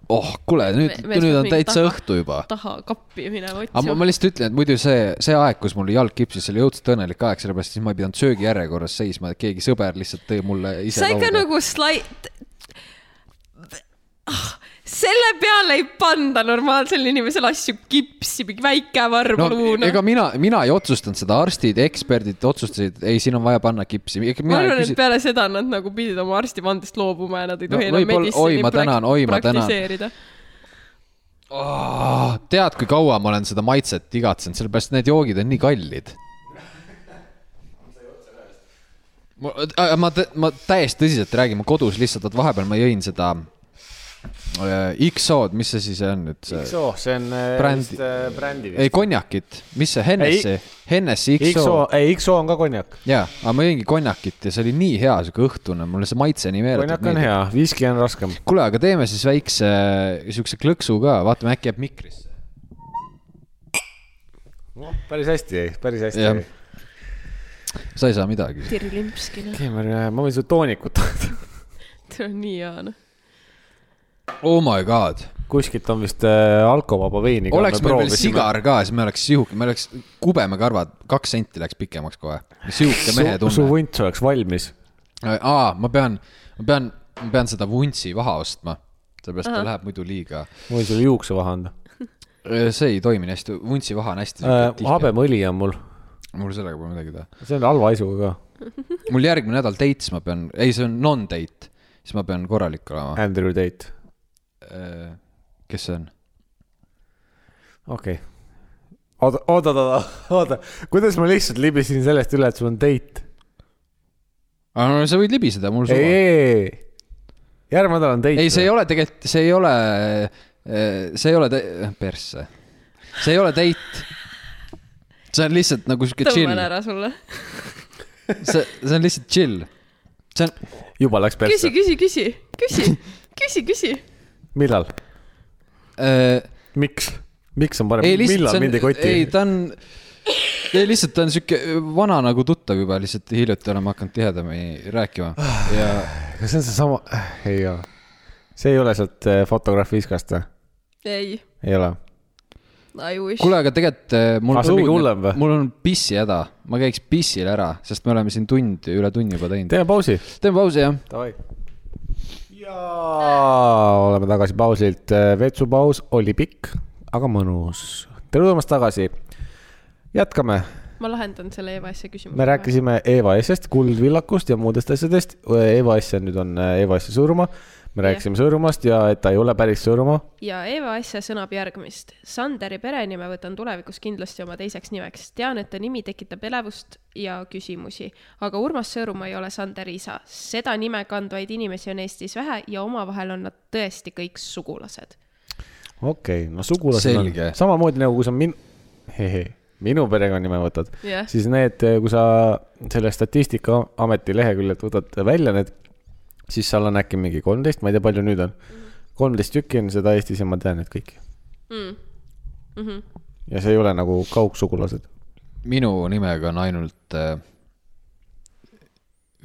oh , kuule nüüd , Me- mees nüüd peab on mingi täitsa taha- õhtu juba . taha kappi minema aga ma, ma otsima . lihtsalt ütlen , et muidu see , see aeg , kus mul jalg kipsis , see oli õudselt õnnelik aeg , sellepärast siis ma ei pidanud söögijärjekorras seisma , et keegi sõber lihtsalt tõi mulle ise sa ikka lauda. nagu slaid . selle peale ei panda normaalsel inimesel asju kipsi , mingi väike varb no e-, luuna ega . mina , mina ei otsustanud seda , arstid , eksperdid otsustasid , ei , siin on vaja panna kipsi . ma arvan , et peale seda nad nagu pidid oma arstivandest loobuma ja nad ei No tohi no, enam võib-olla- oi, meditsiini ma tänan, oi, ma tänan. praktiseerida . oh, . tead , kui kaua ma olen seda maitset igatsenud , sellepärast et need joogid on nii kallid . ma , ma , ma täiesti tõsiselt räägin , ma kodus lihtsalt , et vahepeal ma jõin seda äh, XO-d , mis see siis on nüüd see ? XO , see on äh, Brändi- vist äh, brändi ei , konjakit , mis see Hennessy Ei. , Hennessy vist . XO . XO , ei XO on ka konjak . jaa , aga ma jõingi konjakit ja see oli nii hea , sihuke õhtune , mulle see maitse nii konjak on meeldib . hea , viski on raskem . kuule , aga teeme siis väikse siukse klõksu ka , vaatame äkki jääb mikrisse . noh , päris hästi jäi , päris hästi Jah. jäi . sa ei saa midagi . Tiri Limpskina , Keemar , ma võin sulle toonikut anda . see *laughs* on nii hea noh . Oh my god *laughs* kuskilt on vist äh, alkovaba veini . oleks meil veel . sigar ka , siis me oleks sihuke , me oleks kubemekarvad , kaks senti läks pikemaks kohe . sihuke su, mehe su tunne . vunt oleks valmis . aa , ma pean , ma pean , ma pean seda vuntsi maha ostma , sellepärast ta läheb muidu liiga . ma võin sulle juukse vahe anda see ei toimi nii hästi , vuntsi maha on hästi äh, . tihe . habemõli on mul , mul sellega pole midagi teha . see on halva haisuga ka . mul järgmine nädal dates ma pean , ei , see on non-date , siis ma pean korralik olema . Andrew Tate , Äh. kes see on ? okei okay. . oota , oota , oota , oota , kuidas ma lihtsalt libisin sellest üle , et sul on date ? aa , Ah, no sa võid libiseda , mul ei , suva . ei , ei , järgmine nädal on date . ei , see ei ole tegelikult , see ei ole , see ei ole te- , persse . see ei ole date . see on lihtsalt nagu sihuke tõmban chill , ära sulle . see , see on lihtsalt chill . see on , ole . juba läks küsi , persse . küsi , küsi , küsi , *laughs* küsi , küsi . millal ? miks ? miks on parem äh, ei , lihtsalt millal see mindi on , ei kotti ? ta on , ei lihtsalt ta on sihuke vana nagu tuttav juba , lihtsalt hiljuti oleme hakanud tihedamini rääkima ja kas see on seesama , ei ole . see ei ole sealt äh, Fotograaf viskast või ? ei , ei ole . I wish . kuule , aga tegelikult eh, mul Aa, Ah, see on mingi hullem õudne või? , mul on pissi häda , ma käiks pissil ära , sest me oleme siin tund , üle tunni juba teinud . teeme pausi teeme pausi jah Davai . jaa , oleme tagasi pausilt . vetsupaus oli pikk , aga mõnus . tere tulemast tagasi . jätkame , ma lahendan selle Eva asja küsimuse . me . rääkisime EVS-ist , kuldvillakust ja muudest asjadest . EVS on nüüd on äh, EVS-i surma . me rääkisime surmast ja et ta ei ole päris surma . ja Eva asja sõnab järgmist . Sanderi perenime võtan tulevikus kindlasti oma teiseks nimeks . tean , et ta nimi tekitab elevust ja küsimusi , aga Urmas Sõõrumaa ei ole Sanderi isa . seda nime kandvaid inimesi on Eestis vähe ja omavahel on nad tõesti kõik sugulased . okei okay, , no sugulased on Selge. samamoodi nagu kui sa min- , minu perekonnanime võtad Jah. siis need , kui sa selle Statistikaameti leheküljelt võtad välja need , siis seal on äkki mingi kolmteist , ma ei tea , palju nüüd on . kolmteist tükki on seda Eestis ja ma tean neid kõiki . ja see ei ole nagu kaugsugulased . minu nimega on ainult äh,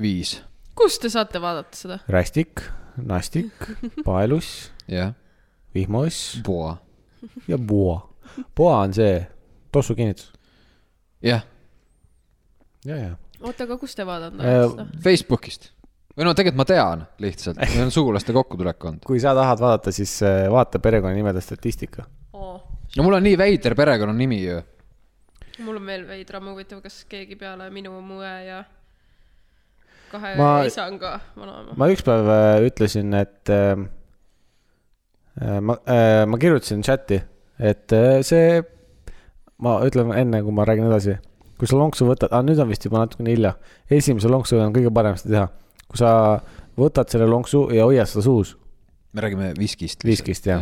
viis , kust te saate vaadata seda ? rästik , nastik , paeluss , jah , vihmaoss poa , ja poa . poa on see tossukinnitus . jah , ja , ja . oota , aga kust te vaadata Äh, seda ? Facebookist või no tegelikult ma tean lihtsalt , meil on sugulaste kokkutulek olnud . kui sa tahad vaadata , siis äh, vaata perekonnanimede statistika . no mul on nii veider perekonnanimi ju . mul on veel veidram huvitav , kas keegi peale minu mue ja kahe Ma- ma... isa on ka vanaema . ma ükspäev äh, ütlesin , et äh, äh, ma äh, , ma kirjutasin chati , et äh, see , ma ütlen enne , kui ma räägin edasi , kui sa lonksu võtad ah, , nüüd on vist juba natukene hilja , esimese lonksuga on kõige parem seda teha , kui sa võtad selle lonksu ja hoiad seda suus , me räägime viskist . Mm. viskist jah .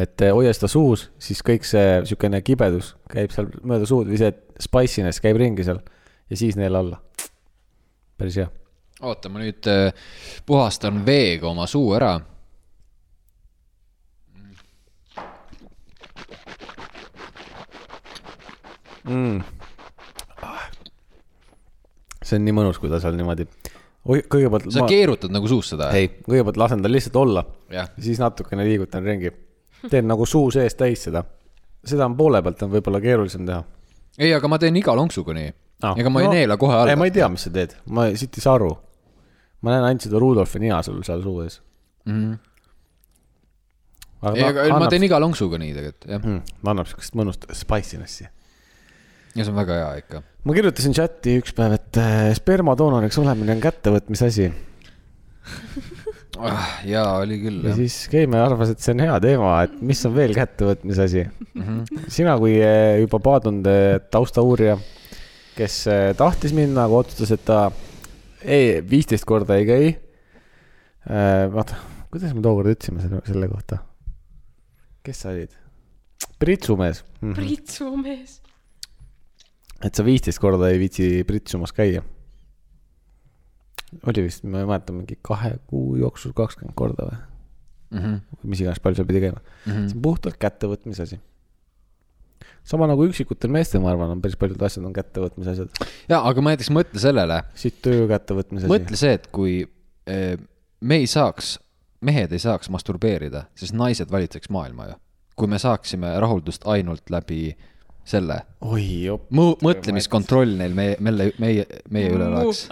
et eh, hoia seda suus , siis kõik see siukene kibedus käib seal mööda suud või see spiciness käib ringi seal ja siis neela alla . päris hea . oota , ma nüüd äh, puhastan veega oma suu ära . Ah. see on nii mõnus , kui ta seal niimoodi . oi , kõigepealt sa ma... keerutad nagu suus seda ? ei , kõigepealt lasen tal lihtsalt olla Jah. . siis natukene liigutan ringi . teen nagu suu sees täis seda . seda on poole pealt on võib-olla keerulisem teha . ei , aga ma teen iga lonksuga nii ah, . ega ma ei no, neela kohe ei , alla ma ma... . ei tea , mis sa teed , ma siit ei saa aru . ma näen ainult seda Rudolfi nina sul seal suu ees mm. Mhm. ei , aga ma teen iga lonksuga nii tegelikult , jah . mm, . ta annab siukest mõnust spiciness'i . ja see on väga hea ikka . ma kirjutasin chati üks päev , et äh, spermadoonoriks olemine on kättevõtmise asi Ah, jaa , oli küll , ja jah . siis Keimar arvas , et see on hea teema , et mis on veel kättevõtmise asi mm . -hmm. sina kui äh, juba paadunud äh, taustauurija , kes äh, tahtis minna , aga otsustas , et ta ei , viisteist korda ei käi . vaata , kuidas me tookord ütlesime selle, selle kohta ? kes sa olid ? pritsumees mm . -hmm. Priitsu mees . et sa viisteist korda ei viitsi pritsumas käia . oli vist , ma ei mäleta , mingi kahe kuu jooksul kakskümmend korda või mm ? Mhm. -hmm. mis iganes , palju seal pidi käima mm . -hmm. see on puhtalt kättevõtmise asi . sama nagu üksikutel meestel , ma arvan , on päris paljud asjad on kättevõtmise asjad . jaa , aga ma näiteks mõtle sellele , siit töö kättevõtmise asi . mõtle see , et kui äh, me ei saaks , mehed ei saaks masturbeerida , siis naised valitseks maailma ju . kui me saaksime rahuldust ainult läbi selle , oi jop . mõtlemiskontroll neil meie , meie , meie , meie üle oleks .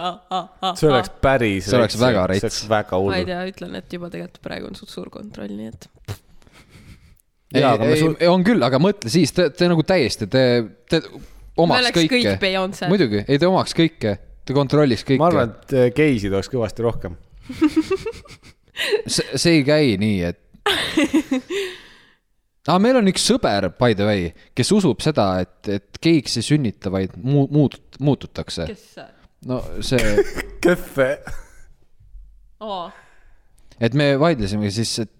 see oleks päris . See oleks väga see rets. oleks väga ma ei hull . tea , ütlen , et juba tegelikult praegu on suht suur kontroll , nii et ei , Jaa, aga me ei suut- , on küll , aga mõtle siis , te , te nagu täiesti , te , te me omaks oleks kõik kõike . Beyonce . muidugi , ei te omaks kõike , te kontrolliks ma arvan kõike . et äh, geisid oleks kõvasti rohkem . see , see ei käi nii , *laughs* et ah, . meil on üks sõber , by the way , kes usub seda , et , et geiks ei sünnita , vaid muu- , muut- , muututakse . kes sa ? no see , kehve . et me vaidlesime siis , et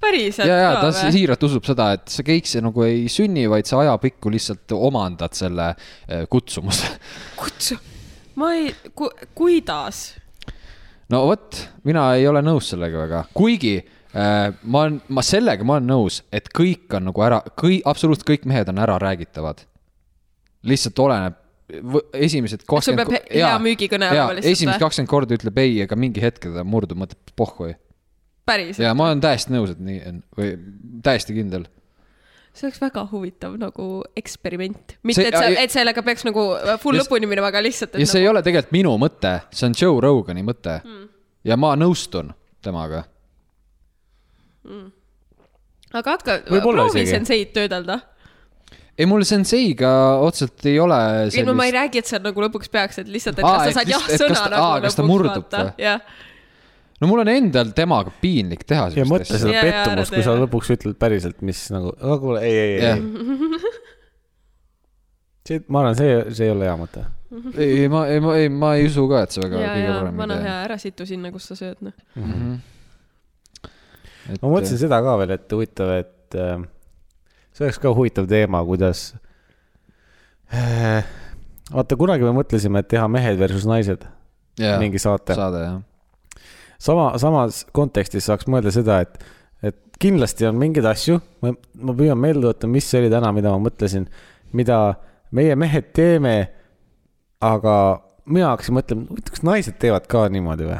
päriselt ja , ja ta ka või ? siiralt usub seda , et see geiks nagu ei sünni , vaid sa ajapikku lihtsalt omandad selle eh, kutsumuse . kutsu . ma ei ku, , kuidas ? no vot , mina ei ole nõus sellega väga , kuigi äh, ma olen , ma sellega ma olen nõus , et kõik on nagu ära , kõi- , absoluutselt kõik mehed on ära räägitavad . lihtsalt oleneb , esimesed sul peab he- hea müügikõne olema lihtsalt, esimesed või? kakskümmend korda ütleb ei , aga mingi hetk ta murdub , mõtleb pohhui . päriselt ? ja ma olen täiesti nõus , et nii on või täiesti kindel . see oleks väga huvitav nagu eksperiment . See- mitte , et sa ja- , et sellega peaks nagu full Just- lõpuni minema , aga lihtsalt , ja et see ei ole tegelikult minu mõte , see on Joe Rogani mõte Hmm. mm. . ja ma nõustun temaga . nagu aga hakka , Võib-olla proovi isegi. senseid töödelda . ei , mul senseiga otseselt ei ole ei no ma ei sellist , räägi , et sa nagu lõpuks peaksid lihtsalt , et Aa, kas et sa saad lihtsalt- et kas jah-sõna ta- nagu aa, kas ta murdub või? jah , no mul on endal temaga piinlik teha ja sellist mõtle asja . seda Jaa, jaa, ära pettumust , kui sa tee. lõpuks ütled päriselt , mis nagu , aga kuule , ei , ei , ei *laughs* jah , see , ma arvan , see , see ei ole hea mõte . ei , ma , ei , ma , ei , ma ei usu ka , et see väga ja , kõige ja parem vana hea , ära situ sinna , kus sa sööd , noh . idee . ma mõtlesin seda ka veel , et huvitav , et äh, see oleks ka huvitav teema , kuidas äh, . vaata , kunagi me mõtlesime , et teha mehed versus naised , jah, mingi saate. saade jah . sama , samas kontekstis saaks mõelda seda , et , et kindlasti on mingeid asju , ma , ma püüan meelde tuletada , mis see oli täna , mida ma mõtlesin , mida meie mehed teeme . aga mina hakkasin mõtlema , huvitav , kas naised teevad ka niimoodi või ?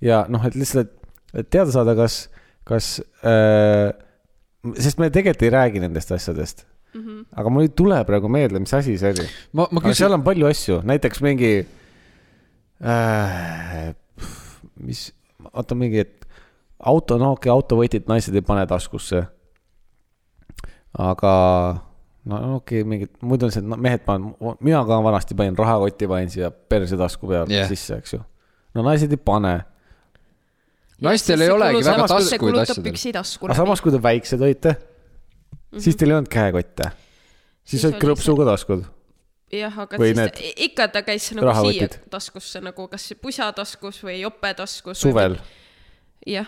ja noh , et lihtsalt , et teada saada , kas , kas äh, , sest me tegelikult ei räägi nendest asjadest mm . -hmm. aga mul ei tule praegu meelde , mis asi see oli ma , ma aga seal küsin , on palju asju , näiteks mingi äh, , mis , oota mingi , et auto , no okei okay, , autovõtjat naised ei pane taskusse . aga no okei okay, , mingid , muidu on see , et no mehed panevad , mina ka vanasti panin rahakotti , panin siia perse tasku peale Jah. yeah. sisse , eks ju . no naised ei pane , naistel ei olegi väga taskuid asjadel . püksi tasku aga . samas , kui te väiksed olite , siis teil ei olnud käekotte . siis Mhm. Siis olid oli krõpsuga taskud . jah , aga Või siis need need... ikka ta käis nagu siia rahakotid. taskusse nagu kas pusa taskus või jope taskus . suvel . jah ,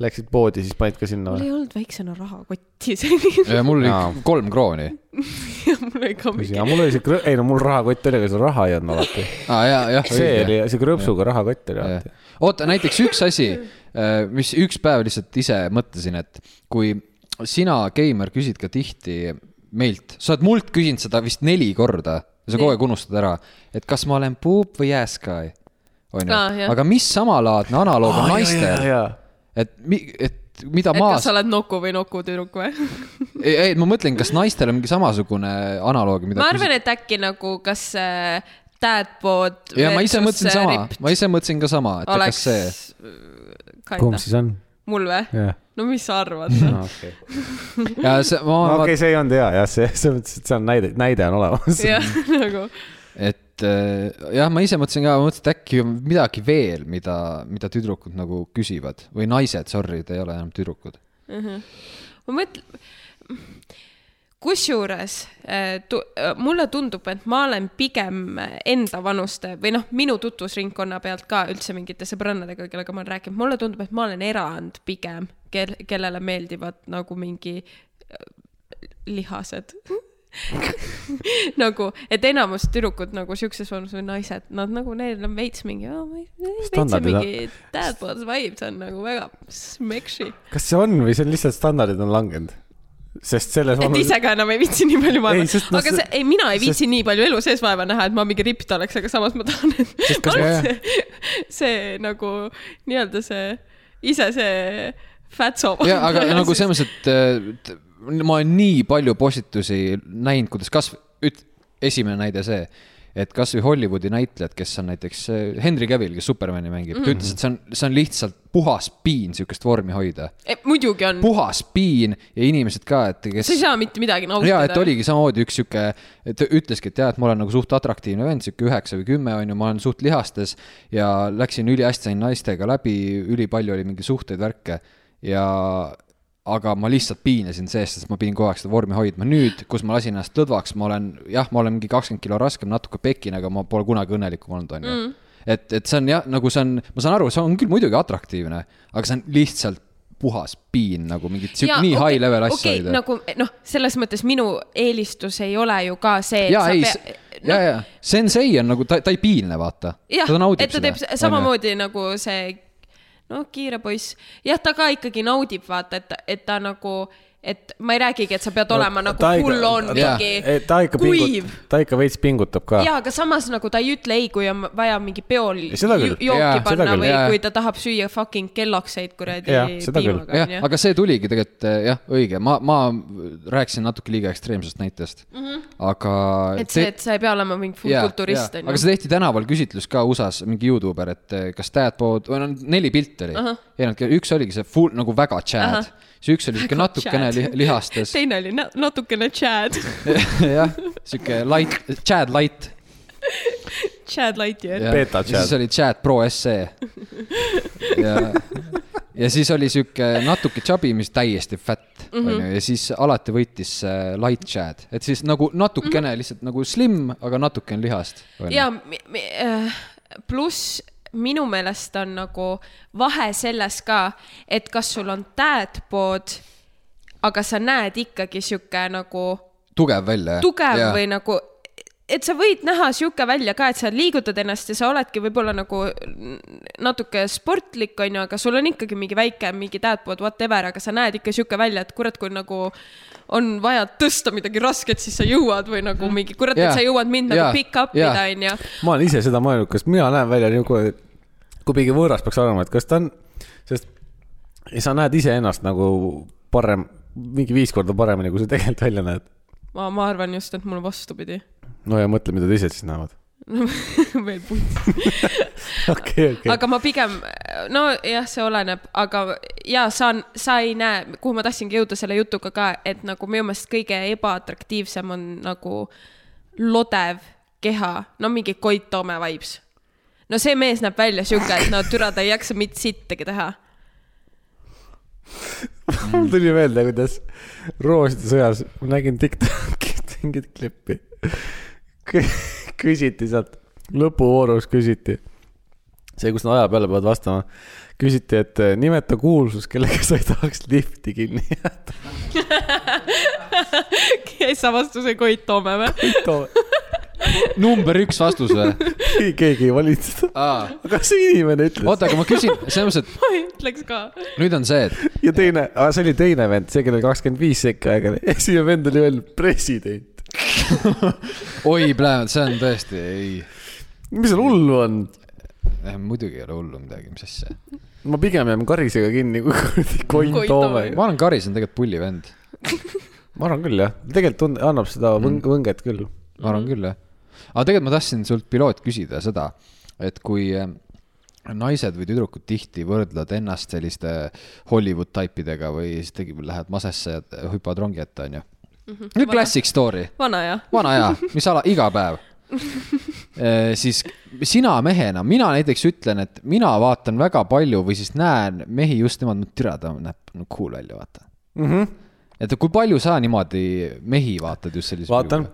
läksid poodi , siis panid ka sinna mul või ? ei olnud väiksena rahakotti *laughs* seni , mul Jaa. oli kolm krooni . mul oli ka mingi ja mul oli see krõ- , ei no mul rahakott oli , aga seal raha ei olnud *laughs* alati . aa ah, jaa , jah . see oli , see krõpsuga rahakott oli alati . oota , näiteks üks asi , mis üks päev lihtsalt ise mõtlesin , et kui sina , Keimer , küsid ka tihti meilt , sa oled mult küsinud seda vist neli korda ja sa kogu aeg unustad ära , et kas ma olen puup või jääskai . onju Aa, , Ah, jah. aga mis samalaadne analoog on naistel , et , et mida et kas maas sa , oled noku või noku tüdruk või ? ei , ei , ma mõtlen , kas naistel on mingi samasugune analoog , *laughs* mida ma . arvan , et äkki nagu kas äh, dad-bod . ja ma ise mõtlesin sama , ma ise mõtlesin ka sama , et oleks kas see . kumb kinda , siis on ? mul või ? jah . no mis sa arvad no? ? ja see , ma *laughs* okei okay. , see ei olnud hea , jah , see , selles mõttes , et see on näide , näide on olemas . *laughs* jah , nagu et äh, jah , ma ise mõtlesin ka , ma mõtlesin , et äkki on midagi veel , mida , mida tüdrukud nagu küsivad või naised , sorry , te ei ole enam tüdrukud . ma mõtlen , kusjuures äh, tu- äh, mulle tundub , et ma olen pigem endavanuste või noh , minu tutvusringkonna pealt ka üldse mingite sõbrannadega , kellega ma olen rääkinud , mulle tundub , et ma olen erand pigem , kel- , kellele meeldivad nagu mingi äh, lihased . *laughs* nagu , et enamus tüdrukud nagu siukses vanuses või naised , nad nagu neil on veits mingi , veits Standardid on- mingi dad-bod vibes on nagu väga smeksi kas see on või see on lihtsalt standardid on langenud ? sest selles et ise ka enam ei viitsi nii palju vaeva Ei, . sest noh, aga see , ei , mina ei viitsi sest... nii palju elu sees vaeva näha , et ma mingi ript oleks , aga samas ma tahan , et *laughs* kas- ma jah, arvan , see, see nagu nii-öelda see , ise see fatso . ja *laughs* aga nagu selles mõttes , et äh, t- ma olen nii palju postitusi näinud , kuidas kas , üt- , esimene näide see , et kasvõi Hollywoodi näitlejad , kes on näiteks äh, Henry Cavill , kes Supermani mängib mm , -hmm. ta ütles , et see on , see on lihtsalt puhas piin sihukest vormi hoida . E, muidugi on , puhas piin ja inimesed ka , et kes sa ei saa mitte midagi ja , et nautida . oligi samamoodi üks sihuke , ta ütleski , et jah , et ma olen nagu suht atraktiivne vend , sihuke üheksa või kümme on ju , ma olen suht lihastes ja läksin ülihästi , sain naistega läbi , ülipalju oli mingeid suhteid , värke ja aga ma lihtsalt piinasin seest , sest ma pidin kogu aeg seda vormi hoidma . nüüd , kus ma lasin ennast lõdvaks , ma olen , jah , ma olen mingi kakskümmend kilo raskem , natuke pekin , aga ma pole kunagi õnnelikum olnud , on ju . et , et see on jah , nagu see on , ma saan aru , see on küll muidugi atraktiivne , aga see on lihtsalt puhas piin nagu mingit sihuke nii high level asja okay, hoida. nagu noh , selles mõttes minu eelistus ei ole ju ka see , et ja ei , sa pea- ja , ja sensei on nagu ta , ta ei piinle , vaata . jah ta , naudib et ta teeb s- . samamoodi nagu see noh , kiire poiss , jah , ta ka ikkagi naudib , vaata , et , et ta nagu , et ma ei räägigi , et sa pead olema no, nagu full on ta, mingi ta ikka kuiv . pingut- ta ikka veits pingutab ka . ja , aga samas nagu ta ei ütle ei , kui on vaja mingi peol ju- seda küll. jooki Jaa, ja, seda panna küll, või jaa. kui ta tahab süüa fucking kellokseid kuradi Jah, seda küll. piimaga , jah , onju . aga see tuligi tegelikult eh, jah , õige , ma , ma rääkisin natuke liiga ekstreemsest näitest mm , -hmm. aga . Mhm. et see , et sa ei pea olema mingi full kulturist , aga onju . see tehti tänaval küsitlus ka USA-s , mingi Youtuber , et eh, kas Dadbod , või noh , neli pilti oli uh . -huh. ja nad , üks oligi see full nagu väga Chad uh , -huh. see üks oli *laughs* sihuke Väga natukene Chad. li, lihastes , *laughs* teine oli na- natukene Chad , *laughs* *laughs* jah , sihuke light , Chad light . Chad Lightyear . Ja Beta chat. siis oli chat pro SE . ja , ja siis oli sihuke natuke chubby , mis täiesti fat Mhm. mm , onju -hmm. , ja siis alati võitis see light chat , et siis nagu natukene mm Mhm. -hmm. lihtsalt nagu slim , aga natuke on lihast . ja mi- mi- äh, pluss minu meelest on nagu vahe selles ka , et kas sul on dad-bod , aga sa näed ikkagi sihuke nagu tugev välja . tugev ja. ja. või nagu , et sa võid näha sihuke välja ka , et sa liigutad ennast ja sa oledki võib-olla nagu natuke sportlik , onju , aga sul on ikkagi mingi väike mingi dad-bod , whatever , aga sa näed ikka sihuke välja , et kurat , kui nagu on vaja tõsta midagi rasket , siis sa jõuad või nagu mingi , kurat , Mm. Jaa. et sa jõuad mind Jaa. nagu pick up ida , Jaa. onju ma olen ise seda mõelnud , kas mina näen välja niisugune , kui keegi võõras peaks arvama , et kas ta on , sest sa näed iseennast nagu parem , mingi viis korda paremini , kui sa tegelikult välja näed . ma , ma arvan just , et mul on vastupidi . no ja mõtle , mida teised siis näevad . *laughs* *laughs* veel punkt . okei , okei . aga ma pigem , nojah , see oleneb , aga ja saan , sa ei näe , kuhu ma tahtsingi jõuda selle jutuga ka , et nagu minu meelest kõige ebaatraktiivsem on nagu lodev keha , no mingi Koit Toome vibes . *laughs* no see mees näeb välja sihuke , et no türa , ta ei jaksa mitte sittagi teha . mul tuli meelde , kuidas Rooside sõjas ma nägin Tiktokist *laughs* mingit klippi . küsiti sealt , lõpuvoorus küsiti , see , kus nad aja peale peavad vastama , küsiti , et eh, nimeta kuulsus , kellega sa ei tahaks lifti kinni jääda . kes avastas Koit Toome või ? number üks vastus või ? keegi ei valinud seda , oota , aga see inimene ütles aga ma küsin , selles mõttes , *laughs* ma ei ütleks ka . et nüüd on see , et ja teine , see oli teine vend , see , kellel kakskümmend viis sekka aega oli , esimene vend oli veel president . oi , see on tõesti , ei , mis seal hullu on ? muidugi ei ole hullu midagi , mis asja . ma pigem jään karisega kinni kui kuradi Koit Koit Toomega. Toomega . ma arvan , Karis on tegelikult pulli vend , ma arvan küll jah , tegelikult tund- , annab seda võng- , võnget küll . ma arvan küll jah . aga tegelikult ma tahtsin sult , piloot , küsida seda , et kui äh, naised või tüdrukud tihti võrdlevad ennast selliste Hollywood taipidega või siis tegi , lähed masesse ja hüppad rongi ette , onju . see on classic story vana jah . vana hea , mis ala , iga päev Eh, siis sina mehena , mina näiteks ütlen , et mina vaatan väga palju või siis näen mehi just niimoodi , no türa , ta näeb no cool välja , vaata mm . Mhm. et kui palju sa niimoodi mehi vaatad just sellise . vaatan .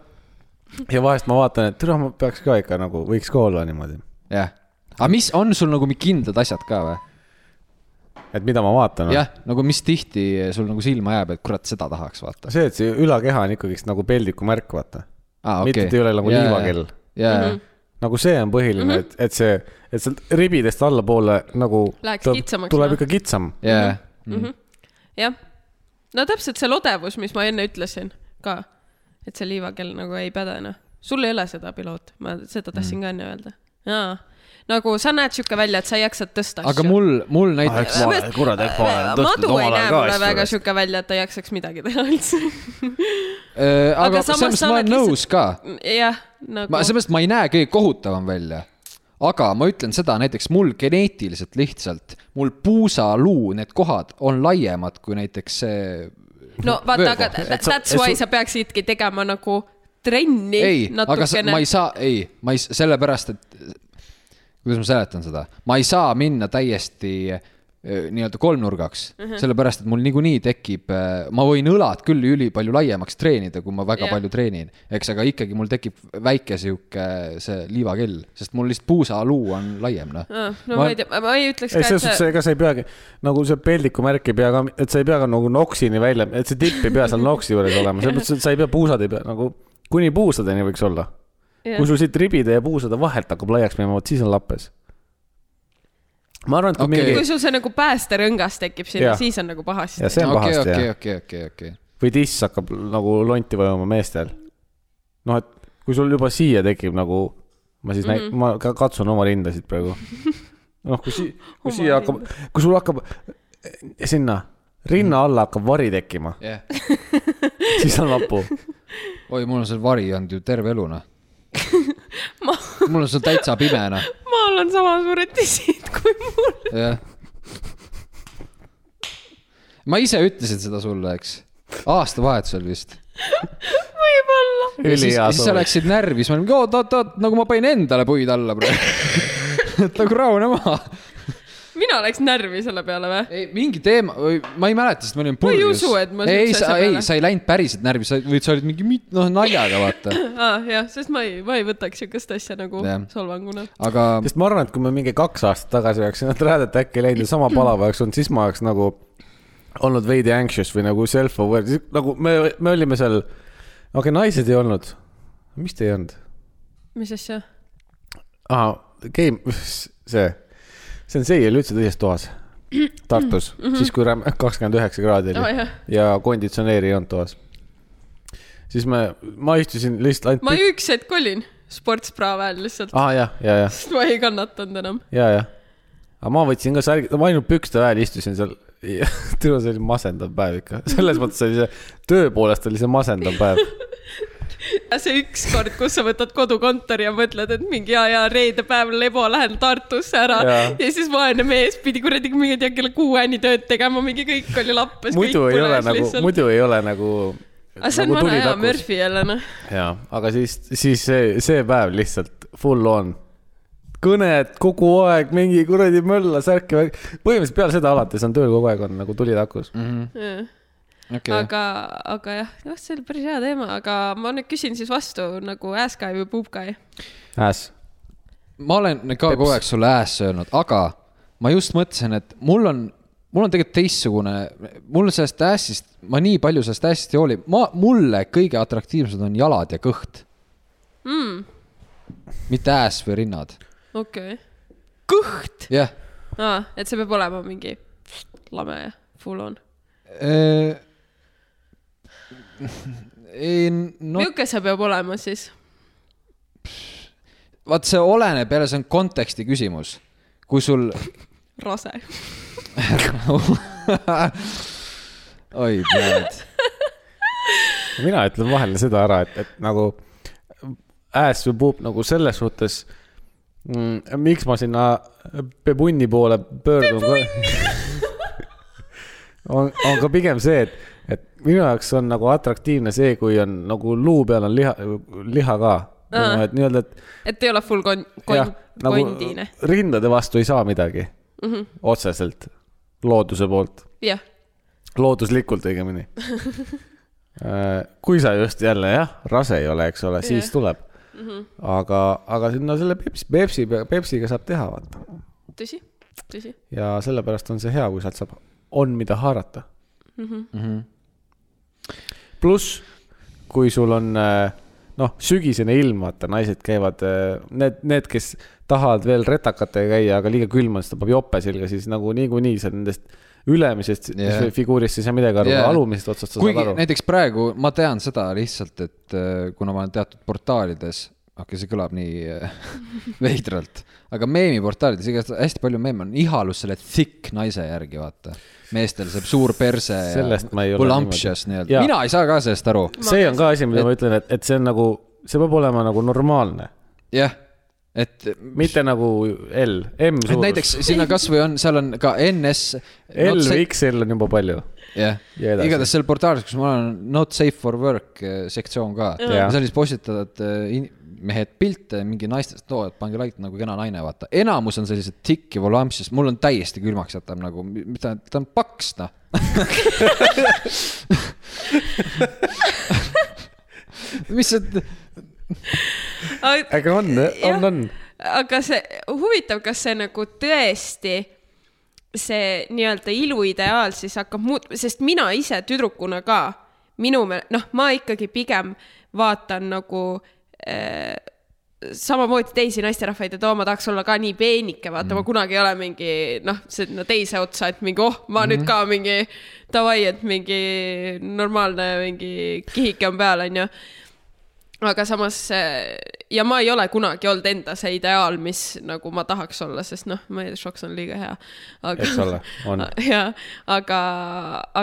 ja vahest ma vaatan , et türa , ma peaks ka ikka nagu , võiks ka olla niimoodi . jah , aga mis on sul nagu mingi kindlad asjad ka või ? et mida ma vaatan . jah , nagu mis tihti sul nagu silma jääb , et kurat , seda tahaks vaata . see , et see ülakeha on ikkagist nagu peldiku märk , vaata . Ah, mitte , et ei ole nagu liivakell . ja , Mhm. ja , nagu see on põhiline , et , et see , et sealt ribidest allapoole nagu . Läheks kitsamaks, tuleb noh. ikka kitsam . ja , Mhm. jah . no täpselt see lodevus , mis ma enne ütlesin ka . et see liivakell nagu ei päde noh . sul ei ole seda piloot , ma Mm. seda tahtsin ka enne öelda . jaa . nagu sa näed siuke välja , et sa jaksad tõsta aga mul , mul näiteks . Sellepärast- kurat , Ah, eks madu ei näe mulle väga siuke välja , et ta ei jaksaks midagi teha üldse . *laughs* Äh, aga, aga aga samas samas sa ma oled olen nõus lihtsalt- ka jah , nagu ma , seepärast ma ei näe kõige kohutavam välja . aga ma ütlen seda näiteks mul geneetiliselt lihtsalt , mul puusaluu , need kohad on laiemad kui näiteks see . no vaata , vöökoht. aga Et tha- sa- that's et why su- sa peaksidki tegema nagu trenni ei , aga sa, natukene ma . ei saa , ei , ma ei , sellepärast , et kuidas ma seletan seda , ma ei saa minna täiesti öö, nii-öelda kolmnurgaks mm , Mhm. -hmm. sellepärast et mul niikuinii tekib , ma võin õlad küll ülipalju laiemaks treenida , kui ma väga Jah. yeah. palju treenin , eks , aga ikkagi mul tekib väike sihuke eh, see liivakell , sest mul lihtsalt puusaluu on laiem , noh . no ma ei tea , ma ei ütleks ei , ka , selles et suhtes , see , ega sa ei peagi , nagu see peldiku märk ei pea ka , et sa ei pea ka nagu noksini välja , et see tipp ei pea seal noksi juures olema , selles mõttes , et sa ei pea puusad ei pea nagu , kuni puusadeni võiks olla . kui sul siit ribide ja puusade vahelt hakkab laiaks minema , vot siis on lappes . ma arvan , et kui Okei. okay. kui mingi , sul see nagu päästerõngas tekib sinna Jah. , siis on nagu pahasti ja . see on okei , pahasti okay, okei , okay. okei , okei , okei . jah , või tiss hakkab nagu lonti vajuma meestel . noh , et kui sul juba siia tekib nagu , ma siis mm -hmm. Mhm. näin , ma ka katsun oma rindasid praegu . noh , kui *laughs* sii- , kui Oma siia hakkab , kui sul hakkab eh, sinna rinna alla hakkab vari tekkima , *laughs* jah , siis on vapu . oi , mul on seal vari olnud ju terve elu , *laughs* noh . mul on seal täitsa pime , noh , ma olen sama suured tissid kui mul . jah . ma ise ütlesin seda sulle , eks , aastavahetusel vist . võib-olla . ja siis, ülihea siis sa soov . läksid närvi , siis ma olin , oot , oot , oot , nagu ma panin endale puid alla praegu . *laughs* et nagu rahune maha . mina läks närvi selle peale või ? ei , mingi teema , ma ei mäleta , sest ma olin ei purjus . usu, et ma ei , siukse sa , asja ei peale- , sa ei läinud päriselt närvi , sa , või sa olid mingi , noh , naljaga , vaata . aa , Ah, jah , sest ma ei , ma ei võtaks siukest asja nagu Jah. solvanguna . aga sest ma arvan , et kui me mingi kaks aastat tagasi oleks need räädet äkki läinud ja sama *clears throat* palav oleks olnud , siis ma oleks nagu olnud veidi anxious või nagu self-aware , nagu me , me olime seal , okei okay, , naised ei olnud . mis te ei olnud ? mis asja ? aa , game , *laughs* see , sensei oli üldse teises toas , Tartus , siis kui räme , kakskümmend üheksa kraadi aa , oli Mm, mhm. Oh, jah . ja konditsioneeri ei olnud toas . siis me , ma istusin lihtsalt ma ainult . üks hetk olin sportspraa väel lihtsalt , aa jah , ja , ja , sest ma ei kannatanud enam . ja , ja . aga ma võtsin ka särgi , ma ainult pükste väel istusin seal . *laughs* tule , see oli masendav päev ikka , *laughs* selles mõttes oli see , töö poolest oli see masendav *laughs* päev . see ükskord , kus sa võtad kodukontori ja mõtled , et mingi ja , ja reede päev lebo lähen Tartusse ära ja, Jaa. ja siis vaene mees pidi kuradi , ma ei tea , kella kuueni tööd tegema , mingi kõik oli lappes . muidu ei ole nagu , muidu nagu ei ole nagu . aga see on vana hea . Murphy jälle noh . jaa , aga siis , siis see , see päev lihtsalt full on kõned kogu aeg , mingi kuradi mölla särke , põhimõtteliselt peale seda alates on tööl kogu aeg on nagu tulid akus . okei , aga , aga jah , noh , see oli päris hea teema , aga ma nüüd küsin siis vastu nagu ass guy või boob guy . Äs . ma olen ka kogu aeg sulle ääs söönud , aga ma just mõtlesin , et mul on , mul on tegelikult teistsugune , mul sellest ässist , ma nii palju sellest ässist ei hooli , ma , mulle kõige atraktiivsed on jalad ja kõht Mm. mitte ääs või rinnad . okei okay. . kõht jah ah, , et see peab olema mingi lame ja full on . äh, . ei no milline see peab olema siis ? vaat see oleneb jälle , see on konteksti küsimus . kui sul , rase . oi tead , mina ütlen vahel seda ära , et , et nagu ass või puup nagu selles suhtes mm, , miks ma sinna pebunni poole pöördun . on , on ka pigem see , et , et minu jaoks on nagu atraktiivne see , kui on nagu luu peal on liha , liha ka . Aa. et nii-öelda , et et ei ole full kon- , jah kon- , nagu kondine . Mhm. rindade vastu ei saa midagi mm -hmm. otseselt looduse poolt jah , looduslikult õigemini . kui sa just jälle jah , rase ei ole , eks ole , siis Jah. tuleb . aga , aga sinna selle Pepsi , Pepsi , Pepsiga saab teha , vaata . tõsi , tõsi . ja sellepärast on see hea , kui sealt saab , on mida haarata . Mhm. pluss , kui sul on äh, noh , sügisene ilm , vaata , naised käivad , need , need , kes tahavad veel retakatega käia , aga liiga külm on , siis tõmbab jope selga , siis nagu niikuinii sa nendest ülemisest Jah. yeah. figuurist ei saa midagi aru Jah. yeah. , alumisest otsast sa saad kuigi aru . näiteks praegu ma tean seda lihtsalt , et äh, kuna ma olen teatud portaalides , okei okay, , see kõlab nii äh, *laughs* veidralt , aga meemiportaalides igatahes hästi palju meeme on ihalus selle thick naise järgi , vaata . meestel see suur perse Sellest ma ei ja ole voluptuous niimoodi. nii-öelda , Jaa. mina ei saa ka sellest aru , see on ka asi , mida ma ütlen , et , et see on nagu , see peab olema nagu normaalne , jah , et mitte nagu L , M et suurus . näiteks sinna kasvõi on , seal on ka NS . L või XL on juba palju . jah , ja edasi. igatahes seal portaalis , kus ma olen , not safe for work eh, sektsioon ka , Jaa. seal siis postitavad eh, in- mehed pilte mingi naistest , oo , et pange like nagu kena naine , vaata . enamus on sellised tikk ja volamps , sest mul on täiesti külmaks jätab nagu , mida , ta on paks , noh . *laughs* mis see , aga on , Jah. on , on . aga see , huvitav , kas see nagu tõesti , see nii-öelda iluideaal siis hakkab muutma , sest mina ise tüdrukuna ka , minu me- , noh , ma ikkagi pigem vaatan nagu äh, samamoodi teisi naisterahvaid , et oo , ma tahaks olla ka nii peenike , vaata mm. , ma kunagi ei ole mingi noh , sinna teise otsa , et mingi oh , ma mm. nüüd ka mingi davai , et mingi normaalne mingi kihike on peal , onju aga samas äh, ja ma ei ole kunagi olnud enda see ideaal , mis nagu ma tahaks olla , sest noh , ma ei tea , šoks on liiga hea . eks ole , *laughs* on . ja , aga ,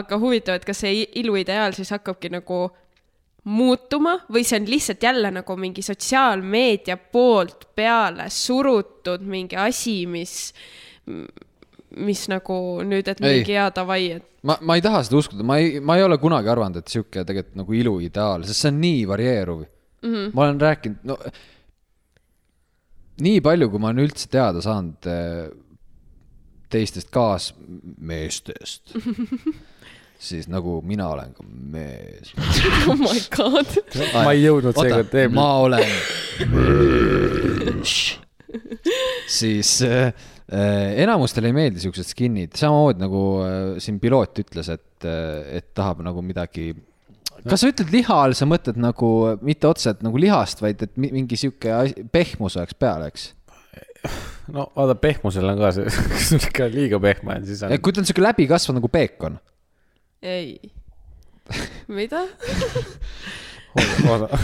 aga huvitav , et kas see i- iluideaal siis hakkabki nagu muutuma või see on lihtsalt jälle nagu mingi sotsiaalmeedia poolt peale surutud mingi asi , mis , mis nagu nüüd , et Ei. mingi hea davai , et ma , ma ei taha seda uskuda , ma ei , ma ei ole kunagi arvanud , et sihuke tegelikult nagu iluideaal , sest see on nii varieeruv mm . Mhm, -hmm. ma olen rääkinud , no nii palju , kui ma olen üldse teada saanud eh, teistest kaasmeestest , siis nagu mina olen ka mees . *laughs* oh my god . ma ei jõudnud seekord ma teema . olen mees . siis äh, äh, enamustele ei meeldi siuksed skin'id , samamoodi nagu äh, siin piloot ütles , et äh, , et tahab nagu midagi . kas sa ütled liha all , sa mõtled nagu äh, mitte otseselt nagu lihast , vaid et mi- mingi sihuke asi- pehmus oleks peal , eks ? no vaata , pehmusel on ka see , *laughs* kui sul ikka liiga pehme on , siis on . kui ta on sihuke läbikasvanud nagu peekon . ei , mida ? oota ,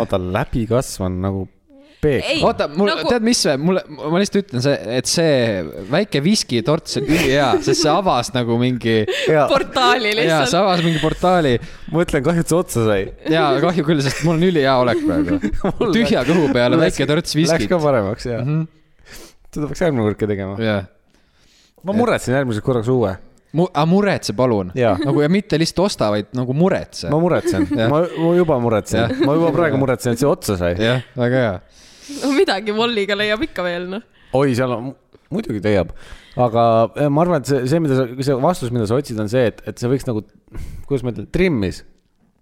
oota , läbikasvanud nagu peek . ei , oota , mul nagu... , tead , mis , mulle , ma lihtsalt ütlen see , et see väike viskitort , see on ülihea , sest see avas nagu mingi , portaali jaa , lihtsalt see . avas mingi portaali mõtlen , kahju , et see otsa sai . jaa , kahju küll , sest mul on ülihea olek *laughs* praegu . tühja kõhu peale väike törts Läks viskit Mhm. ka . paremaks , jaa . seda peaks järgmine kord ka tegema . jah , ma muretsen järgmiseks korraks uue . mu- , aga muretse palun . Jaa. nagu ja mitte lihtsalt osta , vaid nagu muretse ma . muretsen , Jah. ma ma juba muretsen Jah. , ma juba praegu muretsen , et see otsa sai . jah , väga hea . no midagi Wolliga leiab ikka veel noh . oi , seal on , muidugi leiab , aga eh, ma arvan , et see , see , mida sa , see vastus , mida sa otsid , on see , et , et see võiks nagu , kuidas ma ütlen , trimmis aa ,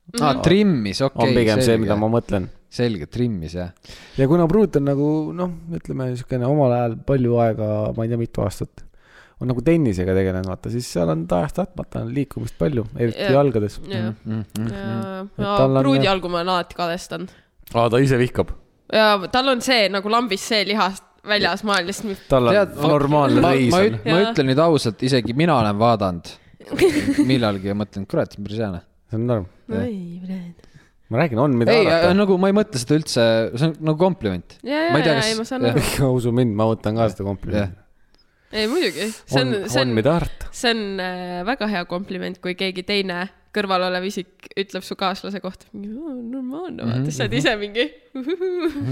Ah, Mhm. trimmis , on okei . pigem see , mida ma mõtlen . selge , trimmis jah . ja kuna Brut on nagu noh , ütleme niisugune omal ajal palju aega , ma ei tea , mitu aastat , on nagu tennisega tegelenud , vaata , siis seal on tahes-tahtmata on liikumist palju , eriti Jah. jalgades . jah , Mm, Et tal on- pruudi jalgu ma olen alati kadestanud . aa , ta ise vihkab ? ja tal on see nagu lambis see lihas väljas , ma olen lihtsalt nii- tal on Tead, ma- normaalne ma , reis ma, on üt- . ma Jaa. ütlen nüüd ausalt , isegi mina olen *laughs* vaadanud millalgi ja mõtlen , kurat , see on päris hea . noh. see on norm . oi , Fred . ma räägin , on , mida ei , arvata . nagu ma ei mõtle seda üldse , see on nagu kompliment . ja , ja , Ma ei tea, ja , kas- ei ma saan jah. aru . *laughs* usu mind , ma võtan ka seda jah komplimenti ., ei muidugi , see on on , see , on on , mida arvata . see on äh, väga hea kompliment , kui keegi teine kõrvalolev isik ütleb su kaaslase kohta , normaalne , Mhm, vaata , sa oled ise mingi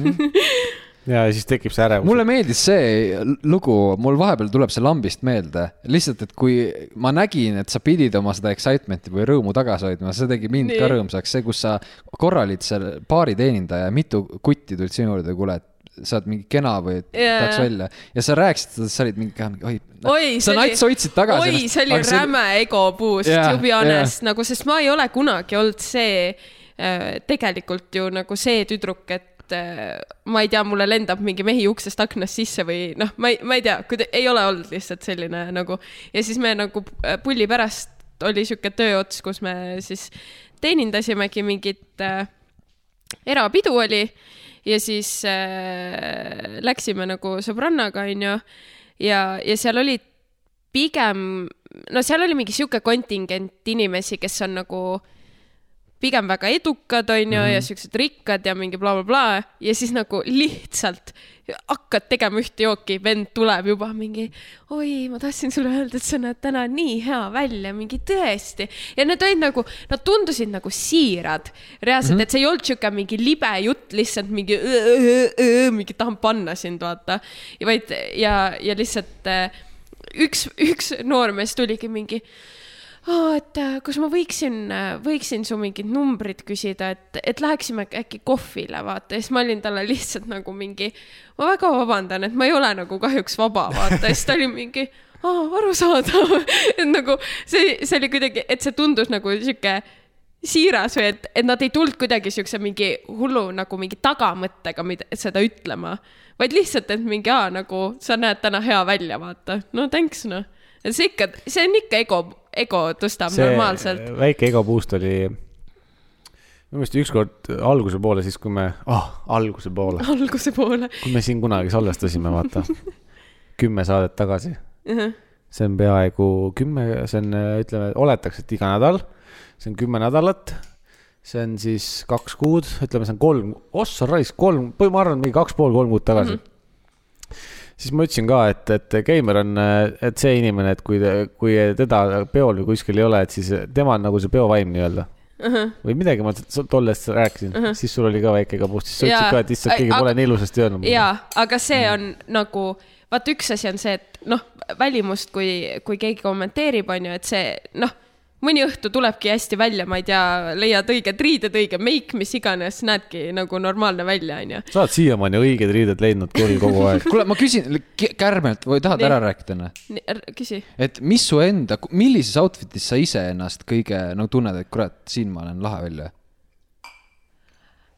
*laughs* ja siis tekib see ärevus . mulle meeldis see lugu , mul vahepeal tuleb see lambist meelde , lihtsalt , et kui ma nägin , et sa pidid oma seda excitement'i või rõõmu tagasi hoidma , see tegi mind Nii. ka rõõmsaks , see , kus sa korralid seal baari teenindaja , mitu kutti tulid sinu juurde , kuule , et sa oled mingi kena või et Jaa. tahaks välja ja sa rääkisid seda , sa olid mingi , oi , oi , sa nats hoidsid tagasi oi , ennast, see oli aga see- räme ego boost yeah, , Jaa, to be honest yeah. , nagu , sest ma ei ole kunagi olnud see äh, tegelikult ju nagu see tüdruk , et äh, ma ei tea , mulle lendab mingi mehi uksest aknast sisse või noh , ma ei , ma ei tea , kuida- , ei ole olnud lihtsalt selline nagu ja siis me nagu äh, pulli pärast oli sihuke tööots , kus me siis teenindasimegi mingit äh, erapidu oli ja siis äh, läksime nagu sõbrannaga , onju . ja , ja seal oli pigem , no seal oli mingi sihuke kontingent inimesi , kes on nagu pigem väga edukad , onju , ja siuksed rikkad ja mingi blablabla bla, bla. ja siis nagu lihtsalt hakkad tegema ühte jooki , vend tuleb juba mingi oi , ma tahtsin sulle öelda , et sa näed täna nii hea välja , mingi tõesti . ja need olid nagu , nad tundusid nagu siirad reaalselt mm , -hmm. et see ei olnud sihuke mingi libe jutt lihtsalt mingi "Õ-õ-õ-õ", mingi tahan panna sind , vaata . vaid ja , ja lihtsalt äh, üks , üks noormees tuligi mingi oh, , et äh, kas ma võiksin , võiksin su mingid numbrid küsida , et , et läheksime äkki kohvile , vaata . ja siis ma olin talle lihtsalt nagu mingi , ma väga vabandan , et ma ei ole nagu kahjuks vaba , vaata . ja siis ta oli mingi , aa , arusaadav . *laughs* et nagu see , see oli kuidagi , et see tundus nagu sihuke siiras või et , et nad ei tulnud kuidagi siukse mingi hullu nagu mingi tagamõttega mida , seda ütlema , vaid lihtsalt , et mingi aa nagu sa näed täna hea välja , vaata , no thanks noh . see ikka , see on ikka ego , ego tõstab see... normaalselt . väike ego boost oli , minu meelest ükskord alguse poole , siis kui me oh, , alguse poole , alguse poole . kui me siin kunagi salvestasime , *laughs* vaata , kümme saadet tagasi . see on peaaegu kümme , see on , ütleme , oletaks , et iga nädal , see on kümme nädalat , see on siis kaks kuud , ütleme , see on kolm , ossa raisk , kolm , ma arvan , mingi kaks pool , kolm kuud tagasi mm . -hmm Mhm. siis ma ütlesin ka , et , et Keimer on , et see inimene , et kui , kui teda peol või kuskil ei ole , et siis tema on nagu see peovaim nii-öelda . Mhm. või midagi ma tollest rääkisin uh , -huh. siis sul oli ka väike kabust , siis sa Jaa. ütlesid ka , et issand , keegi Aga- pole nii ilusasti öelnud . jaa , aga see on nagu , vaat üks asi on see , et noh , välimust , kui , kui keegi kommenteerib , on ju , et see noh , mõni õhtu tulebki hästi välja , ma ei tea , leiad õiged riided , õige meik , mis iganes , näedki nagu normaalne välja , on ju . sa oled siiamaani õiged riided leidnud küll kogu aeg . kuule , ma *laughs* küsin K- kärmelt või tahad Nii. ära rääkida enne ? küsi . et mis su enda , millises outfit'is sa ise ennast kõige nagu tunned , et kurat , siin ma olen lahe välja ?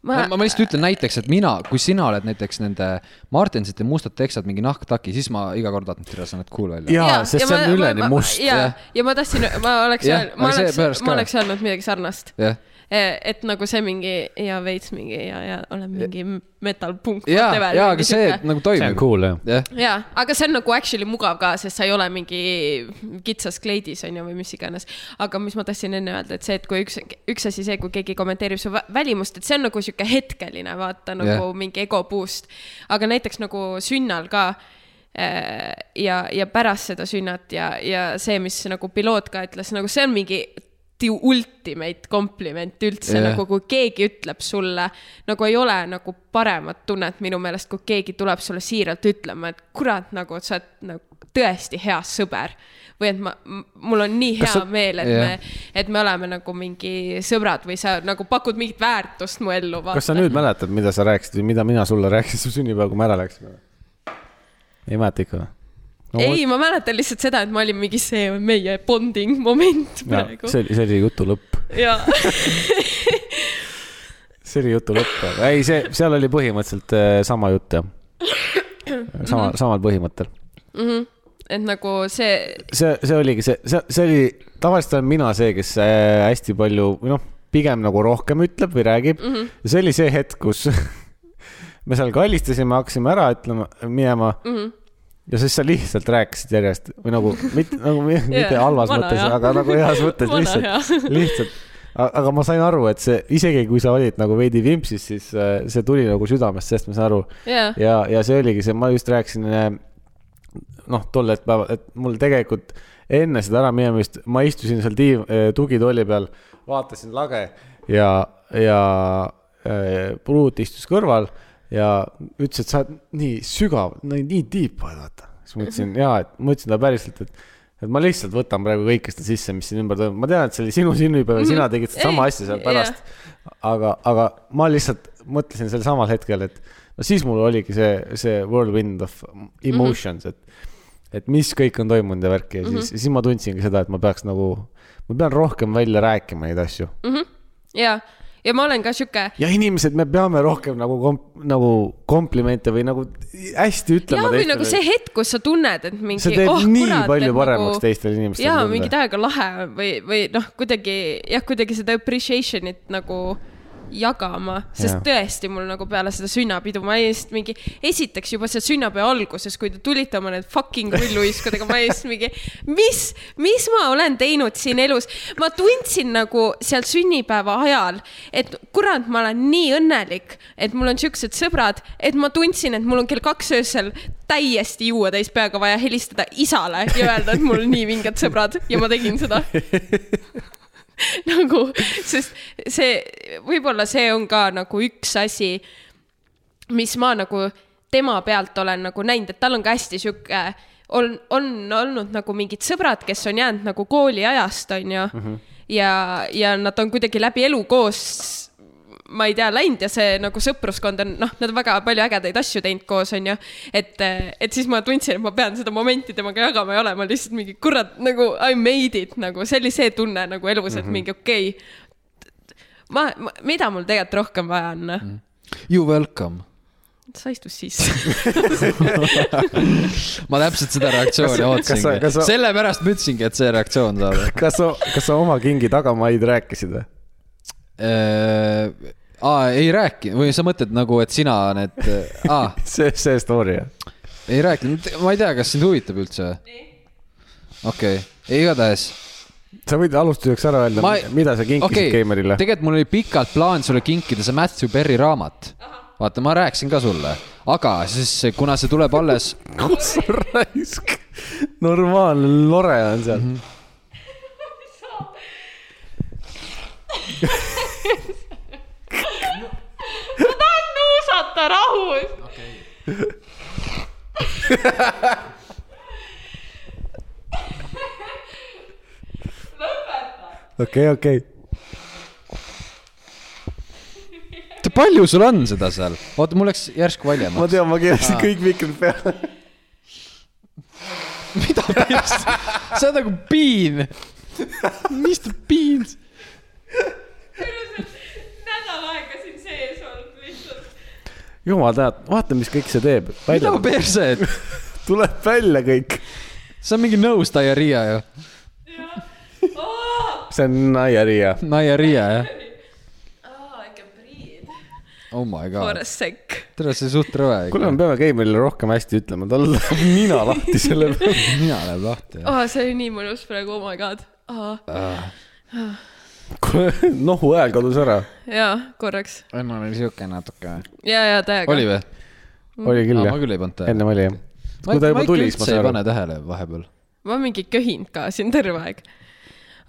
ma , ma lihtsalt ütlen näiteks , et mina , kui sina oled näiteks nende Martensite mustad teksad , mingi nahktaki , siis ma iga kord vaatan , et tere, sa näed cool välja . *laughs* jaa , sest see on üleni must . ja jah. , ja ma tahtsin , ma *laughs* oleks Jah, , ma aga see oleks pärast , ka. ma oleks öelnud midagi sarnast . jah , et nagu see mingi ja veits mingi ja , ja olen mingi metal punk . ja , ja E- aga see nagu see on toimib . cool jah . jah , jaa , aga see on nagu actually mugav ka , sest sa ei ole mingi kitsas kleidis onju või mis iganes . aga mis ma tahtsin enne öelda , et see , et kui üks , üks asi see , kui keegi kommenteerib su vä- välimust , et see on nagu sihuke hetkeline , vaata nagu Jah. yeah. mingi ego boost . aga näiteks nagu sünnal ka äh, ja , ja pärast seda sünnat ja , ja see , mis nagu piloot ka ütles , nagu see on mingi the ultimate compliment Jah. üldse yeah. , nagu kui keegi ütleb sulle , nagu ei ole nagu paremat tunnet minu meelest , kui keegi tuleb sulle siiralt ütlema , et kurat , nagu sa oled nagu tõesti hea sõber . või et ma , mul on nii hea Kas sa... sa- meel , et Jah. yeah. me , et me oleme nagu mingi sõbrad või sa nagu pakud mingit väärtust mu ellu . kas sa nüüd mäletad , mida sa rääkisid või mida mina sulle rääkisin su sünnipäeval , kui me ära läksime ? ei mäleta ikka või no, ? ei , ma mäletan lihtsalt seda , et ma olin mingi , see on meie bonding moment praegu . see oli , see oli jutu lõpp . jaa , *laughs* see oli jutu lõpp , aga ei , see , seal oli põhimõtteliselt äh, sama jutt jah . sama , samal põhimõttel . et nagu see , see , see oligi see , see , see oli , tavaliselt olen mina see , kes äh, hästi palju , või noh , pigem nagu rohkem ütleb või räägib mm . Mhm. -hmm. ja see oli see hetk , kus *laughs* me seal kallistasime , hakkasime ära ütlema , minema mm . Mhm. -hmm ja siis sa lihtsalt rääkisid järjest või nagu mitte , nagu *laughs* mi- mitte yeah, halvas vana mõttes , hea. aga nagu heas mõttes *laughs* Vana lihtsalt , lihtsalt . aga ma sain aru , et see isegi kui sa olid nagu veidi vimpsis , siis äh, see tuli nagu südamest , sest ma saan aru jaa , ja , ja see oligi see , ma just rääkisin äh, noh , tol hetkel päeval , et mul tegelikult enne seda äraminemist ma istusin seal tiiv- , tugitooli peal , vaatasin lage ja , ja äh, Ruut istus kõrval ja ütles , et sa oled nii sügav , nii tiip , vaata . siis ma *laughs* ütlesin ja , et ma ütlesin talle päriselt , et , et ma lihtsalt võtan praegu kõike seda sisse , mis siin ümber toimub , ma tean , et see oli sinu sünnipäev ja sina tegid sedasama Mhm. Ei, asja seal jah. pärast . aga , aga ma lihtsalt mõtlesin sel samal hetkel , et no siis mul oligi see , see whirlwind of emotions mm , -hmm. et , et mis kõik on toimunud ja värki ja siis mm , Mhm. -hmm. siis ma tundsingi seda , et ma peaks nagu , ma pean rohkem välja rääkima neid asju Mhm. mm . jaa . ja ma olen ka sihuke -hmm. ja inimesed , me peame rohkem nagu komp- , nagu komplimente või nagu hästi jah , ütlema või nagu see hetk , kus sa tunned , et mingi . see teeb oh, nii kurat, palju paremaks nagu... teistele inimestele . jaa , mingit aega lahe või , või noh , kuidagi jah , kuidagi seda appreciation'it nagu jagama , Jaa. sest ja. tõesti mul nagu peale seda sünnapidu ma just mingi , esiteks juba seal sünnapäeva alguses , kui te tulite oma need fucking rulluiskudega , ma just mingi , mis , mis ma olen teinud siin elus . ma tundsin nagu seal sünnipäeva ajal , et kurat , ma olen nii õnnelik , et mul on siuksed sõbrad , et ma tundsin , et mul on kell kaks öösel täiesti juua täis peaga vaja helistada isale ja öelda , et mul on nii vinged sõbrad ja ma tegin seda nagu , sest see , võib-olla see on ka nagu üks asi , mis ma nagu tema pealt olen nagu näinud , et tal on ka hästi sihuke , on , on olnud nagu mingid sõbrad , kes on jäänud nagu kooliajast , onju mm . -hmm. ja , ja nad on kuidagi läbi elu koos , ma ei tea , läinud ja see nagu sõpruskond on , noh , nad on väga palju ägedaid asju teinud koos , onju . et , et siis ma tundsin , et ma pean seda momenti temaga jagama ja olema lihtsalt mingi kurat nagu I made it nagu , see oli see tunne nagu elus , et mm -hmm. mingi okei okay, . ma, ma , mida mul tegelikult rohkem vaja on mm ? -hmm You welcome . sa istud sisse . ma täpselt seda reaktsiooni Kas sa- kas sa- ootasingi kas . sa- sellepärast ma ütlesingi , et see reaktsioon saab . kas sa , kas sa oma kingi tagamaid rääkisid või ? Äh, aa , ei rääkinud või sa mõtled nagu , et sina need , aa , *laughs* see , see story jah ? ei rääkinud , ma ei tea , kas sind huvitab üldse . okei okay. , igatahes sa võid alustuseks ära öelda Ma- ma... , mida sa kinkisid okay. Keimerile . tegelikult mul oli pikalt plaan sulle kinkida see Matthew Perry raamat . vaata , ma rääkisin ka sulle , aga siis , kuna see tuleb alles , kus sa raisk , normaalne lore on seal mm . -hmm. nuusata rahus . okei okay, , okei okay. , palju sul on seda seal ? oota , mul läks järsku ma valjemaks . tean , ma keerasin kõik mikrid peale . mida peast ? *laughs* sa oled nagu piin . mis ta piin ? nädal aega siin sees olnud lihtsalt . jumal tänatud , vaata , mis kõik see teeb . mida ma perse , et tuleb välja kõik . see on mingi nose diarrhea ju . see on naiaria . Diarrhea jah . aa , I can breathe Oh my for a god , sec . tere , see suht rõve . kuule , me peame Keimerile rohkem hästi ütlema , tal *laughs* läheb nina lahti selle peale . mina läheb lahti . aa , see oli nii mõnus praegu , oh my god . aa , kuule , nohu hääl kadus ära . jaa , korraks . oi , mul oli siuke natuke . ja , ja täiega . oli või ? oli küll ma jah , küll ei pannud tähele . ennem oli jah . kui ta juba tuli , siis ma ei saan pane aru . tähele vahepeal . ma mingi köhinud ka siin terve aeg .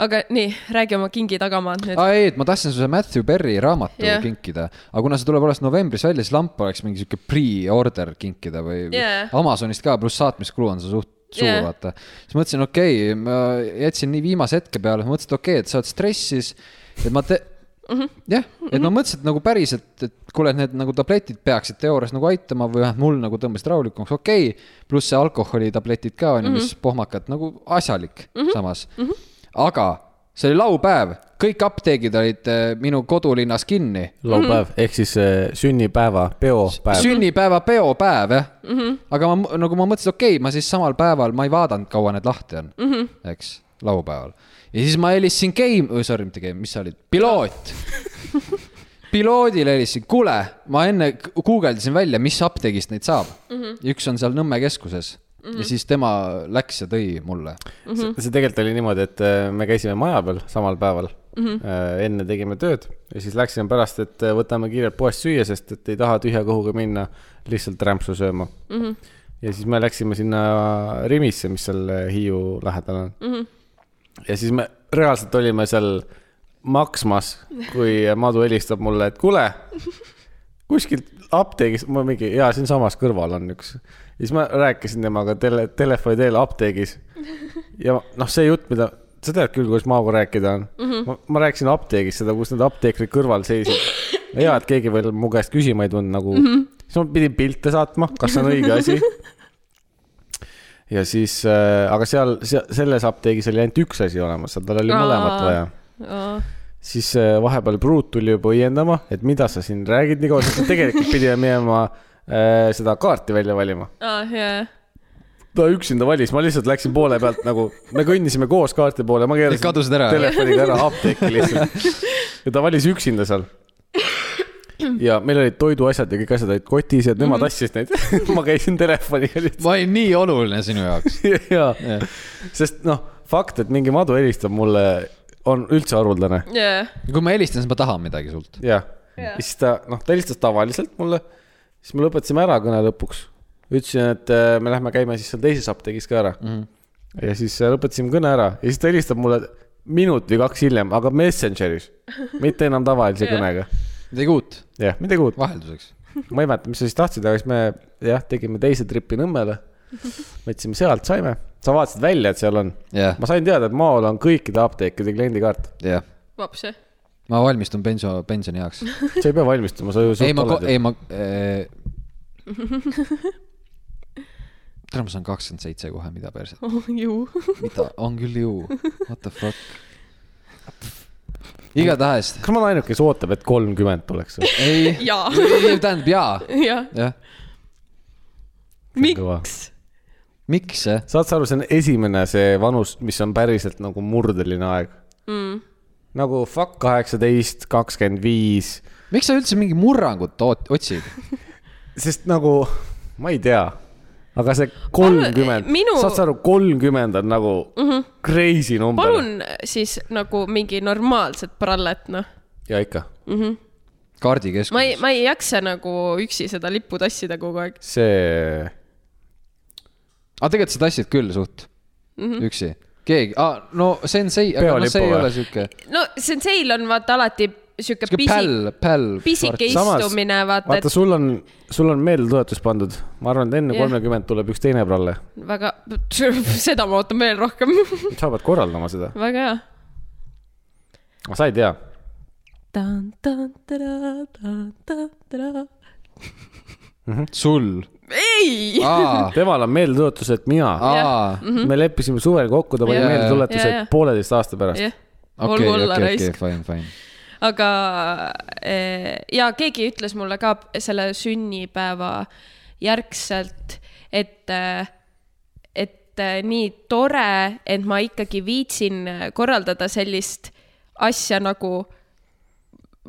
aga nii , räägi oma kingi tagamaad nüüd . aa ei , et ma tahtsin sulle Matthew Perry raamatu yeah. Jah. kinkida , aga kuna see tuleb alles novembris välja , siis lamp oleks mingi sihuke pre-order kinkida või või Jah. Amazonist ka , pluss saatmiskulu on see suht suur Jah. yeah. , vaata . siis mõtlesin , okei okay, , ma jätsin nii viimase hetke peale , mõtlesin , et okei okay, , et sa oled stressis , et ma te- , Mhm. jah , et ma mõtlesin , et nagu päriselt , et kuule , et need nagu tabletid peaksid teoorias nagu aitama või vähemalt mul nagu tõmbasid rahulikumaks , okei okay. . pluss see alkoholitabletid ka on ju , mis Mhm. pohmakad nagu asjalik mm -hmm. samas mm . -hmm. aga see oli laupäev , kõik apteegid olid äh, minu kodulinnas kinni . laupäev ehk siis äh, sünnipäeva peopäev . sünnipäeva peopäev jah mm , -hmm. aga ma m- nagu ma mõtlesin , okei okay, , ma siis samal päeval , ma ei vaadanud , kaua need lahti on mm , -hmm. eks , laupäeval . ja siis ma helistasin game , sorry , mitte game , mis sa olid , piloot . piloodile helistasin , kuule , ma enne k- guugeldasin välja , mis apteegist neid saab mm . -hmm. üks on seal Nõmme keskuses mm -hmm. ja siis tema läks ja tõi mulle . see see tegelikult oli niimoodi , et äh, me käisime maja peal samal päeval mm . -hmm. enne tegime tööd ja siis läksime pärast , et äh, võtame kiirelt poest süüa , sest et ei taha tühja kõhuga minna lihtsalt rämpsu sööma mm . -hmm. ja siis me läksime sinna Rimisse , mis seal äh, Hiiu lähedal on mm . -hmm. ja siis me reaalselt olime seal maksmas , kui Madu helistab mulle , et kuule kuskilt apteegis , ma mingi , jaa , siinsamas kõrval on üks . ja siis ma rääkisin temaga tele , telefoni teel apteegis . ja noh , see jutt , mida , sa tead küll , kuidas maaga rääkida on mm . -hmm. Ma, ma rääkisin apteegis seda , kus need apteekrid kõrval seisid . hea , et keegi veel mu käest küsima ei tulnud nagu mm . -hmm. siis ma pidin pilte saatma , kas see on õige asi . ja siis , aga seal, seal , selles apteegis oli ainult üks asi olemas , seal tal oli mõlemat Aa. vaja siis äh, vahepeal Pruut tuli juba õiendama , et mida sa siin räägid nii kaua , sest me tegelikult pidime minema äh, seda kaarti välja valima . aa , jaa . ta üksinda valis , ma lihtsalt läksin poole pealt nagu , me kõndisime koos kaarti poole , ma keerasin kadusid ära. telefoniga ära apteeki lihtsalt . ja ta valis üksinda seal . ja meil olid toiduasjad ja kõik asjad olid kotis ja nemad asjasid neid . *laughs* ma käisin telefoniga lihtsalt ma olin nii oluline sinu jaoks . ja , sest noh , fakt , et mingi madu helistab mulle , on üldse haruldane jaa . kui ma helistan , siis ma tahan midagi sult . jah Jah. ja. , siis ta , noh , ta helistas tavaliselt mulle , siis me lõpetasime ära kõne lõpuks . ütlesin , et äh, me lähme käime siis seal teises apteegis ka ära mm . Mhm. -hmm. ja siis äh, lõpetasime kõne ära ja siis ta helistab mulle minut või kaks hiljem , aga Messengeris , mitte enam tavalise kõnega . midagi uut , jah , midagi uut , vahelduseks . ma ei mäleta , mis sa siis tahtsid , aga siis me jah , tegime teise tripi Nõmmele . võtsime sealt , saime , sa vaatasid välja , et seal on . jah , ma sain teada , et maal on kõikide apteekide kliendikaart , jah , vops , jah . ma valmistun pension , pensioni jaoks sa ei pea valmistuma , sa ju . ei , ma , ei ma *laughs* äh... . täna ma saan kakskümmend seitse kohe , mida perset , *laughs* oh ju . mida , on küll ju , what the fuck . igatahes , kas ma olen ainuke , kes ootab , et kolmkümmend tuleks või ? ei , *laughs* jaa , tähendab jaa , jah . jah , kõva. miks ? miks eh? see , saad sa aru , see on esimene see vanus , mis on päriselt nagu murdeline aeg mm. . nagu fuck kaheksateist , kakskümmend viis , miks sa üldse mingi murrangut oot- otsid ? sest nagu ma ei tea , aga see kolmkümmend , minu- Mhm. saad sa aru , kolmkümmend on nagu mm -hmm. crazy number . palun siis nagu mingi normaalset prallet , noh . ja ikka , ma ei , kaardikeskuses , ma ei jaksa nagu üksi seda lippu tassida kogu aeg . see , aga Ah, tegelikult sa tassid küll suht mm Mhm. -hmm. üksi , keegi ah, , no sensei , aga no Peolipu see ei või? ole siuke , no senseil on vaata alati sihuke siuke pisik , päll , päll . pisike Samas- istumine , vaata , vaata , sul on , sul on meeldetuletus pandud , ma arvan , et enne Jah. kolmekümmet tuleb üks teine pralle , et väga , *laughs* seda ma ootan veel rohkem . *laughs* sa pead korraldama seda , väga hea . sa ei tea sul , ei , aa , temal on meeldetuletus , et mina ah. , aa mm Mhm. -hmm. me leppisime suvel kokku , ta pani Jaa. meeldetuletuse Jaa, jaa. pooleteist aasta pärast jah , okei , olgu olla okei , okei , raisk , fine , fine . aga eh, ja keegi ütles mulle ka selle sünnipäeva järgselt , et , et eh, nii tore , et ma ikkagi viitsin korraldada sellist asja nagu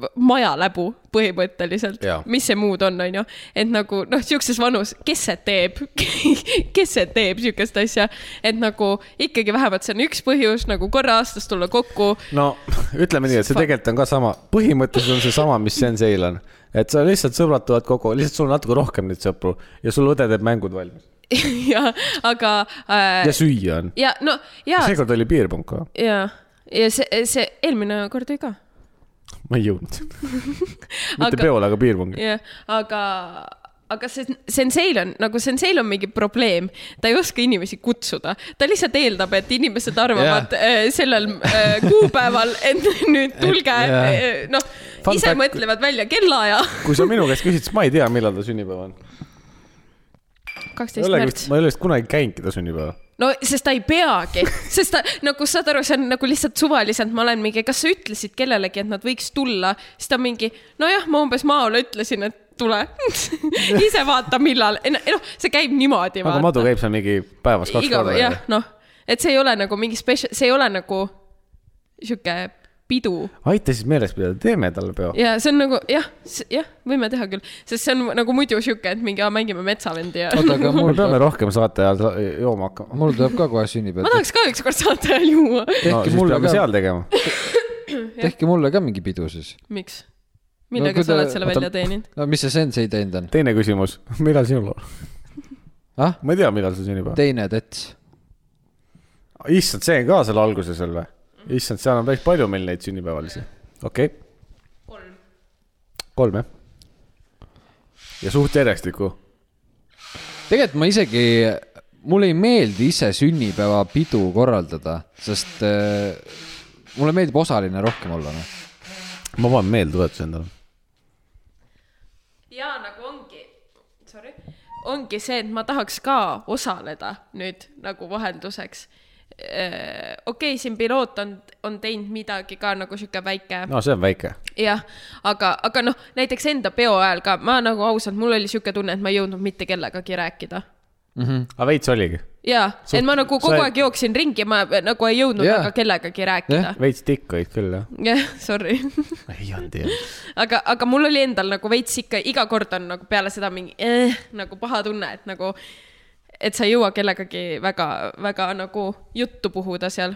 v- majaläbu põhimõtteliselt Jaa. , mis see muud on , onju , et nagu noh , siukses vanus , kes see teeb , *laughs* kes see teeb siukest asja , et nagu ikkagi vähemalt see on üks põhjus nagu korra aastas tulla kokku . no *laughs* ütleme nii , et see tegelikult on ka sama , põhimõtteliselt on see sama , mis Senseil on . et sa lihtsalt sõbrad tulevad kokku , lihtsalt sul on natuke rohkem neid sõpru ja sul õde teeb mängud valmis *laughs* ja , aga äh, ja süüa on . ja no ja , seekord oli piirpunkt ka . ja ja see , see eelmine kord oli ka . ma ei jõudnud . mitte aga... peole , aga piirkongi . jah , aga , aga see senseil on nagu senseil on mingi probleem , ta ei oska inimesi kutsuda , ta lihtsalt eeldab , et inimesed arvavad yeah. sellel äh, kuupäeval , et nüüd tulge jah. yeah. , noh , Fun ise fact- mõtlevad välja kellaaja . kui sa minu käest küsid , siis ma ei tea , millal ta sünnipäev on . ma ei kaksteist ole märts vist , ma ei ole vist kunagi käinudki ta sünnipäeva . no sest ta ei peagi , sest ta nagu saad aru , see on nagu lihtsalt suvaliselt , ma olen mingi , kas sa ütlesid kellelegi , et nad võiks tulla , siis ta mingi , nojah , ma umbes maole ütlesin , et tule . *laughs* ise vaata , millal , noh , see käib niimoodi . aga Madu käib seal mingi päevas kaks iga , korda . jah , noh , et see ei ole nagu mingi spetsial , see ei ole nagu sihuke pidu aita siis meeles pidada , teeme talle peo . ja see on nagu jah , jah , võime teha küll , sest see on nagu muidu sihuke , et mingi , mängime metsavendi ja . oota , aga me *laughs* mul , peame rohkem saate ajal sa- jooma hakkama . mul tuleb ka kohe *laughs* ma sünnipäev . tahaks ka ükskord saate ajal juua . no tehke siis mulle peame ka , seal tegema . tehke mulle ka mingi pidu siis . miks ? No millega kui no, sa ta- oled selle oota- välja teeninud ? no mis see sensei teinud on ? teine küsimus , millal sinul on ? ah , ma ei tea , millal sul sünnipäev on . teine dets . Ah, issand , see on ka seal alguses veel või ? issand , seal on päris palju meil neid sünnipäevalisi . okei okay. , kolm . kolm jah . ja suht järjestikku . tegelikult ma isegi , mulle ei meeldi ise sünnipäevapidu korraldada , sest äh, mulle meeldib osaline rohkem olla , noh . ma panen meeldetuletuse endale . ja nagu ongi , sorry , ongi see , et ma tahaks ka osaleda nüüd nagu vahelduseks . okei okay, , siin piloot on , on teinud midagi ka nagu sihuke väike no see on väike . jah , aga , aga noh , näiteks enda peo ajal ka , ma nagu ausalt , mul oli sihuke tunne , et ma ei jõudnud mitte kellegagi rääkida . aga Ah, veits oligi . jaa , Suht- et ma nagu kogu sa- aeg jooksin ringi , ma nagu ei jõudnud Jaa. väga kellegagi rääkida Jah. . veits tikk olid küll jah . jah , sorry . *laughs* ei olnud jah . aga , aga mul oli endal nagu veits ikka iga kord on nagu peale seda mingi eh, nagu paha tunne , et nagu , et sa ei jõua kellegagi väga , väga nagu juttu puhuda seal .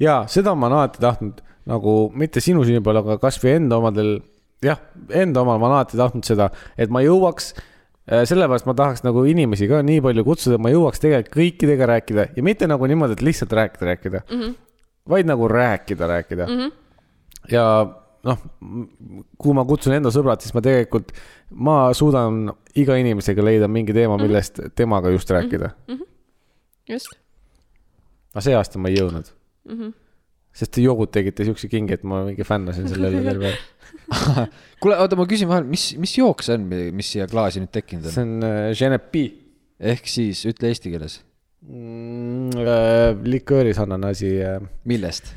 ja seda ma olen alati tahtnud nagu mitte sinu sünnipäeval , aga kasvõi enda omadel . jah , enda omal ma olen alati tahtnud seda , et ma jõuaks . sellepärast ma tahaks nagu inimesi ka nii palju kutsuda , et ma jõuaks tegelikult kõikidega rääkida ja mitte nagu niimoodi , et lihtsalt rääkida , rääkida mm . -hmm. vaid nagu rääkida , rääkida mm . -hmm. ja noh , kui ma kutsun enda sõbrad , siis ma tegelikult , ma suudan iga inimesega leida mingi teema , millest temaga just rääkida mm . -hmm. just . aga see aasta ma ei jõudnud mm . -hmm. Mhm. sest te jogud tegite siukse kingi , et ma mingi fännasin *laughs* selle üle terve . kuule , oota , ma küsin vahel , mis , mis jook see on , mis siia klaasi nüüd tekkinud on ? see on äh, Genepi ehk siis ütle eesti keeles , mm, äh, liköörisarnane asi äh. . millest ?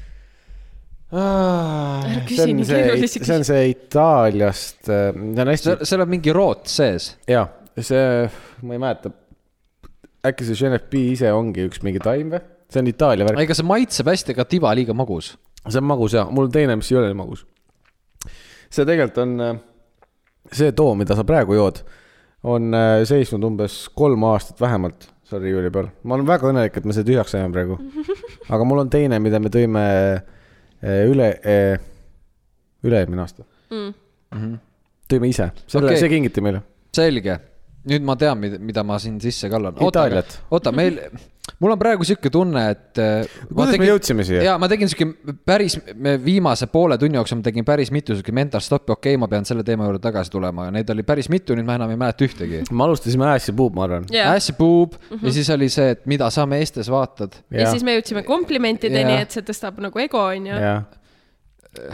Ah, Ära küsi see on nii see , keerulisi see on see Itaaliast äh, , see on hästi , seal , seal on mingi root sees . jaa , see , ma ei mäleta . äkki see Genepi ise ongi üks mingi taim või ? see on Itaalia värk , ega see maitseb hästi , aga tiba liiga magus . see on magus jaa , mul teine , mis ei ole nii magus . see tegelikult on äh, see too , mida sa praegu jood , on äh, seisnud umbes kolm aastat vähemalt seal riiuli peal . ma olen väga õnnelik , et me selle tühjaks saime *laughs* praegu . aga mul on teine , mida me tõime äh, üle , üle-eelmine aasta mm. . tõime ise , selle Okei. okay. , see kingiti meile . selge , nüüd ma tean , mida ma siin sisse kallan . Itaaliat. oota , meil , mul on praegu sihuke tunne , et . äh, Kuidas me jõudsime siia? ja ma tegin sihuke päris , me viimase poole tunni jooksul ma tegin päris mitu sihuke mental stop'i , okei okay, , ma pean selle teema juurde tagasi tulema , aga neid oli päris mitu , nüüd ma enam ei mäleta ühtegi . me alustasime Ass ja Puub , ma arvan . ja Ass ja puub mm -hmm. ja siis oli see , et mida sa meestes vaatad . siis me jõudsime komplimentideni Jah. , et see tõstab nagu ego , onju . jah ,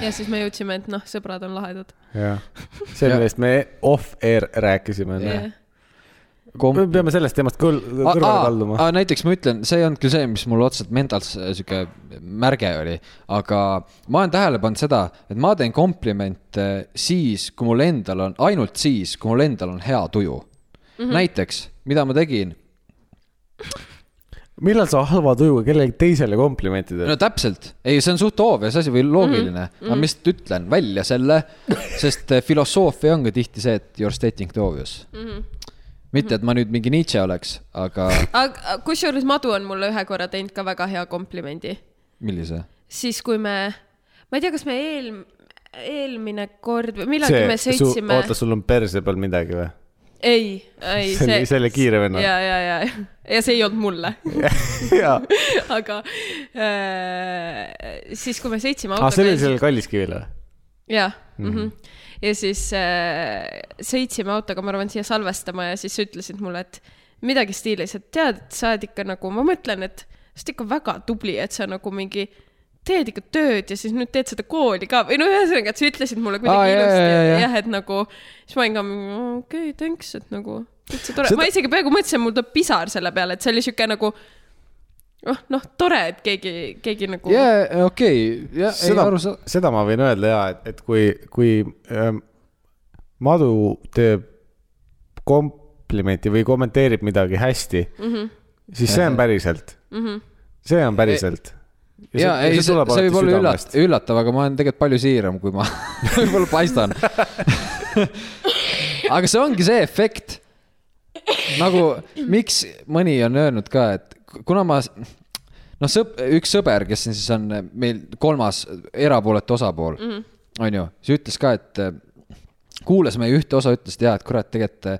ja siis me jõudsime , et noh , sõbrad on lahedad . jah , see , millest me off-air rääkisime . me peame sellest teemast kõl- , kõrvale kalduma . aga näiteks ma ütlen , see ei olnud küll see , mis mul otseselt mentals äh, sihuke märge oli , aga ma olen tähele pannud seda , et ma teen komplimente siis , kui mul endal on , ainult siis , kui mul endal on hea tuju mm . -hmm. näiteks , mida ma tegin , millal sa halva tujuga kellelegi teisele komplimenti teed ? no täpselt , ei , see on suht obvious asi või loogiline mm , -hmm. aga ma lihtsalt ütlen välja selle , sest äh, filosoofia on ka tihti see , et you are stating the obvious mm . -hmm. mitte , et ma nüüd mingi Nietzsche oleks , aga aga kusjuures Madu on mulle ühe korra teinud ka väga hea komplimendi , millise ? siis kui me , ma ei tea , kas me eel , eelmine kord või millalgi me su , sõitsime *laughs* oota , sul on perse peal midagi või ? ei , ei See oli- see oli kiire venna. ja , ja , ja , ja see ei olnud mulle , *laughs* jaa . aga äh, siis , kui me sõitsime aa , autoga . Ah, see oli sellel Kalliskivil või ? jah mm Mhm. -hmm. , ja siis äh, sõitsime autoga , ma arvan , siia salvestama ja siis ütlesid mulle , et midagi stiilis , et tead , et sa oled ikka nagu , ma mõtlen , et sa oled ikka väga tubli , et sa nagu mingi teed ikka tööd ja siis nüüd teed seda kooli ka või no ühesõnaga , et sa ütlesid mulle kuidagi Aa, ah, jaa, ilusti jaa, jaa. jah , et nagu , siis ma olin ka mingi okei okay, , thanks , et nagu täitsa tore Seda- seda... , ma isegi peaaegu mõtlesin , mul tuleb pisar selle peale , et see oli siuke nagu noh , noh , tore , et keegi , keegi nagu jaa , okei , jaa , ei seda aru saa- ,, seda ma võin öelda ja , et , et kui , kui ähm, madu teeb komplimenti või kommenteerib midagi hästi mm , Mhm. -hmm. siis see on päriselt mm . -hmm. see on päriselt . jaa , ei , see , see võib olla üllat- ,. üllatav , aga ma olen tegelikult palju siiram , kui ma *laughs* võib-olla paistan . aga see ongi see efekt . nagu , miks mõni on öelnud ka , et kuna ma , noh , sõp- , üks sõber , kes siin siis on eh, meil kolmas erapooletu osapool mm , -hmm. on ju , see ütles ka , et kuulas meie ühte osa , ütles , et jaa , et kurat , tegelikult eh,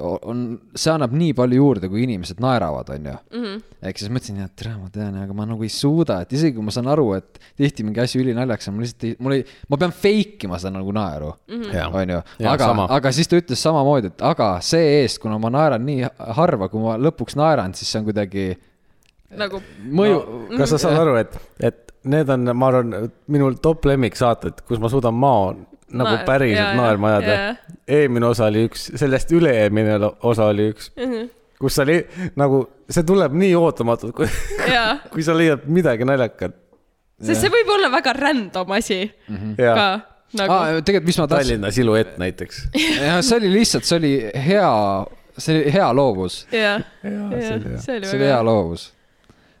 on , see annab nii palju juurde , kui inimesed naeravad , on ju mm -hmm. . ehk siis mõtlesin , et tere , ma tean , aga ma nagu ei suuda , et isegi kui ma saan aru , et tihti mingi asi ülinaljakas on , ma lihtsalt ei , mul ei , ma pean fake ima seda nagu naeru mm . Jaa. on ju , Jaa, aga sama. , aga siis ta ütles samamoodi , et aga see-eest , kuna ma naeran nii harva , kui ma lõpuks naeran , siis see on kuidagi nagu mõju no. , kas sa saad aru , et , et need on , ma arvan , minu top lemmiksaated , kus ma suudan mao nagu Naer- jaa, päriselt jaa, naerma ajada jaa. . eelmine osa oli üks , sellest üle-eelmine lo- osa oli üks mm , Mhm. -hmm. kus sa li- , nagu see tuleb nii ootamatult , kui , jaa *laughs* kui sa leiad midagi naljakat . sest see võib olla väga random asi Mhm. ka jaa , nagu ah, . ah, tegelikult , mis ma *laughs* tahtsin , Tallinna siluett näiteks . *laughs* see oli lihtsalt , see oli hea , see oli hea loovus , ja , see ja oli hea. see oli see oli hea väga hea . loovus .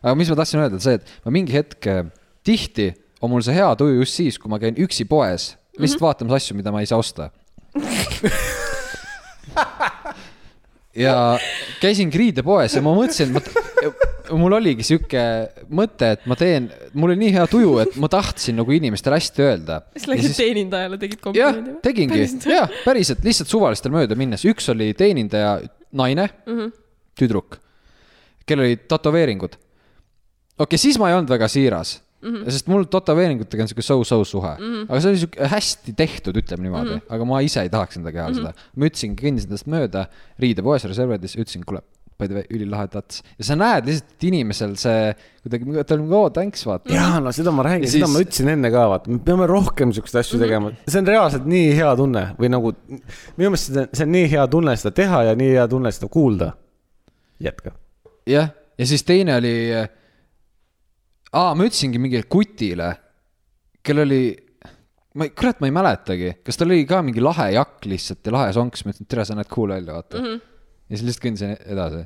aga mis ma tahtsin öelda , on see , et ma mingi hetk äh, tihti on mul see hea tuju just siis , kui ma käin üksi poes , lihtsalt mm -hmm. Mhm. vaatamas asju , mida ma ei saa osta . ja käisingi riidepoes ja ma mõtlesin , et ma , mul oligi sihuke mõte , et ma teen , mul oli nii hea tuju , et ma tahtsin nagu inimestele hästi öelda . siis läksid siis... teenindajale , tegid jah komplimendi , tegingi , jah , päriselt lihtsalt suvalistel mööda minnes , üks oli teenindaja naine mm , -hmm. tüdruk , kellel olid tätoveeringud . okei okay, , siis ma ei olnud väga siiras mm , -hmm. sest mul tätoveeringutega on sihuke so-so suhe mm , -hmm. aga see oli sihuke hästi tehtud , ütleme niimoodi mm , -hmm. aga ma ise ei tahaks enda keha mm -hmm. seda . ma ütlesin , kõndisin tast mööda riidepoes Reservedis , ütlesin , kuule , by the way , ülilahe tats ja sa näed lihtsalt , et inimesel see kuidagi , ta oli nagu oo , thanks , vaata . jaa , no seda ma räägin , Ja seda siis- ma ütlesin enne ka , vaata , me peame rohkem siukseid asju tegema , see on reaalselt nii hea tunne või nagu , minu meelest see on , see on nii hea tunne seda teha ja nii hea tunne seda kuulda . jätka . jah , ja siis teine oli . aa , ma ütlesingi mingile kutile , kel oli , ma ei , kurat , ma ei mäletagi , kas tal oli ka mingi lahe jakk lihtsalt ja lahe sonks , ma ütlesin , tere , sa näed cool välja , vaata mm . -hmm. ja siis lihtsalt kõndisin edasi .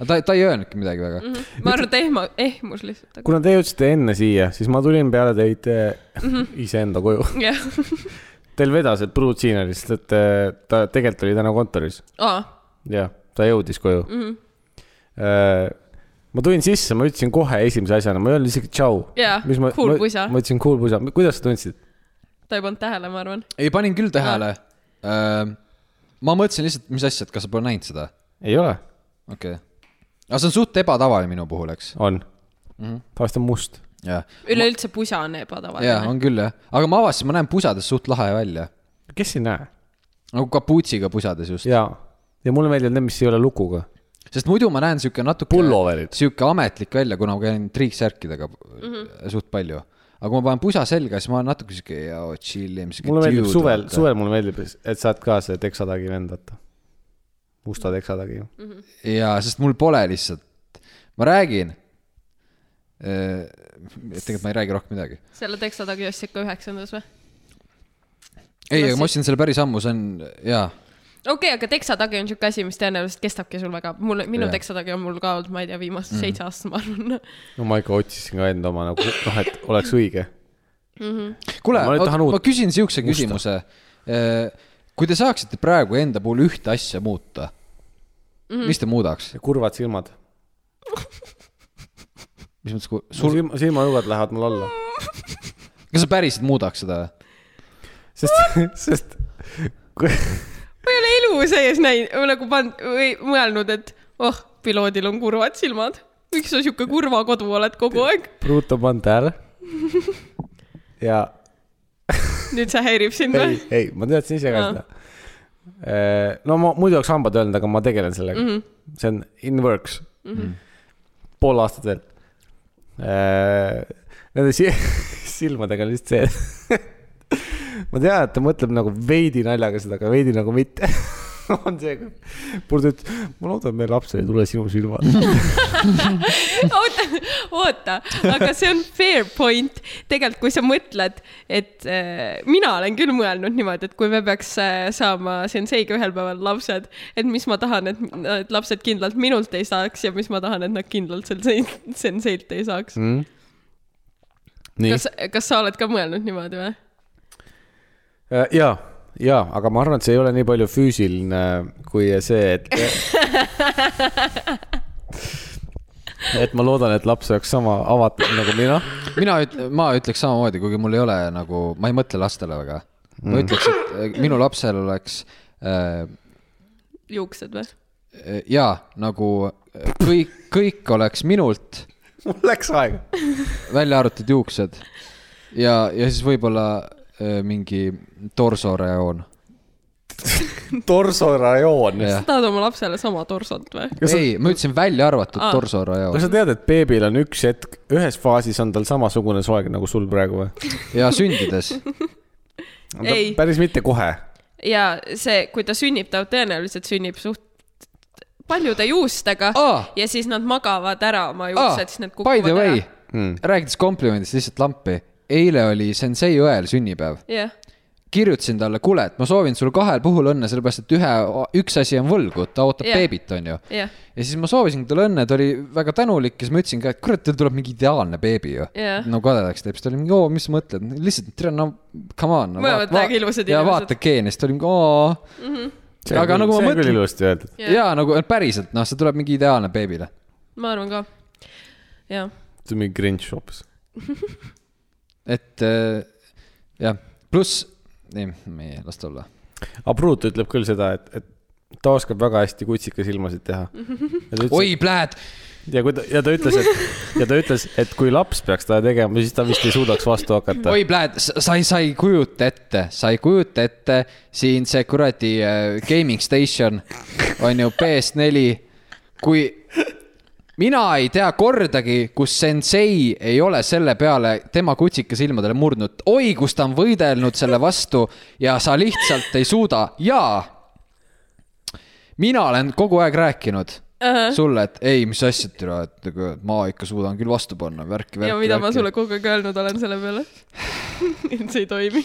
aga ta , ta ei öelnudki midagi väga mm . -hmm. *laughs* ma arvan , et ehma , ehmus lihtsalt aga... . kuna te jõudsite enne siia , siis ma tulin peale teid eh, *laughs* iseenda koju . jah , *laughs* Teil vedas , et pruut siin oli , sest et eh, ta tegelikult oli täna kontoris . aa , jah , ta jõudis koju mm . -hmm. ma tulin sisse , ma ütlesin kohe esimese asjana , ma ei öelnud isegi tšau . Jaa, cool pusa. ma ütlesin cool pusa , kuidas sa tundsid ? ta ei pannud tähele , ma arvan . ei , panin küll tähele . ma mõtlesin lihtsalt , mis asja , et kas sa pole näinud seda , ei ole , okei okay. aga see on suht ebatavaline minu puhul , eks , on mm -hmm. . tavaliselt on must . jah , üleüldse pusa on jah , ebatavaline . on küll jah , aga ma avastasin , ma näen pusades suht lahe välja , kes ei näe ? nagu kapuutsiga pusades just . jaa , ja mulle meeldivad need , mis ei ole lukuga . sest muidu ma näen sihuke natuke . Pulloverid. sihuke ametlik välja , kuna ma käin triiksärkidega mm -hmm. suht palju . aga kui ma panen pusa selga , siis ma olen natuke sihuke joo, chill im . mulle meeldib suvel , suvel mulle meeldib , et sa oled ka see teksatagi vend , vaata . musta teksatagi mm . -hmm. jaa , sest mul pole lihtsalt , ma räägin . tegelikult ma ei räägi rohkem midagi . selle teksta taga just ikka üheksandas või ? ei , aga siis- ma ostsin selle päris ammu , see on jaa , okei okay, , aga teksatagi on siuke asi , mis tõenäoliselt kestabki sul väga , mul , minu Jah. teksatagi on mul ka olnud , ma ei tea , viimased mm. seitse aastat , ma arvan . *laughs* no ma ikka otsisin ka enda oma nagu , noh , et oleks õige . kuule , Ma nüüd tahan uut ma küsin siukse küsimuse . kui te saaksite praegu enda puhul ühte asja muuta mm , -hmm. mis te muudaks ? kurvad silmad . mis mõttes , sul sul , silma , silmaõugad lähevad mul alla . kas sa päriselt muudaks seda või ? sest , sest kui, ma ma ei ole elu sees näinud , nagu pannud või mõelnud , et oh , piloodil on kurvad silmad . miks sa sihuke kurva kodu oled kogu aeg ? *laughs* Bruto Panter . ja nüüd see häirib sind või *laughs* ei ?, ei , ma teadsin ise ka Aa. seda . no ma muidu oleks hambad öelnud , aga ma tegelen sellega mm . Mhm. -hmm. see on in works mm . -hmm. pool aastat veel . Nende si- *laughs* silmadega on lihtsalt see , et *laughs* ma tean , et ta mõtleb nagu veidi naljaga seda , aga veidi nagu mitte . *laughs* on see , kui Purd ütleb , ma loodan , meie lapsel ei tule sinu silmad . oota , oota , aga see on fair point . tegelikult , kui sa mõtled , et äh, mina olen küll mõelnud niimoodi , et kui me peaks äh, saama senseiga ühel päeval lapsed , et mis ma tahan , et need lapsed kindlalt minult ei saaks ja mis ma tahan , et nad kindlalt sensei- , senseilt ei saaks . nii , kas , kas sa oled ka mõelnud niimoodi või ? ja , ja , Äh, aga ma arvan , et see ei ole nii palju füüsiline kui see , *laughs* et . et ma loodan , et laps oleks sama avatud nagu mina . mina üt- , ma ütleks samamoodi , kuigi mul ei ole nagu , ma ei mõtle lastele väga . ma Mm. ütleks , et äh, minu lapsel oleks äh, juuksed või ? äh, jaa , nagu äh, kõik , kõik oleks minult , mul läks aega . välja arvatud juuksed . ja , ja siis võib-olla äh, mingi torsoreoon . torsorajoon . Jah. sa tahad oma lapsele sama torsot või ? Kas sa- ei , ma ütlesin välja arvatud Aa. torsoreoon kas sa tead , et beebil on üks hetk , ühes faasis on tal samasugune soeng nagu sul praegu või ? ja sündides . Ei. päris mitte kohe . ja see , kui ta sünnib , ta tõenäoliselt sünnib suht paljude juustega Aa! ja siis nad magavad ära oma Ah, *laughs* juuksed , siis need by the kukuvad way ära ., Hmm. rääkides komplimendist lihtsalt lampi , eile oli sensei õel sünnipäev . jah , kirjutasin talle , kuule , et ma soovin sul kahel puhul õnne , sellepärast et ühe , üks asi on võlgu , ta ootab yeah. Jah. beebit , onju . jah , ja siis ma soovisin talle õnne , ta oli väga tänulik ja siis ma ütlesin ka , et kurat , teil tuleb mingi ideaalne beebi ju Jah. no kadedaks teeb , siis ta oli mingi , oo , mis sa mõtled , lihtsalt , tere , no come on no, . Mõlemad väga ja ilusad inimesed. Mhm. vaata geene , siis ta oli mingi , oo . Aga nagu ma see on küll mõtlen- ilusti öeldud . Jah. ja nagu et päriselt , noh , see tuleb mingi ideaalne beebile . ma arvan ka . jah , see on mingi cringe hoopis . et äh, jah , pluss , ei , ei , las ta olla . aga Pruut ütleb küll seda , et , et ta oskab väga hästi kutsikasilmasid teha . oi , pläät , ja kui ta ja ta ütles , et ja ta ütles , et kui laps peaks ta tegema , siis ta vist ei suudaks vastu hakata . oi , pläät , sa ei , sa ei kujuta ette , sa ei kujuta ette siin see kuradi äh, gaming station on ju PS4 , kui mina ei tea kordagi , kus sensei ei ole selle peale tema kutsikasilmadele murdnud . oi , kus ta on võidelnud selle vastu ja sa lihtsalt ei suuda ja mina olen kogu aeg rääkinud sulle , et ei , mis asja , türa , et nagu ma ikka suudan küll vastu panna , värki , värki . ja mida ma sulle kogu aeg öelnud olen selle peale . *laughs* et see ei toimi .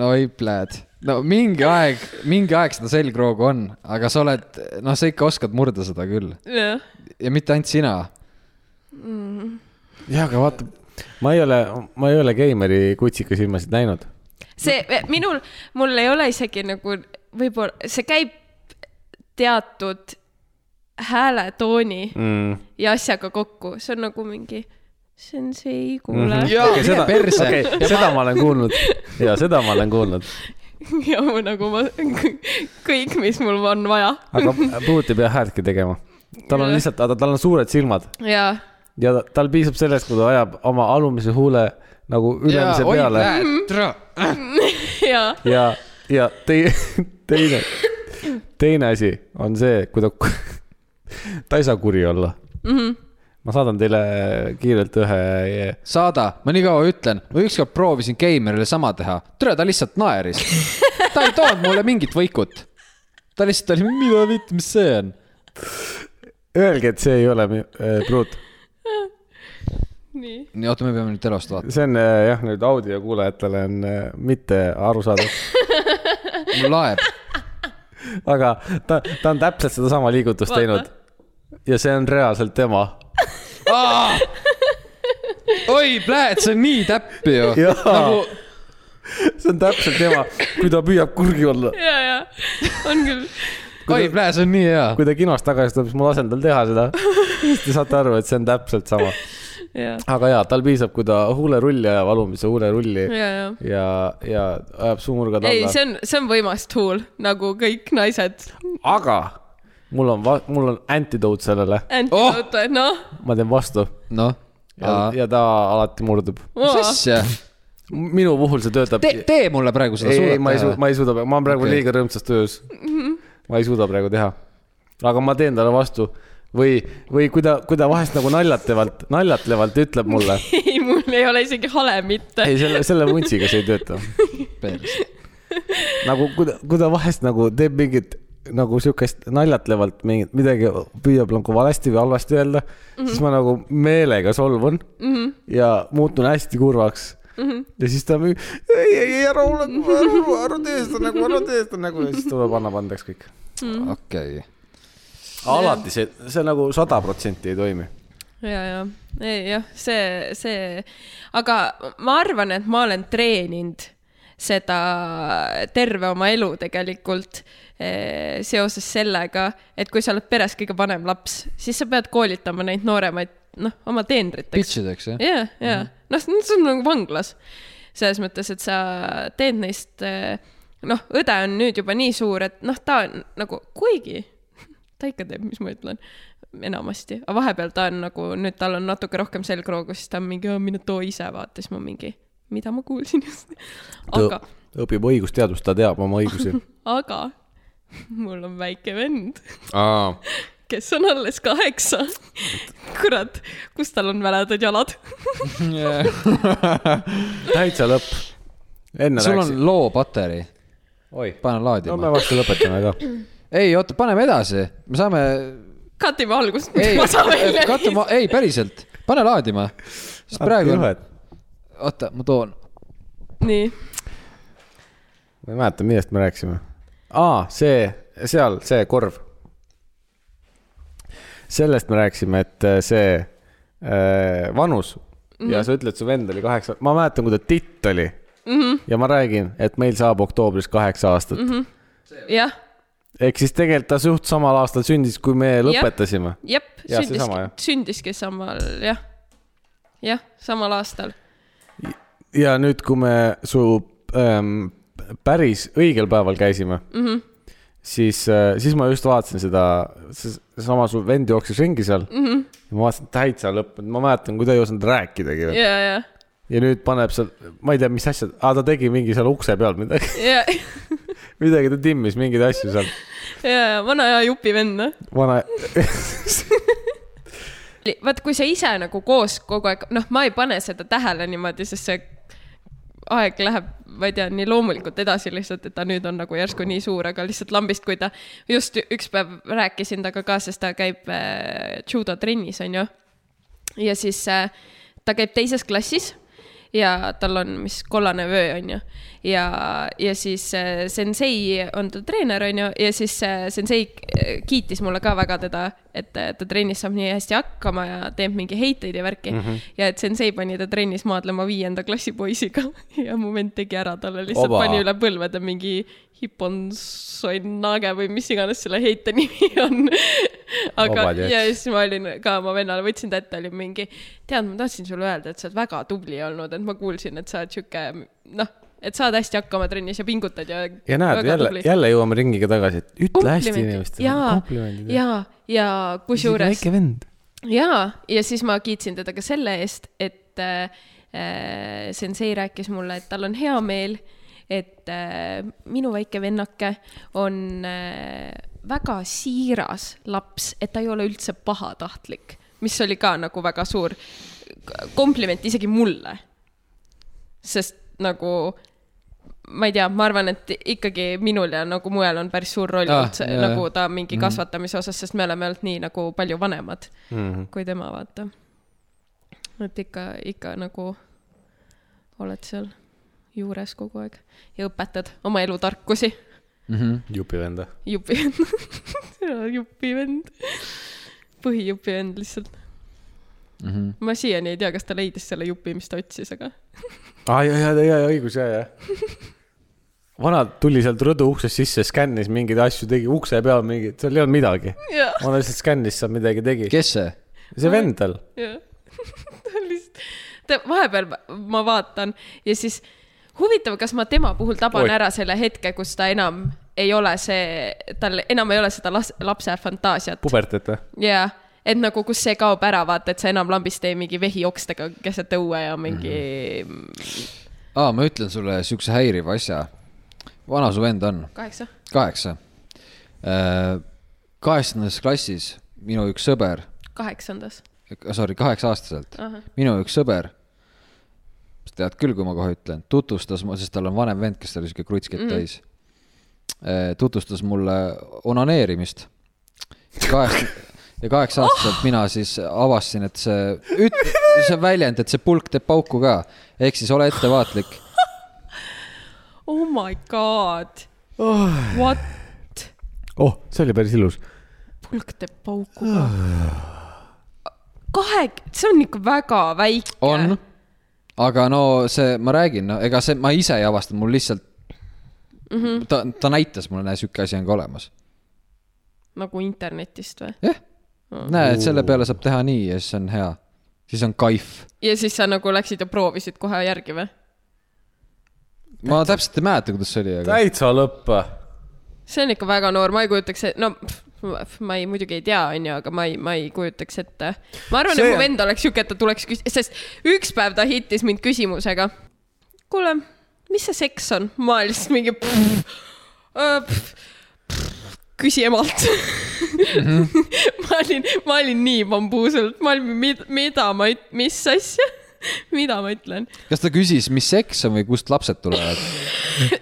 no ei pläd , no mingi aeg , mingi aeg seda selgroogu on , aga sa oled , noh , sa ikka oskad murda seda küll jah , ja mitte ainult sina . jah , aga vaata , ma ei ole , ma ei ole geimeri kutsikasilmasid näinud . see eh, minul , mul ei ole isegi nagu võib-olla , see käib teatud hääletooni Mm. ja asjaga kokku , see on nagu mingi sensei , kuule mm . jaa , seda , perse okay, okay. . seda ma olen kuulnud ja seda ma olen kuulnud , -hmm. *laughs* ja ma nagu ma , kõik , mis mul on vaja aga Pruut ei pea häältki tegema . tal on lihtsalt , tal on suured silmad ja *laughs* ja ta- tal piisab sellest , kui ta ajab oma alumise huule nagu jaa , ülemise oi peale pläd , türa . ja ja , ja tei- , teine , teine asi on see , kui ta , ta ei saa kuri olla mm . -hmm. ma saadan teile kiirelt ühe , saada , ma nii kaua ütlen , ma ükskord proovisin Geimerile sama teha , türa , ta lihtsalt naeris . ta ei toonud mulle mingit võikut . ta lihtsalt oli , mida vitt , mis see on ? öelge , et see ei ole mi- äh, pruut , nii . nii , oota , me peame nüüd telost vaatama , see on äh, jah , nüüd audiokuulajatele on äh, mitte arusaadav , mul laeb . aga ta , ta on täpselt sedasama liigutust Vaata. Vaata. teinud ja see on reaalselt tema . oi pläd , see on nii täpp ju . Jaa. nagu , see on täpselt tema , kui ta püüab kurgi olla . ja , ja on küll . oi pläd , see on nii hea . kui ta kinost tagasi tuleb , siis ma lasen tal teha seda . siis te saate aru , et see on täpselt sama . ja , aga jaa , tal piisab , kui ta huulerulli ajab , alumise huulerulli ja , ja . ja , ja ajab suunurgad ei , alla . see on , see on võimas tool , nagu kõik naised . aga mul on , mul on antidoot sellele , Oh! antidote , noh . ma teen vastu noh , ja , ja ta alati murdub . mis asja ? minu puhul see töötab . tee , tee mulle praegu seda ei , ma ei suuda , suuda . ma ei suuda , ma olen praegu Okei. okay. liiga rõõmsas töös . Mhm. ma ei suuda praegu teha . aga ma teen talle vastu või , või kui ta , kui ta vahest nagu naljatlevalt , naljatlevalt ütleb mulle , *laughs* ei , mul ei ole isegi hale mitte . ei selle , selle vuntsiga see ei tööta . nagu kui ta , kui ta vahest nagu teeb mingit nagu siukest naljatlevalt mingit midagi püüab nagu valesti või halvasti öelda mm , -hmm. siis ma nagu meelega solvun mm -hmm. ja muutun hästi kurvaks mm . -hmm. ja siis ta mingi ei , ei , ei ära ole , ära , ära tee seda nagu , ära tee seda nagu ja siis tuleb , annab andeks kõik . okei , alati see , see nagu sada protsenti ei toimi . ja , ja , ei jah , see , see , aga ma arvan , et ma olen treeninud seda terve oma elu tegelikult eh, seoses sellega , et kui sa oled peres kõige vanem laps , siis sa pead koolitama neid nooremaid , noh , oma teenriteks . pitch ideks jah ? ja , ja noh , see on nagu vanglas selles mõttes , et sa teed neist , noh , õde on nüüd juba nii suur , et noh , ta on nagu , kuigi *laughs* ta ikka teeb , mis ma ütlen , enamasti , aga vahepeal ta on nagu nüüd tal on natuke rohkem selgroogu , siis ta on mingi , mine too ise vaata , siis ma mingi , mida ma kuulsin just . aga , õpib õigusteadust , ta teab oma õigusi . aga *laughs* mul on väike vend *laughs* aa , kes on alles kaheksa . kurat , kus tal on väledad jalad ? *laughs* täitsa lõpp . enne sul on rääkisin . loo pateri , oi , pane no laadima me . varsti lõpetame *clears throat* ka . ei ei , oota , paneme edasi , me saame . katime algust , ei mis ma saan , välja . katuma , ei päriselt , pane laadima . sest praegu on , oota , ma toon . nii , ma ei mäleta , millest me rääkisime . aa , see , seal , see korv . sellest me rääkisime , et äh, see äh, vanus mm -hmm. Mhm. ja sa ütled , su vend oli kaheksa , ma mäletan , kui ta titt oli mm . Mhm. -hmm. ja ma räägin , et meil saab oktoobris kaheksa aastat mm . -hmm. jah , ehk siis tegelikult ta suht samal aastal sündis , kui me lõpetasime . jep , Jah, seesama, sündiski jah. , sündiski samal , jah , jah , samal aastal . ja nüüd , kui me su ähm, päris õigel päeval käisime mm , -hmm. siis , siis ma just vaatasin seda , seesama su vend jooksis ringi seal mm . -hmm. ma vaatasin täitsa lõpp , ma mäletan , kui ta ei osanud rääkidagi yeah. ja , ja , ja nüüd paneb seal , ma ei tea , mis asja , aa ta tegi mingi seal ukse peal midagi , *laughs* ja , *laughs* midagi ta timmis mingeid asju seal , ja vana hea jupivend , noh . vana , *laughs* vaat kui sa ise nagu koos kogu aeg , noh , ma ei pane seda tähele niimoodi , sest see aeg läheb , ma ei tea , nii loomulikult edasi lihtsalt , et ta nüüd on nagu järsku nii suur , aga lihtsalt lambist , kui ta just ü- üks päev rääkisin temaga ka , sest ta käib äh, judotrennis , onju . ja siis äh, ta käib teises klassis ja tal on , mis kollane vöö onju ja , ja siis äh, sensei on ta treener onju ja siis äh, sensei äh, kiitis mulle ka väga teda , et äh, ta trennis saab nii hästi hakkama ja teeb mingi heiteid ja värki mm . -hmm. ja et sensei pani ta trennis maadlema viienda klassi poisiga *laughs* ja mu vend tegi ära talle lihtsalt Oba. Oba. pani üle põlvede mingi hiponsonnage või mis iganes selle heite nimi on . aga Obad, jah. ja siis ma olin ka oma vennale , võtsin ta ette , olin mingi , tead , ma tahtsin sulle öelda , et sa oled väga tubli olnud , et ma kuulsin , et sa oled sihuke noh , et saad hästi hakkama trennis ja pingutad ja . ja näed , jälle , jälle jõuame ringiga tagasi , et ütle hästi inimestele . ja , ja , ja kusjuures väike vend . ja , ja siis ma kiitsin teda ka selle eest , et äh, äh, sensei rääkis mulle , et tal on hea meel , et äh, minu väike vennake on äh, väga siiras laps , et ta ei ole üldse pahatahtlik , mis oli ka nagu väga suur k- kompliment isegi mulle . sest nagu ma ei tea , ma arvan , et ikkagi minul ja nagu mujal on päris suur roll Ah, ah, üldse jaa, Mhm. jaa. nagu ta mingi kasvatamise osas , sest me oleme olnud nii nagu palju vanemad Mhm. kui tema , vaata . et ikka , ikka nagu oled seal juures kogu aeg ja õpetad oma elu tarkusi . jupi venda . jupi vend , *laughs* jupi vend , põhijupi vend lihtsalt mm . -hmm. ma siiani ei tea , kas ta leidis selle jupi , mis ta otsis , aga aa , ja , ja , ja , ja õigus , ja , ja . *laughs* vana tuli sealt rõdu uksest sisse , skännis mingeid asju , tegi ukse peal mingeid , seal ei olnud midagi . ja , vana lihtsalt skännis seal midagi tegi . kes see ? *laughs* see vend tal , ja . ta vahepeal ma- ma vaatan ja siis huvitav , kas ma tema puhul taban Oi. Oi. ära selle hetke , kus ta enam ei ole see , tal enam ei ole seda las- , lapse fantaasiat . pubertet või ? jaa , et nagu , kus see kaob ära , vaata , et sa enam lambist ei mingi vehiokstega keset õue ja mingi aa , ma ütlen sulle siukse häiriva asja . vana su vend on ? kaheksa . kaheksa . kaheksandas klassis minu üks sõber , kaheksandas . sorry , kaheksa-aastaselt Ahah. , minu üks sõber , sa tead küll , kui ma kohe ütlen , tutvustas , sest tal on vanem vend , kes oli sihuke krutskett täis mm. , tutvustas mulle onaneerimist . kaheksa ja kaheksa-aastaselt mina siis avastasin , et see üt- , see väljend , et see pulk teeb pauku ka , ehk siis ole ettevaatlik . Oh my god oh. . What ? oh , see oli päris ilus . pulk teeb pauku ka . kahe , see on ikka väga väike . on , aga no see , ma räägin , no ega see , ma ise ei avastanud , mul lihtsalt mm , -hmm. ta , ta näitas mulle , näe , sihuke asi on ka olemas . nagu internetist või ? jah , näe , et selle peale saab teha nii ja siis on hea , siis on kaif . ja siis sa nagu läksid ja proovisid kohe järgi või ? ma täpselt ei mäleta , kuidas see oli , aga täitsa lõpp . see on ikka väga noor , ma ei kujutaks , no pff, ma ei , muidugi ei tea , onju , aga ma ei , ma ei kujutaks ette . ma arvan , See- et mu vend oleks siuke , et ta tuleks küs- , sest üks päev ta hittis mind küsimusega . kuule , mis see seks on ? ma olin lihtsalt mingi . küsi emalt . *laughs* ma olin , ma olin nii bambuuselt , ma olin , mida, mida ma , mis asja , *laughs* mida ma ütlen , kas ta küsis , mis seks on või kust lapsed tulevad ?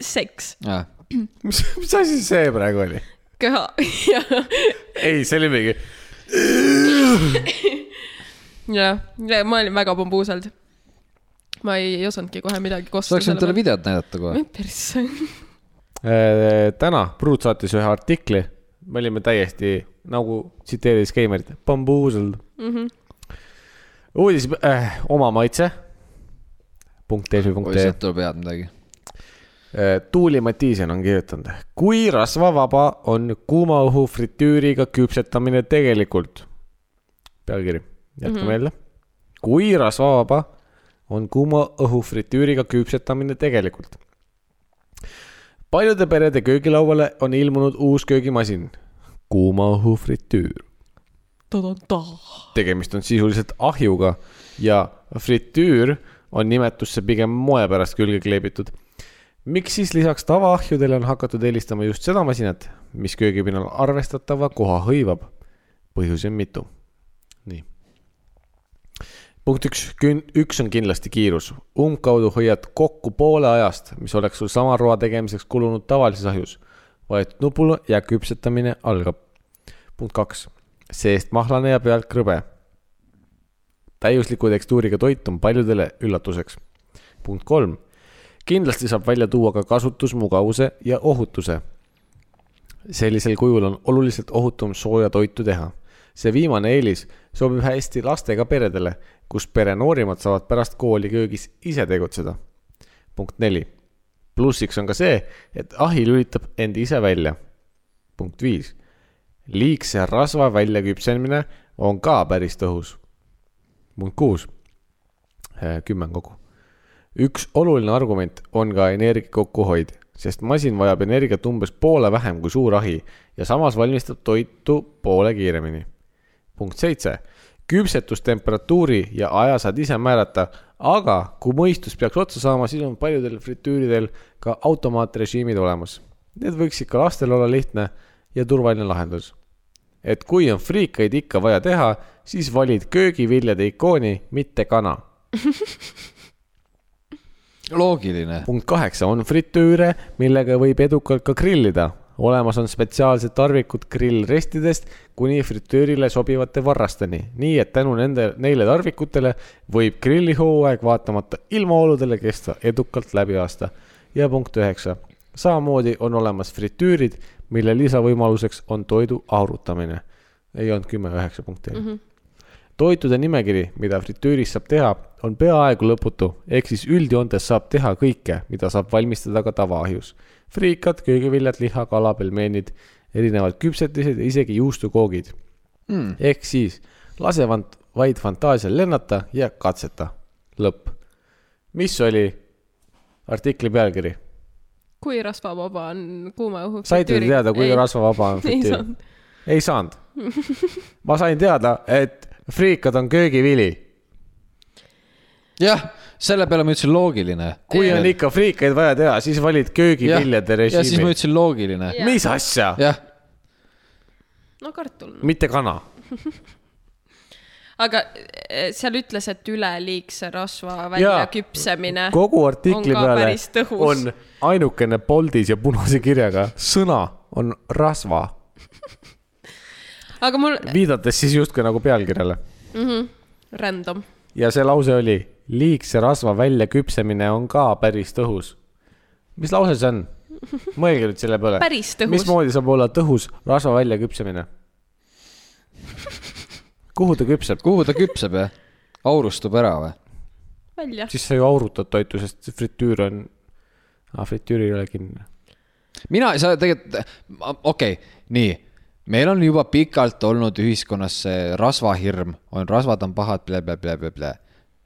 seks , mis , mis asi see praegu oli ? köha *laughs* ja , ei , see oli mingi , ja , ja ma olin väga bambuuselt . ma ei, ei osanudki kohe midagi sa kosta . oleks võinud talle videot näidata kohe . persse . Äh, täna Pruut saatis ühe artikli , me olime täiesti nagu tsiteeris Keimerit , bambuuselt mm . -hmm. uudis äh, oma maitse . punkt EFI oi , punkt ee sealt tuleb head midagi . Äh, Tuuli Matiisen on kirjutanud , kui rasvavaba on kuuma õhu fritüüriga küpsetamine tegelikult . pealkiri , jätkame jälle mm -hmm. . kui rasvavaba on kuuma õhu fritüüriga küpsetamine tegelikult . paljude perede köögilauale on ilmunud uus köögimasin , kuuma õhu fritüür . tegemist on sisuliselt ahjuga ja fritüür on nimetusse pigem moe pärast külge kleebitud miks siis lisaks tavaahjudele on hakatud eelistama just seda masinat , mis köögipinnal arvestatava koha hõivab ? põhjusi on mitu . nii . punkt üks , üks on kindlasti kiirus . umbkaudu hoiad kokku poole ajast , mis oleks sul sama roa tegemiseks kulunud tavalises ahjus . vajutad nupule ja küpsetamine algab . punkt kaks , seest mahlane ja pealt krõbe . täiusliku tekstuuriga toit on paljudele üllatuseks . punkt kolm kindlasti saab välja tuua ka kasutusmugavuse ja ohutuse . sellisel kujul on oluliselt ohutum sooja toitu teha . see viimane eelis sobib hästi lastega peredele , kus pere noorimad saavad pärast kooli köögis ise tegutseda . punkt neli . plussiks on ka see , et ahi lülitab end ise välja . punkt viis . liigse rasva väljaküpsemine on ka päris tõhus . punkt kuus . kümme on kogu üks oluline argument on ka energia kokkuhoid , sest masin vajab energiat umbes poole vähem kui suur ahi ja samas valmistab toitu poole kiiremini . punkt seitse , küpsetustemperatuuri ja aja saad ise määrata , aga kui mõistus peaks otsa saama , siis on paljudel fritüüridel ka automaatrežiimid olemas . Need võiks ikka lastel olla lihtne ja turvaline lahendus . et kui on friikaid ikka vaja teha , siis valid köögiviljade ikooni , mitte kana loogiline . punkt kaheksa on fritüüre , millega võib edukalt ka grillida . olemas on spetsiaalsed tarvikud grillrestidest kuni fritüürile sobivate varrasteni , nii et tänu nende , neile tarvikutele võib grillihooaeg vaatamata ilmaoludele kesta edukalt läbi aasta . ja punkt üheksa , samamoodi on olemas fritüürid , mille lisavõimaluseks on toidu aurutamine . ei olnud kümme , üheksa punkti mm . -hmm toitude nimekiri , mida fritüüris saab teha , on peaaegu lõputu , ehk siis üldjoontes saab teha kõike , mida saab valmistada ka tavaahjus . friikad , köögiviljad , liha , kala , pelmeenid , erinevad küpsetised ja isegi juustukoogid mm. . ehk siis lase vant- , vaid fantaasial lennata ja katseta . lõpp . mis oli artikli pealkiri ? kui rasvavaba on kuuma õhu . saite te teada , kui ? rasvavaba on *laughs* ei fritüür ? saanud . ei saanud . ma sain teada , et friikad on köögivili . jah , selle peale ma ütlesin loogiline . kui on ikka friikaid vaja teha , siis valid köögiviljade ja siis ma režiimi . ütlesin loogiline . Jah. mis asja ? jah , no kartul . mitte kana . aga eh, seal ütles , et üleliigse rasva Jaa. väljaküpsemine . kogu artikli Äh. on ka peale päris tõhus. on ainukene boldis ja punase kirjaga sõna on rasva , aga mul , viidates siis justkui nagu pealkirjale . random . ja see lause oli , liigse rasva väljaküpsemine on ka päris tõhus . mis lause see on ? mõelge nüüd selle peale . Päris tõhus. mismoodi saab olla tõhus rasva väljaküpsemine ? kuhu ta küpseb ? kuhu ta küpseb ja aurustub ära või ? välja . siis sa ju aurutad toitu , sest fritüür on ah, , fritüür ei ole kinni . mina ei saa tegelikult , okei okay, , nii . meil on juba pikalt olnud ühiskonnas see rasvahirm , on rasvad on pahad blä, , blä-blä-blä-blä ,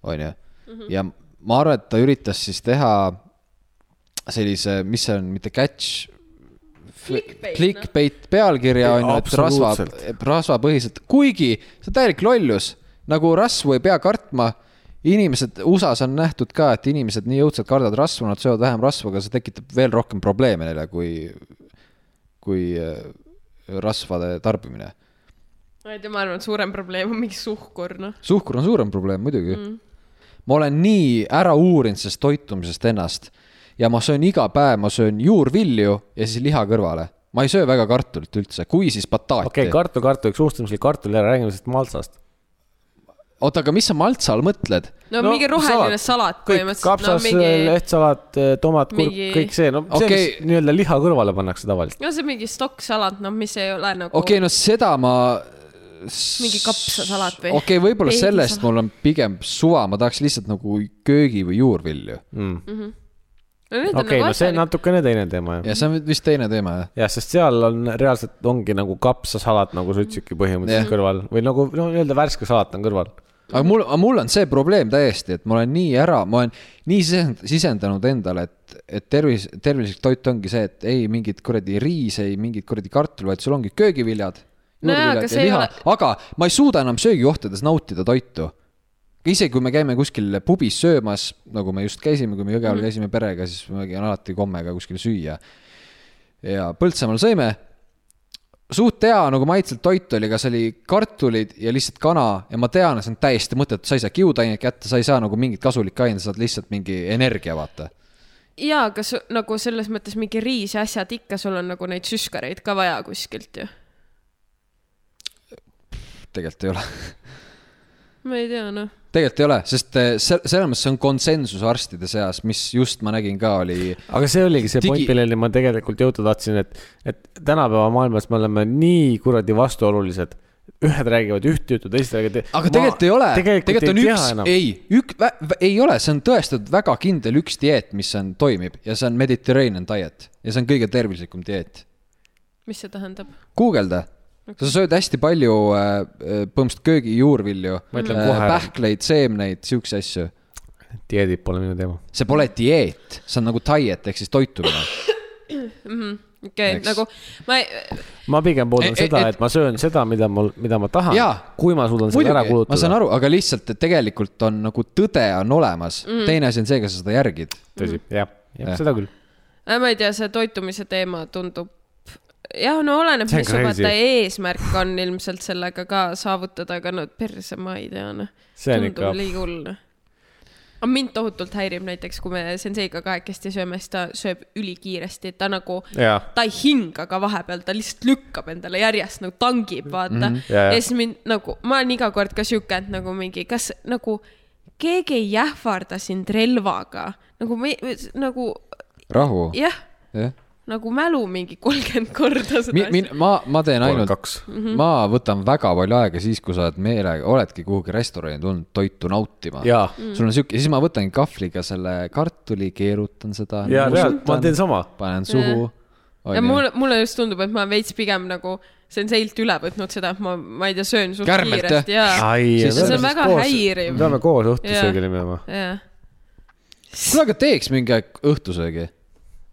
onju . ja ma arvan , et ta üritas siis teha sellise , mis see on , mitte catch . Clickbait, Clickbait pealkirja on ju , et rasva Absoluutselt. , rasvapõhiselt , kuigi see on täielik lollus , nagu rasvu ei pea kartma inimesed , USA-s on nähtud ka , et inimesed nii õudselt kardavad rasvu , nad söövad vähem rasvu , aga see tekitab veel rohkem probleeme neile , kui , kui äh, rasvade tarbimine . ma ei tea , ma arvan , et suurem probleem on mingi suhkur , noh . suhkur on suurem probleem muidugi mm. . ma olen nii ära uurinud sellest toitumisest ennast ja ma söön iga päev , ma söön juurvilju ja siis liha kõrvale . ma ei söö väga kartulit üldse , kui siis bataati okei okay, , kartul , kartul , üks unustamisel kartul ära , räägime sellest maltsast . oota , aga mis sa maltsa all mõtled ? no mingi roheline salat kõik , põhimõtteliselt . kapsas eh, no, no, , mingi... mingi... lehtsalat , tomat mingi... , mingi- kõik see , no okay. see , Okei. mis nii-öelda liha kõrvale pannakse tavaliselt . no see on mingi stokksalat , noh , mis ei ole nagu okei okay, , no seda ma . mingi kapsasalat või ? okei okay, , võib-olla sellest . mul on pigem suva , ma tahaks lihtsalt nagu köögi või juurvilju no need on okei , nagu no see on asjad . natukene teine teema ju . ja see on vist teine teema jah . jah , sest seal on reaalselt ongi nagu kapsasalat , nagu sa ütlesidki põhimõtteliselt Jah. yeah. kõrval või nagu no nii-öelda värske salat on kõrval . aga mul , mul on see probleem täiesti , et ma olen nii ära , ma olen nii sisend- sisendanud endale , et , et tervis , tervislik toit ongi see , et ei mingit kuradi riis , ei mingit kuradi kartul , vaid sul ongi köögiviljad . Nojah, aga see ei ole- aga ma ei suuda enam söögikohtades nautida toitu . isegi kui me käime kuskil pubis söömas , nagu me just käisime , kui me Jõgeval Mhm. käisime perega , siis ma käin alati kommega kuskil süüa . ja Põltsamaal sõime suht hea nagu maitselt toit oli , aga see oli kartulid ja lihtsalt kana ja ma tean , et see on täiesti mõttetu , sa ei saa kiudainet kätte , sa ei saa nagu mingit kasulikku ainet , sa saad lihtsalt mingi energia , vaata . jaa , aga su- nagu selles mõttes mingi riis ja asjad ikka , sul on nagu neid süskareid ka vaja kuskilt ju . tegelikult ei ole , *laughs* ma ei tea , noh . tegelikult ei ole , sest eh, se- selles mõttes see on konsensus arstide seas , mis just ma nägin ka oli , aga see oligi Digi- see Digi... point , milleni ma tegelikult jõuda tahtsin , et , et tänapäeva maailmas me oleme nii kuradi vastuolulised . ühed räägivad üht juttu , teised räägivad . aga tegelikult ei ole , tegelikult on üks , ei , ük- , ei ole , see on tõestatud väga kindel üks dieet , mis on , toimib ja see on Mediterranean diet ja see on kõige tervislikum dieet mis see tähendab ? guugelda , sa sööd hästi palju äh, äh, põhimõtteliselt köögijuurvilju , Ma ütlen kohe. pähkleid , seemneid , siukseid asju . dieedid pole minu teema . see pole dieet , see on nagu diet ehk siis toitumine . okei , Eks. nagu ma ei , ma pigem pooldan E- e- seda , et- et ma söön seda , mida mul , mida ma tahan Jaa. . kui ma suudan selle ära muidugi , ma saan kulutada . aru , aga lihtsalt , et tegelikult on nagu tõde on olemas mm. , Mhm. teine asi on see , kas sa seda järgid . tõsi , jah , jah , Jah. seda küll . Äh, ma ei tea , see toitumise teema tundub , jah , no oleneb , See on mis su vaata crazy. eesmärk on ilmselt sellega ka saavutada , aga no perse ma ei tea , noh . See on tundub ikka- liiga hull , noh . aga mind tohutult häirib näiteks , kui me senseiga kahekesti sööme , siis ta sööb ülikiiresti , ta nagu , Jaa. ta ei hinga ka vahepeal , ta lihtsalt lükkab endale järjest nagu tangib , vaata mm . -hmm. Mhm. Jaa, jaa. ja siis mind nagu , ma olen iga kord ka sihuke , et nagu mingi , kas nagu keegi ei ähvarda sind relvaga nagu me , nagu rahu , jah jah . nagu mälu mingi kolmkümmend korda seda mi- , min- , ma , ma teen ainult , kaks . ma võtan väga palju aega siis , kui sa oled meelega , oledki kuhugi restorani tulnud toitu nautima . jaa , sul on siuke , siis ma võtangi kahvliga selle kartuli , keerutan seda . jaa , reaalselt , ma teen sama . panen suhu , ja mulle , mulle just tundub , et ma veits pigem nagu , see on seilt üle võtnud seda , et ma , ma ei tea , söön suht Kärmelt, kiiresti ja , Ai, Siis- see on väga häiriv. me peame koos õhtusöögile Jaa. minema . ja kuule , aga teeks mingi aeg õhtusöögi .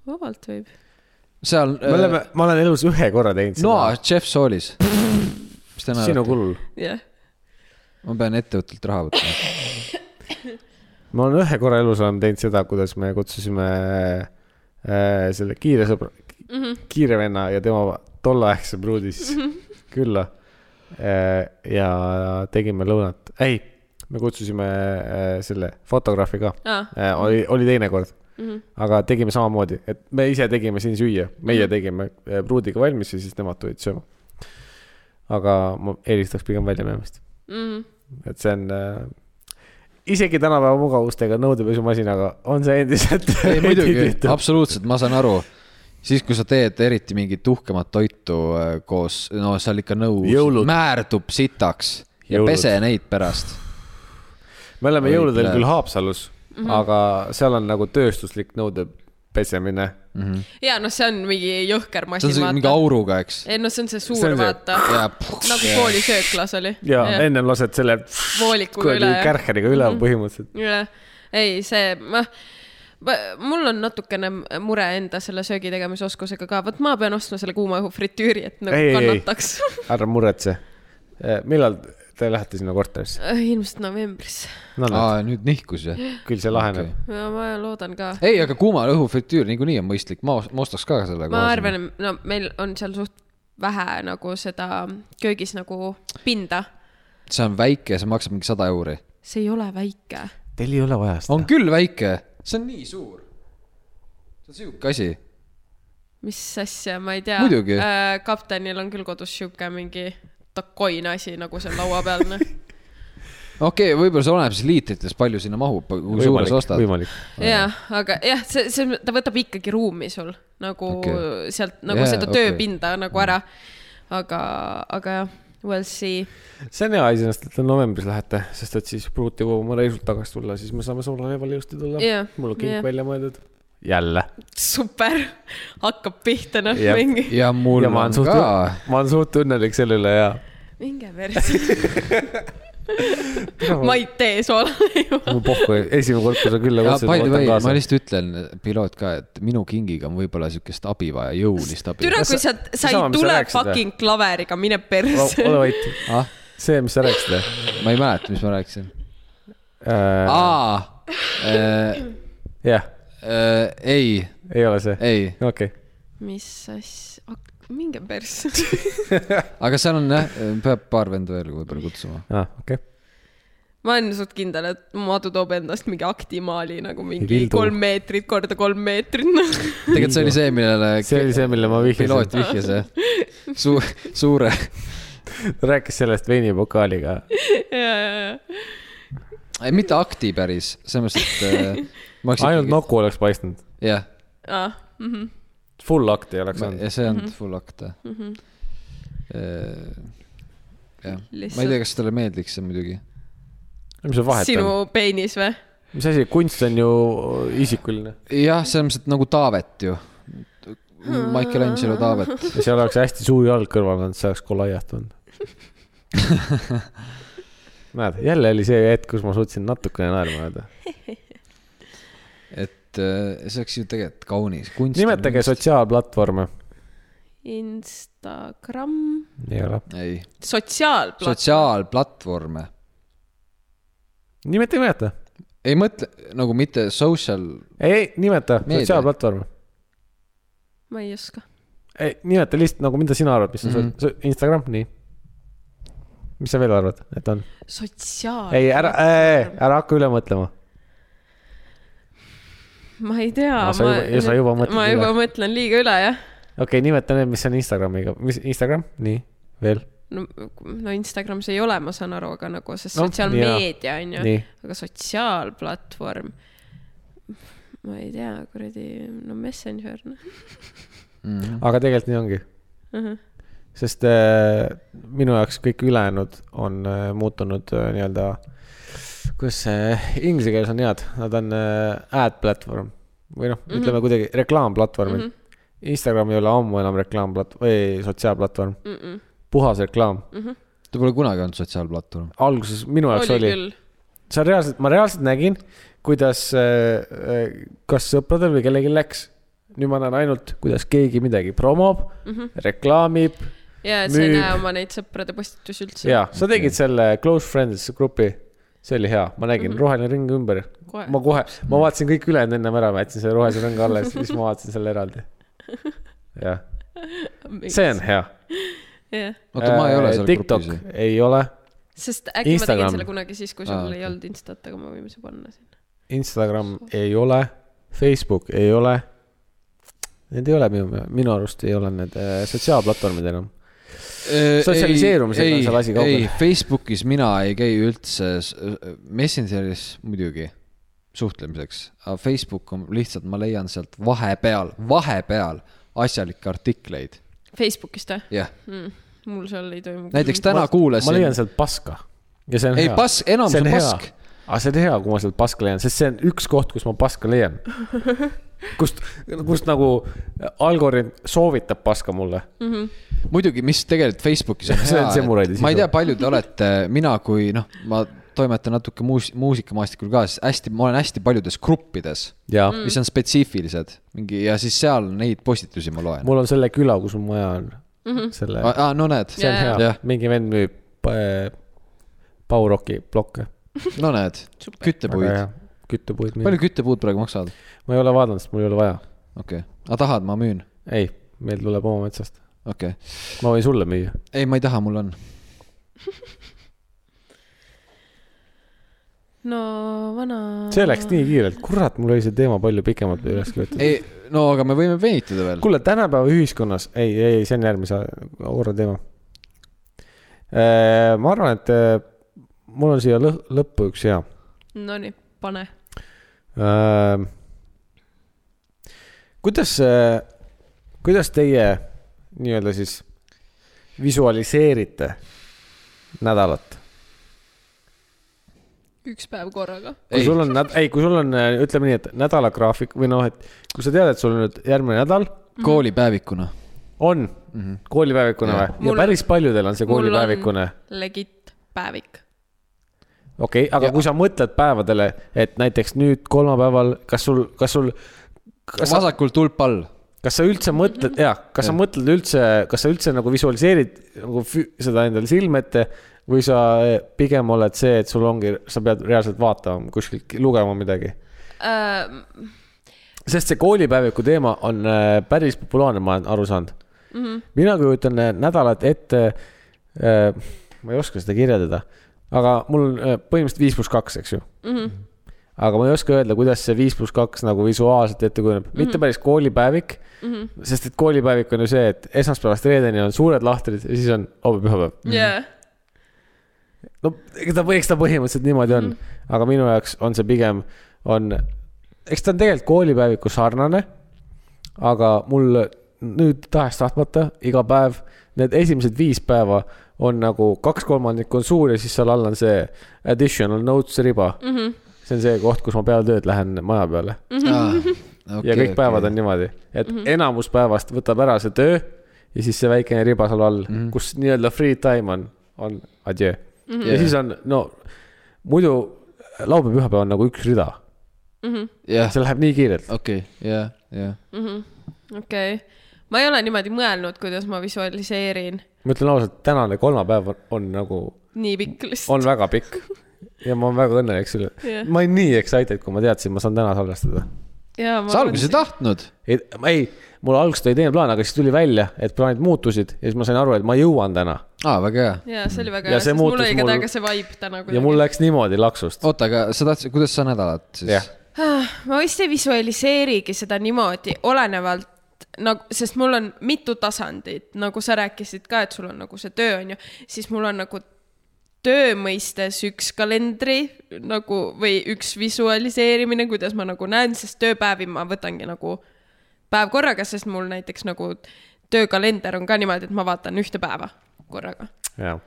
vabalt võib . seal me oleme , ma olen elus ühe korra teinud Noa , Jeff Soolis . mis te seda . sinu naerate ? kulul . jah , ma pean ettevõttelt raha *laughs* võtma . ma olen ühe korra elus oleme teinud seda , kuidas me kutsusime äh, selle kiire sõbra mm , -hmm. kiire venna ja tema tolleaegse pruudi siis mm -hmm. külla äh, . ja tegime lõunat , ei , me kutsusime äh, selle fotograafi ka Aa. äh, , oli , oli teine kord mm . -hmm. aga tegime samamoodi , et me ise tegime siin süüa , meie tegime äh, pruudiga valmis ja siis nemad tulid sööma . aga ma eelistaks pigem välja minemist mm. . et see on äh, isegi tänapäeva mugavustega nõudepesumasinaga on see endiselt . ei *laughs* muidugi , absoluutselt , ma saan aru . siis , kui sa teed eriti mingit uhkemat toitu äh, koos , no seal ikka nõu Jõulud. määrdub sitaks ja Jõulud. Jõulud. pese neid pärast . me oleme Oi, jõuludel näed. küll Haapsalus mm , -hmm. aga seal on nagu tööstuslik nõudepesemine . Mhm. ja noh , see on mingi jõhker see on masin , see mingi vaata . auruga , eks . ei noh , see on see See on suur , see- vaata . ja nagu koolisööklas oli . ja ennem lased selle voolikuga kuradi üle ja kärheriga üle põhimõtteliselt . jah , ei see , ma, ma , mul on natukene mure enda selle söögi tegemise oskusega ka , vot ma pean ostma selle kuuma õhu fritüüri , et nagu Ei, ei, ei, ei. kannataks . *laughs* ära muretse . millal te lähete sinna korterisse ? Äh, ilmselt novembris , no näed , aa , nüüd nihkus jah ? küll see laheneb okay. . ma loodan ka . ei , aga kuuma õhufritüür niikuinii on mõistlik , ma , ma ostaks ka selle . ma arvan , no meil on seal suht vähe nagu seda köögis nagu pinda , see on väike , see maksab mingi sada euri . see ei ole väike . Teil ei ole vaja seda . on küll väike , see on nii suur . see on sihuke asi . mis asja , ma ei tea Äh, Muidugi. . kaptenil on küll kodus sihuke mingi takoin asi nagu seal laua peal , *laughs* noh . okei okay, , võib-olla see oleneb siis liitritest , palju sinna mahub , kui suure sa ostad . võimalik . jah , aga jah , see , see , ta võtab ikkagi ruumi sul nagu okay. Okei. sealt nagu yeah, Jaa, seda okei. Mm. tööpinda nagu ära . aga , aga jah , we'll see . see on hea iseenesest , et te novembris lähete , sest et siis pruut jõuab oma reisult tagasi tulla , siis me saame soolaleivale ilusti tulla Jah. mul on kink Jah. välja mõeldud . jälle . super , *laughs* hakkab pihta noh Jah. yeah. mingi , ja mul ja ja ma on olen suht ka ,, ma olen suht õnnelik selle üle ja . minge versi . ma ei tee soolaleiva . mul pohhu , esimene kord , kui sa külla ja by the kutsusid , ma way , võtan ma kaasa . lihtsalt ütlen , piloot ka , et minu kingiga on võib-olla siukest abi vaja , jõulist abi . türa , Kas kui sa- sa , sa ei sama, mis sa tule rääkisid, fucking klaveriga , mine *laughs* persse . ole vait , ah , see , mis sa rääkisid ma ei mäleta , mis ma rääkisin . äh, . aa , jah , ei , ei ole see , ei , okei . mis asja , minge persse . aga seal on jah , peab paar venda veel võib-olla kutsuma . aa , okei . *laughs* ma olen suht kindel , et Madu toob endast mingi aktimaali nagu mingi Vildu. kolm meetrit korda kolm meetrit *laughs* noh. tegelikult see oli see , millele see oli see , millele ma piloot vihjasin . vihjas jah , suur , suure , ta rääkis sellest veinipokaaliga . ja , ja , ja . mitte akti päris , selles mõttes , et äh, ma oleks ainult . Nuku oleks paistnud . jah , ah, . Mm -hmm. Full akti oleks olnud . ja see on full akte . jah , ma ei tea , lihtsalt kas talle meeldiks see muidugi . mis seal vahet sinu on ? peenis või ? mis asi , kunst on ju isikuline . jah , selles mõttes , et nagu Taavet ju . Michelangelo Taavet . *laughs* ja seal oleks hästi suur jalg kõrval olnud , see oleks kolaiat olnud . näed , jälle oli see hetk , kus ma suutsin natukene naerma öelda . et äh, see oleks ju tegelikult kaunis kunst . nimetage . sotsiaalplatvorme . Instagram , ei ole . ei , sotsiaalplatvorm . sotsiaalplatvorme . nimeta , nimeta . ei mõtle nagu mitte social , ei , nimeta Meedia. sotsiaalplatvorme . ma ei oska . ei , nimeta lihtsalt nagu , mida sina arvad , mis on mm -hmm. Instagram , nii . mis sa veel arvad , et on ? sotsiaal , ei , ära , ära hakka üle mõtlema . ma ei tea . Aa, sa juba- ja sa juba mõtled ma üle. juba mõtlen liiga üle , jah . okei okay, , nimeta need , mis on Instagramiga , mis Instagram , nii , veel , no , no Instagramis ei ole , ma saan aru , aga nagu see Noh, sotsiaalmeedia on ju nii . aga sotsiaalplatvorm , ma ei tea , kuradi , no Messenger , noh . aga tegelikult nii ongi uh . Mhm. -huh. sest äh, minu jaoks kõik ülejäänud on äh, muutunud äh, nii-öelda , kuidas äh, inglise Mhm. keeles on head , nad on äh, ad platvorm või noh , ütleme kuidagi reklaamplatvormid mm . -hmm. Instagram ei ole ammu enam reklaamplat- , või sotsiaalplatvorm Mhm, mm . -mm. puhas reklaam mm . -hmm. ta pole kunagi olnud sotsiaalplatvorm . alguses minu jaoks oli oli, oli. küll . sa reaalselt , ma reaalselt nägin , kuidas äh, äh, kas sõpradel või kellelgi läks . nüüd ma näen ainult , kuidas keegi midagi promob mm , -hmm. reklaamib ja sa ei Müüb. näe oma neid sõprade postitusi üldse . ja sa tegid selle Close Friends grupi , see oli hea , ma nägin mm -hmm. roheline ring ümber . Kohe. ma kohe , ma vaatasin kõik ülejäänud ennem ära , ma jätsin selle rohelise ringi alles , siis ma vaatasin selle eraldi . jah , see on hea . jah , oota , ma ei ole seal Äh, TikTok grupis . ei ole , sest äkki Instagram. ma Instagram. tegin selle kunagi siis , kui sul Aa, ah, okei. ei olnud Instat , aga me võime see panna sinna . Instagram ei ole , Facebook ei ole . Need ei ole minu , minu arust ei ole need äh, sotsiaalplatvormid enam . Sotsialiseerumisega on seal asi kaugel. Äh, ei , Facebookis mina ei käi üldse , Messengeris muidugi suhtlemiseks , aga Facebook on lihtsalt , ma leian sealt vahepeal , vahepeal asjalikke artikleid , Facebookist või ? jah . mul seal ei toimu . näiteks täna ma leian kuulasin , sealt paska . ja see on Ei, hea . pas- enamus on pask. . aga see on hea , kui ma sealt paska leian , sest see on üks koht , kus ma paska *laughs* leian . kust , kust nagu algoritm soovitab paska mulle . Mm. muidugi , mis tegelikult Facebookis on *laughs* See on hea samuraide , sisu. ma ei tea , palju te olete , mina kui noh , ma toimetan natuke muus- , muusikamaastikul ka , siis hästi , ma olen hästi paljudes gruppides , ja mm. mis on spetsiifilised mingi ja siis seal neid postitusi ma loen . mul on selle küla , kus mu maja on mm . Mhm. -hmm. selle , aa , no näed . see on hea jah , yeah. , mingi vend müüb äh, Pauroki plokke . no näed , küttepuid . küttepuid müüb . palju küttepuud praegu maksavad ? ma ei ole vaadanud , sest mul ei ole vaja . okei okay. , aga tahad , ma müün ? ei , meil tuleb oma metsast . okei okay. , ma võin sulle müüa . ei , ma ei taha , mul on . no vana . see läks nii kiirelt , kurat , mul oli see teema palju pikemalt üles kirjutatud . ei , no aga me võime venitada veel . kuule , tänapäeva ühiskonnas , ei , ei , see on järgmise korra teema . ma arvan , et eh, mul on siia lõ- lõppu üks hea . Nonii , pane . Äh, kuidas , kuidas teie nii-öelda siis visualiseerite nädalat ? üks päev korraga . kui Ei. sul on , ei , kui sul on , ütleme nii , et nädalagraafik või noh , et kui sa tead , et sul on nüüd järgmine nädal koolipäevikuna . on mm -hmm. koolipäevikune või ? ja Mul- päris paljudel on see mul on- koolipäevikune . Legit päevik . okei okay, , aga ja. kui sa mõtled päevadele , et näiteks nüüd kolmapäeval , kas sul , kas sul , kas sa , vasakul tulp all . kas sa üldse mõtled , jaa , kas ja. sa mõtled üldse , kas sa üldse nagu visualiseerid nagu fü- seda endale silme ette või sa eh, pigem oled see , et sul ongi , sa pead reaalselt vaatama kuskilt , lugema midagi ? Äh, Mm. sest see koolipäeviku teema on äh, päris populaarne , ma olen aru saanud mm . -hmm. mina kujutan äh, nädalat ette äh, , ma ei oska seda kirjeldada , aga mul on äh, põhimõtteliselt viis pluss kaks , eks ju mm . -hmm. aga ma ei oska öelda , kuidas see viis pluss kaks nagu visuaalselt ette kujuneb mm , -hmm. mitte päris koolipäevik mm . -hmm. sest et koolipäevik on ju see , et esmaspäevast reedeni on suured lahtrid ja siis on homme-pühapäev . jah , no ega ta , eks ta põhimõtteliselt niimoodi on mm. , aga minu jaoks on see pigem , on , eks ta on tegelikult koolipäeviku sarnane . aga mul nüüd tahes-tahtmata iga päev , need esimesed viis päeva on nagu kaks kolmandikku on suur ja siis seal all on see additional notes riba mm . -hmm. see on see koht , kus ma peale tööd lähen maja peale okay, Ah, Okay, ja kõik päevad okay. on niimoodi , et mm -hmm. enamus päevast võtab ära see töö ja siis see väikene riba seal all mm , -hmm. kus nii-öelda free time on , on adjöö on ja siis on , no muidu laupäev , pühapäev on nagu üks rida , jah , see läheb nii kiirelt . okei , jah , jah . okei . ma ei ole niimoodi mõelnud , kuidas ma visualiseerin ma ütlen ausalt , tänane kolmapäev on, on nagu , nii pikk lihtsalt . on väga pikk ja ma olen väga õnnelik selle Jah. yeah. , ma olin nii excited , kui ma teadsin , ma saan täna salvestada . sa alguses ei tahtnud . ei , ei , mul alguses oli teine plaan , aga siis tuli välja , et plaanid muutusid ja siis ma sain aru , et ma jõuan täna aa , Ah, väga hea . jaa , see oli väga Ja hea , see sest mul muutus oli ka mul- täiega see vibe täna . ja mul läks niimoodi laksust . oota , aga sa tahtsid , kuidas sa nädalat siis jah , Ah, ma vist ei visualiseerigi seda niimoodi , olenevalt nagu , sest mul on mitu tasandit , nagu sa rääkisid ka , et sul on nagu see töö on ju , siis mul on nagu töö mõistes üks kalendri nagu või üks visualiseerimine , kuidas ma nagu näen , sest tööpäevi ma võtangi nagu päev korraga , sest mul näiteks nagu töökalender on ka niimoodi , et ma vaatan ühte päeva korraga jah .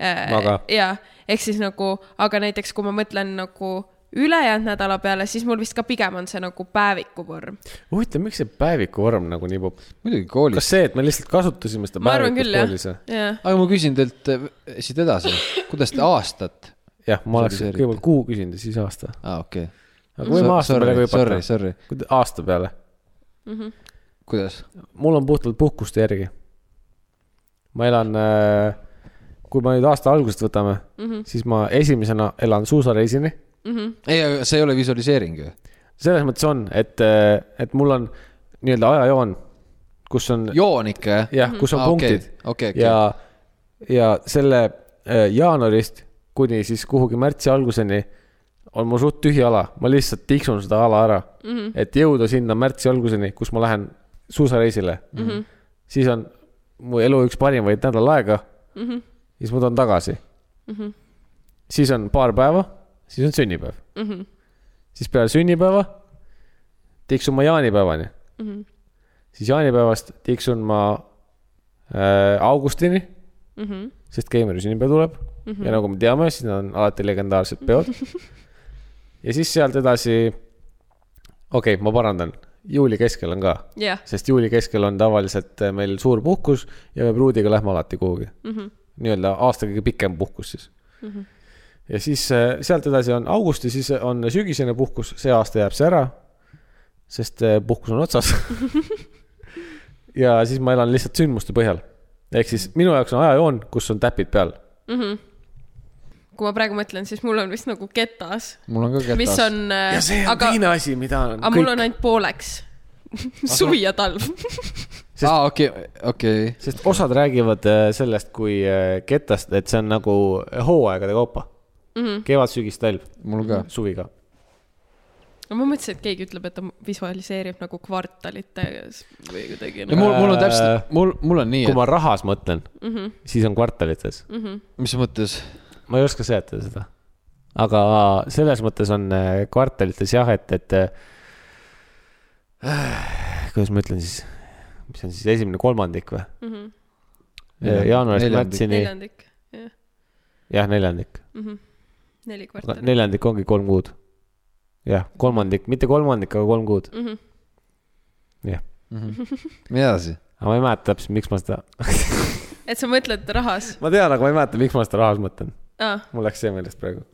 Äh, Aga- jaa , ehk siis nagu , aga näiteks kui ma mõtlen nagu ülejäänud nädala peale , siis mul vist ka pigem on see nagu päevikuvorm . huvitav , miks see päevikuvorm nagu nii popp- , muidugi koolis . kas see , et me lihtsalt kasutasime seda ma arvan päevikut küll jah koolis või ?, jah . aga ma küsin teilt äh, siit edasi , kuidas te aastat ? jah , ma oleks Sorry, kõigepealt kuu küsinud ja siis aasta . aa , okei okay. . aga võime aasta peale ka sorry , hüpata . sorry , aasta peale . kuidas ? mul on puhtalt puhkuste järgi . ma elan , kui me nüüd aasta algusest võtame mm , Mhm. -hmm. siis ma esimesena elan suusareisini . ei , see ei ole visualiseering ju . selles mõttes on , et , et mul on nii-öelda ajajoon , kus on , joon ikka , jah ? jah , kus on Aa, ah, okei, punktid okei, okei. ja , ja selle äh, jaanuarist kuni siis kuhugi märtsi alguseni on mul suht tühi ala , ma lihtsalt tiksun seda ala ära mm , -hmm. et jõuda sinna märtsi alguseni , kus ma lähen suusareisile mm . -hmm. siis on mu elu üks parimaid nädal aega mm . -hmm. siis ma tulen tagasi mm . -hmm. siis on paar päeva , siis on sünnipäev mm . -hmm. siis peale sünnipäeva tiksun ma jaanipäevani mm . -hmm. siis jaanipäevast tiksun ma äh, augustini mm , -hmm. sest Keimeri sünnipäev tuleb mm -hmm. ja nagu me teame , siis need on alati legendaarsed peod . ja siis sealt edasi , okei okay, , ma parandan , juuli keskel on ka , jah , sest juuli keskel on tavaliselt eh, meil suur puhkus ja me pruudiga lähme alati kuhugi mm Mhm. -hmm. . nii-öelda aasta kõige pikem puhkus siis mm . -hmm. ja siis äh, sealt edasi on augusti , siis on sügisene puhkus , see aasta jääb see ära , sest äh, puhkus on *laughs* otsas . ja siis ma elan lihtsalt sündmuste põhjal . ehk siis minu jaoks on ajajoon , kus on täpid peal . kui ma praegu mõtlen , siis mul on vist nagu ketas, mul on ka ketas. , ketas . mis on , aga , asi , mida on aga mul on ainult pooleks . suvi ja talv . *laughs* aa , okei , okei . sest osad räägivad äh, sellest kui äh, ketast , et see on nagu hooaegade kaupa mm . Mhm. -hmm. kevad , sügis , talv , mul ka . suvi ka . no ma mõtlesin , et keegi ütleb , et ta visualiseerib nagu kvartalite või kuidagi ja nagu . mul , mul on täpselt , mul , mul on nii , kui et ma rahas mõtlen mm , -hmm. siis on kvartalites mm . mis mõttes , -hmm. ma ei oska seletada seda . aga selles mõttes on äh, kvartalites jah , et , et äh, . *sighs* kuidas ma ütlen siis , mis on siis esimene kolmandik või mm ? -hmm. jaanuarist Neljandik. märtsini , neljandik , jah , jah , neljandik . neli aga kvartalit . neljandik ongi kolm kuud . jah , kolmandik , mitte kolmandik , aga kolm kuud . Mhm. jah , Mhm. nii edasi . aga ma ei mäleta täpselt , miks ma seda , et sa mõtled rahas ma tean , aga ma ei mäleta , miks ma seda rahas mõtlen . ah, ? mul läks see meelest praegu .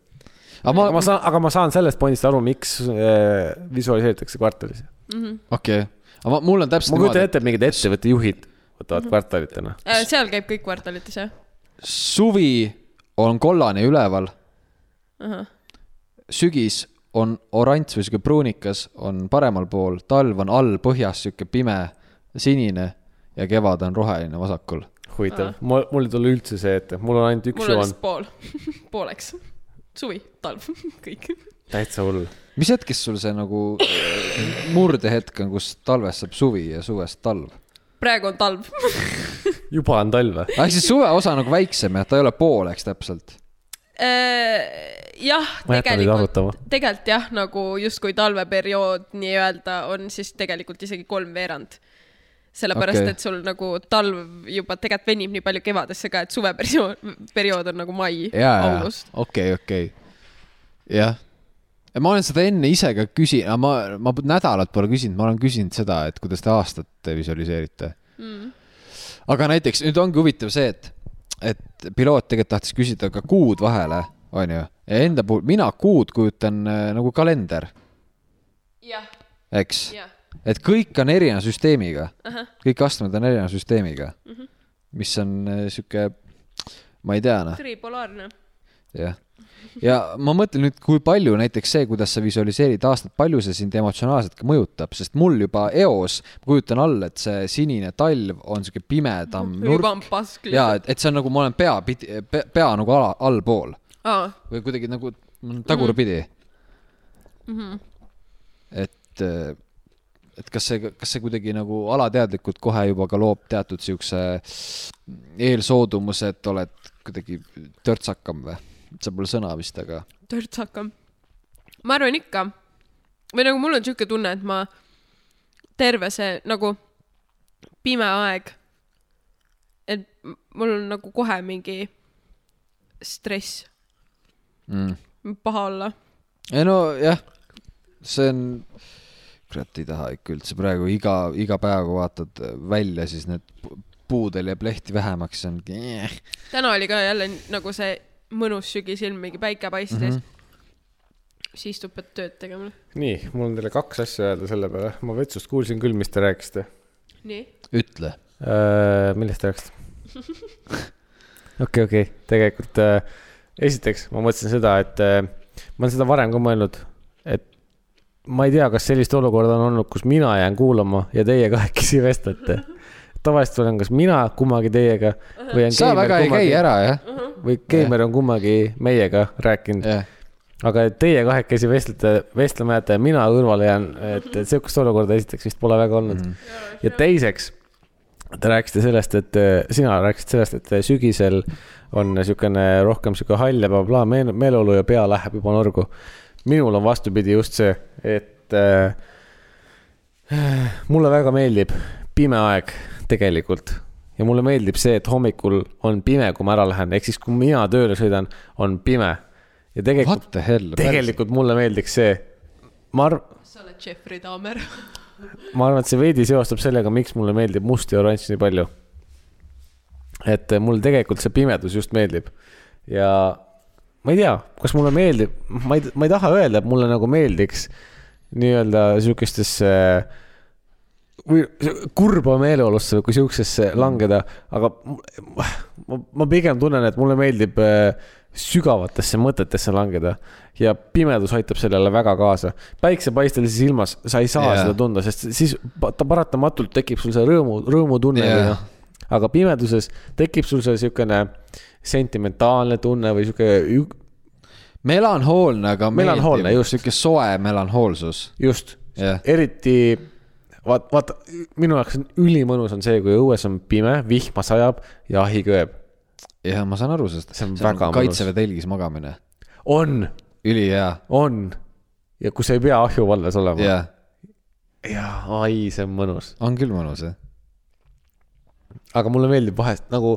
aga ma, ma ma , saan , aga ma saan sellest pointist aru , miks äh, visualiseeritakse kvartalis . mhm. okei , aga ma- mul on ma täpselt kujutan niimoodi , ette , et mingid ettevõtte juhid võtavad kvartalitena . Äh, seal käib kõik kvartalites , jah ? et suvi on kollane üleval , ahah , sügis on oranž või sihuke pruunikas on paremal pool , talv on all põhjas sihuke pime sinine ja kevad on roheline vasakul . huvitav , mul , mul ei tule üldse see ette , mul on ainult üks mul on joon vist . pool , *laughs* pooleks . suvi , talv , *laughs* kõik . täitsa hull . mis hetkest sul see nagu murdehetk on , kus talvest saab suvi ja suvest talv ? praegu on talv . *laughs* juba on talv või ? ehk siis suve osa on nagu väiksem jah , ta ei ole pooleks täpselt . Äh, jah , Ma jätan nüüd tegelikult arutama. , tegelikult jah , nagu justkui talveperiood nii-öelda on siis tegelikult isegi kolmveerand . sellepärast Okei. okay. , et sul nagu talv juba tegelikult venib nii palju kevadesse ka , et suveperiood , periood on nagu mai , ja , ja , august . okei , okei . jah . ma olen seda enne ise ka küsi- , ma , ma nädalat pole küsinud , ma olen küsinud seda , et kuidas te aastat visualiseerite mm. . aga näiteks nüüd ongi huvitav see , et , et piloot tegelikult tahtis küsida ka kuud vahele , onju . Enda puhul , mina kuud kujutan äh, nagu kalender , jah , eks . jah . et kõik on erineva süsteemiga , kõik astmed on erineva süsteemiga mm , Mhm. -hmm. mis on äh, sihuke , ma ei tea , noh , tripolaarne . jah . ja ma mõtlen nüüd , kui palju näiteks see , kuidas sa visualiseerid aastat , palju see sind emotsionaalselt ka mõjutab , sest mul juba eos , ma kujutan all , et see sinine talv on sihuke pimedam juba nurk on pask ja . et , et see on nagu ma olen pea , pea, pea nagu ala , allpool aa , või kuidagi nagu tagurpidi mm . -hmm. et , et kas see , kas see kuidagi nagu alateadlikult kohe juba ka loob teatud siukse eelsoodumuse , et oled kuidagi törtsakam või ? see pole sõna vist , aga törtsakam . ma arvan ikka . või nagu mul on sihuke tunne , et ma terve see nagu pime aeg , et m- mul on nagu kohe mingi stress mm, paha olla . ei no jah , see on , kurat ei taha ikka üldse praegu iga , iga päev , kui vaatad välja , siis need pu- puudel jääb lehti vähemaks , see on . täna oli ka jälle nagu see mõnus sügisilm , mingi päike paistis mm . -hmm. siis istub , pead tööd tegema . nii , mul on teile kaks asja öelda selle peale , ma vetsust kuulsin küll , mis te rääkisite nii , ütle . äh, . millest te *laughs* rääkisite ? okei , okei , tegelikult äh, esiteks ma mõtlesin seda , et äh, ma olen seda varem ka mõelnud , et ma ei tea , kas sellist olukorda on olnud , kus mina jään kuulama ja teie kahekesi *laughs* vestlete . tavaliselt olen kas mina kummagi teiega või on sa väga ei käi ära jah ? või Keimer on kummagi meiega rääkinud , jah , aga et teie kahekesi vestlete , vestlema jääte ja mina kõrvale jään , et, et sihukest olukorda esiteks vist pole väga olnud mm . -hmm. ja teiseks , te rääkisite sellest , et äh, sina rääkisid sellest , et äh, sügisel on sihukene rohkem sihuke hall ja blablabla meel, meeleolu ja pea läheb juba norgu . minul on vastupidi just see , et äh, mulle väga meeldib pime aeg tegelikult ja mulle meeldib see , et hommikul on pime , kui ma ära lähen , ehk siis kui mina tööle sõidan , on pime . ja what tegelikult , the hell . tegelikult mulle meeldiks see , ma arv- , sa oled Jeffrey Dahmer . ma arvan , et see veidi seostub sellega , miks mulle meeldib must ja oranž nii palju . et mulle tegelikult see pimedus just meeldib ja ma ei tea , kas mulle meeldib , ma ei , ma ei taha öelda , et mulle nagu meeldiks nii-öelda sihukestesse või s- kurba meeleolusse või kui sihukesesse langeda , aga m- ma, ma pigem tunnen , et mulle meeldib äh, sügavatesse mõtetesse langeda ja pimedus aitab sellele väga kaasa . päiksepaistelises ilmas sa ei saa Jaa. yeah. seda tunda , sest siis pa- ta paratamatult tekib sul see rõõmu , rõõmutunne Jaa. yeah. , onju . Nagu noh, aga pimeduses tekib sul see siukene sentimentaalne tunne või siuke ük- melanhoolne , aga Melanhoolne, meeldiv. just. sihuke soe melanhoolsus . just Jah. eriti vaat- , vaata , minu jaoks on ülimõnus on see , kui õues on pime , vihma sajab ja ahi köeb . jah , ma saan aru sellest . See on väga mõnus. kaitseväe telgis magamine , on , ülihea , on ja kus ei pea ahju valves olema . jah , jaa , ai , see on mõnus . on küll mõnus jah . aga mulle meeldib vahest nagu ,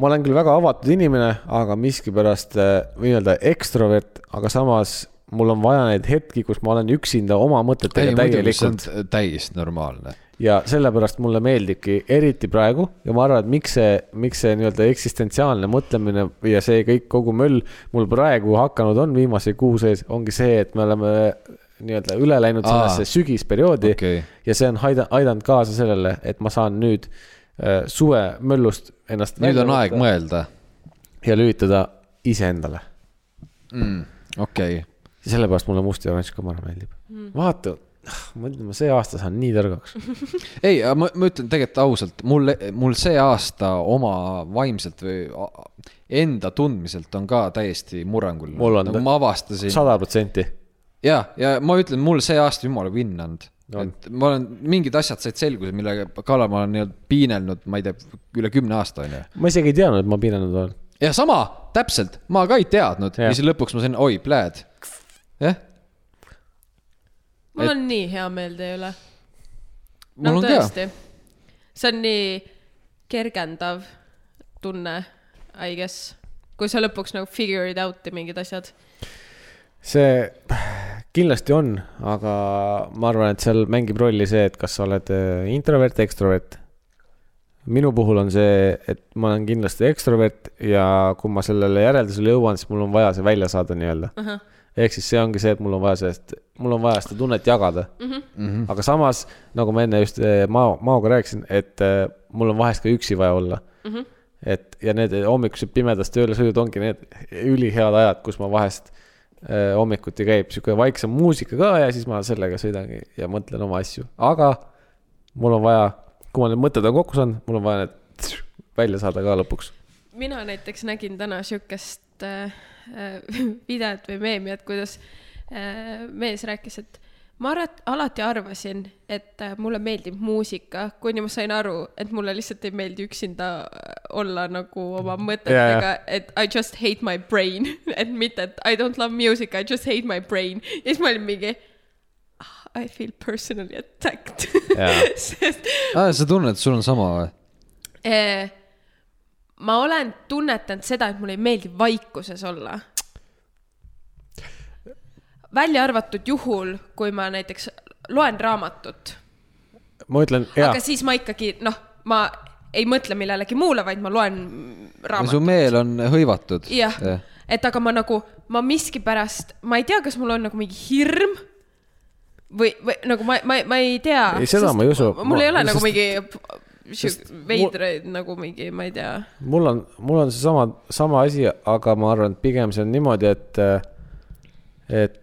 ma olen küll väga avatud inimene , aga miskipärast äh, nii-öelda ekstrovert , aga samas mul on vaja neid hetki , kus ma olen üksinda oma mõtetega täielikult . täiesti normaalne . ja sellepärast mulle meeldibki , eriti praegu ja ma arvan , et miks see , miks see nii-öelda eksistentsiaalne mõtlemine ja see kõik , kogu möll mul praegu hakanud on viimase kuu sees , ongi see , et me oleme nii-öelda üle läinud Aa. sellesse sügisperioodi Okei. ja see on aida- , aidanud kaasa sellele , et ma saan nüüd äh, suve möllust ennast nüüd välja on aeg võtta mõelda . ja lülitada iseendale . Hmm, okei okay. , ja sellepärast mulle must ja oranž ka mõne meeldib mm. . vaata , ma ütlen , ma see aasta saan nii targaks . ei , ma , ma ütlen tegelikult ausalt , mul , mul see aasta oma vaimselt või a- enda tundmiselt on ka täiesti murranguline . Mul on ta- ma avastasin , sada protsenti . ja , ja ma ütlen , mul see aasta jumala vinn olnud . On. et ma olen , mingid asjad said selguse , mille kallal ma olen nii-öelda piinelnud , ma ei tea , üle kümne aasta on ju . ma isegi ei teadnud , et ma piinanud olen ja sama , täpselt , ma ka ei teadnud Jah. ja siis lõpuks ma sain , oi , pläed . jah , mul on nii hea meel teie üle . mul on ka . see on nii kergendav tunne , I guess , kui sa lõpuks nagu figure it out'i mingid asjad . see kindlasti on , aga ma arvan , et seal mängib rolli see , et kas sa oled äh, introvert , ekstrovert . minu puhul on see , et ma olen kindlasti ekstrovert ja kui ma sellele järeldusele jõuan , siis mul on vaja see välja saada nii-öelda uh -huh. . ehk siis see ongi see , et mul on vaja sellest , mul on vaja seda tunnet jagada uh . -huh. aga samas , nagu ma enne just äh, Mao , Maoga rääkisin , et äh, mul on vahest ka üksi vaja olla uh . -huh. et ja need hommikused pimedas töölesõidud ongi need ülihead ajad , kus ma vahest äh, hommikuti käib sihuke vaiksem muusika ka ja siis ma sellega sõidangi ja mõtlen oma asju , aga mul on vaja , kui ma need mõtted on kokku saanud , mul on vaja need välja saada ka lõpuks . mina näiteks nägin täna siukest äh, *laughs* äh, videot või meemi , et kuidas äh, mees rääkis , et ma arvat- , alati arvasin , et äh, mulle meeldib muusika , kuni ma sain aru , et mulle lihtsalt ei meeldi üksinda olla nagu oma mõtetega , et I just hate my brain , *laughs* et mitte , et I don't love music , I just hate my brain . ja siis ma olin mingi "Ah, I feel personally attacked Jaa. . *laughs* sest Ah, sa tunned , sul on sama või ? Eh, ma olen tunnetanud seda , et mulle ei meeldi vaikuses olla . välja arvatud juhul , kui ma näiteks loen raamatut , ma ütlen , jaa aga , siis ma ikkagi noh , ma ei mõtle millelegi muule , vaid ma loen su raamatut . meel on hõivatud . jah , et aga ma nagu , ma miskipärast , ma ei tea , kas mul on nagu mingi hirm või , või nagu ma , ma , ma ei tea . Ei, seda ma ei usu. mul ei Ma- ole nagu sest- mingi sest sihuke veidraid nagu mingi , ma ei tea . mul on , mul on seesama , sama asi , aga ma arvan , et pigem see on niimoodi , et , et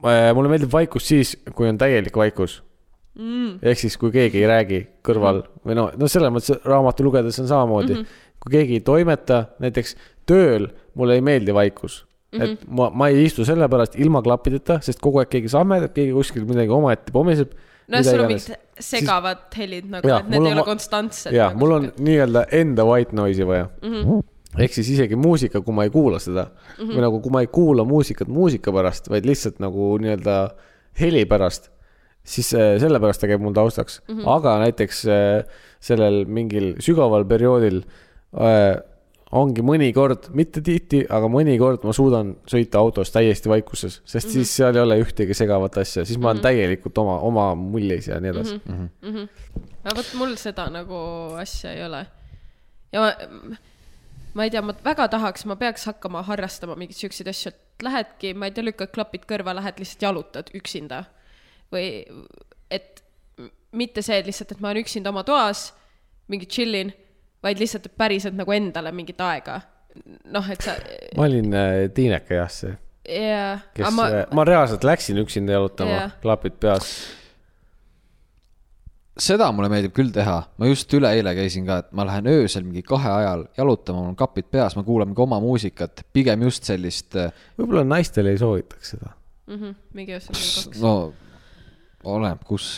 äh, mulle meeldib vaikus siis , kui on täielik vaikus mm. . ehk siis , kui keegi ei räägi kõrval Mhm. või no , no selles mõttes raamatu lugedes on samamoodi mm , -hmm. kui keegi ei toimeta , näiteks tööl mulle ei meeldi vaikus mm . Mhm. -hmm. et ma , ma ei istu sellepärast ilma klappideta , sest kogu aeg keegi sammedab , keegi kuskil midagi omaette pomiseb . nojah , sul on mingid segavad helid nagu , Jaa, et need mul ei on ole ma- konstantsed . nagu Mhm. jaa , mul on nii-öelda enda white noise'i vaja mm . -hmm. ehk siis isegi muusika , kui ma ei kuula seda mm -hmm. või nagu , kui ma ei kuula muusikat muusika pärast , vaid lihtsalt nagu nii-öelda heli pärast , siis äh, sellepärast ta käib mul taustaks Mhm. mm . -hmm. aga näiteks äh, sellel mingil sügaval perioodil äh, ongi mõnikord , mitte tihti , aga mõnikord ma suudan sõita autos täiesti vaikuses , sest mm Mhm. -hmm. siis seal ei ole ühtegi segavat asja , siis ma olen mm -hmm. täielikult oma , oma mullis ja nii Mhm. edasi mm . -hmm. no vot mul seda nagu asja ei ole . ja ma, ma ei tea , ma väga tahaks , ma peaks hakkama harrastama mingeid siukseid asju , et lähedki , ma ei tea , lükkad klapid kõrva , lähed lihtsalt jalutad üksinda või et m- mitte see et lihtsalt , et ma olen üksinda oma toas , mingi chillin , vaid lihtsalt et päriselt nagu endale mingit aega . noh , et sa ma olin äh, tiineke jah , see ja kes , ma... ma reaalselt läksin üksinda jalutama Jah. yeah. , klapid peas . seda mulle meeldib küll teha , ma just üleeile käisin ka , et ma lähen öösel mingi kahe ajal jalutama , mul on kapid peas , ma kuulan mingi oma muusikat , pigem just sellist , võib-olla naistele ei soovitaks seda . mhmh , Mhm, mingi öösel kell kaks . no oleneb , kus .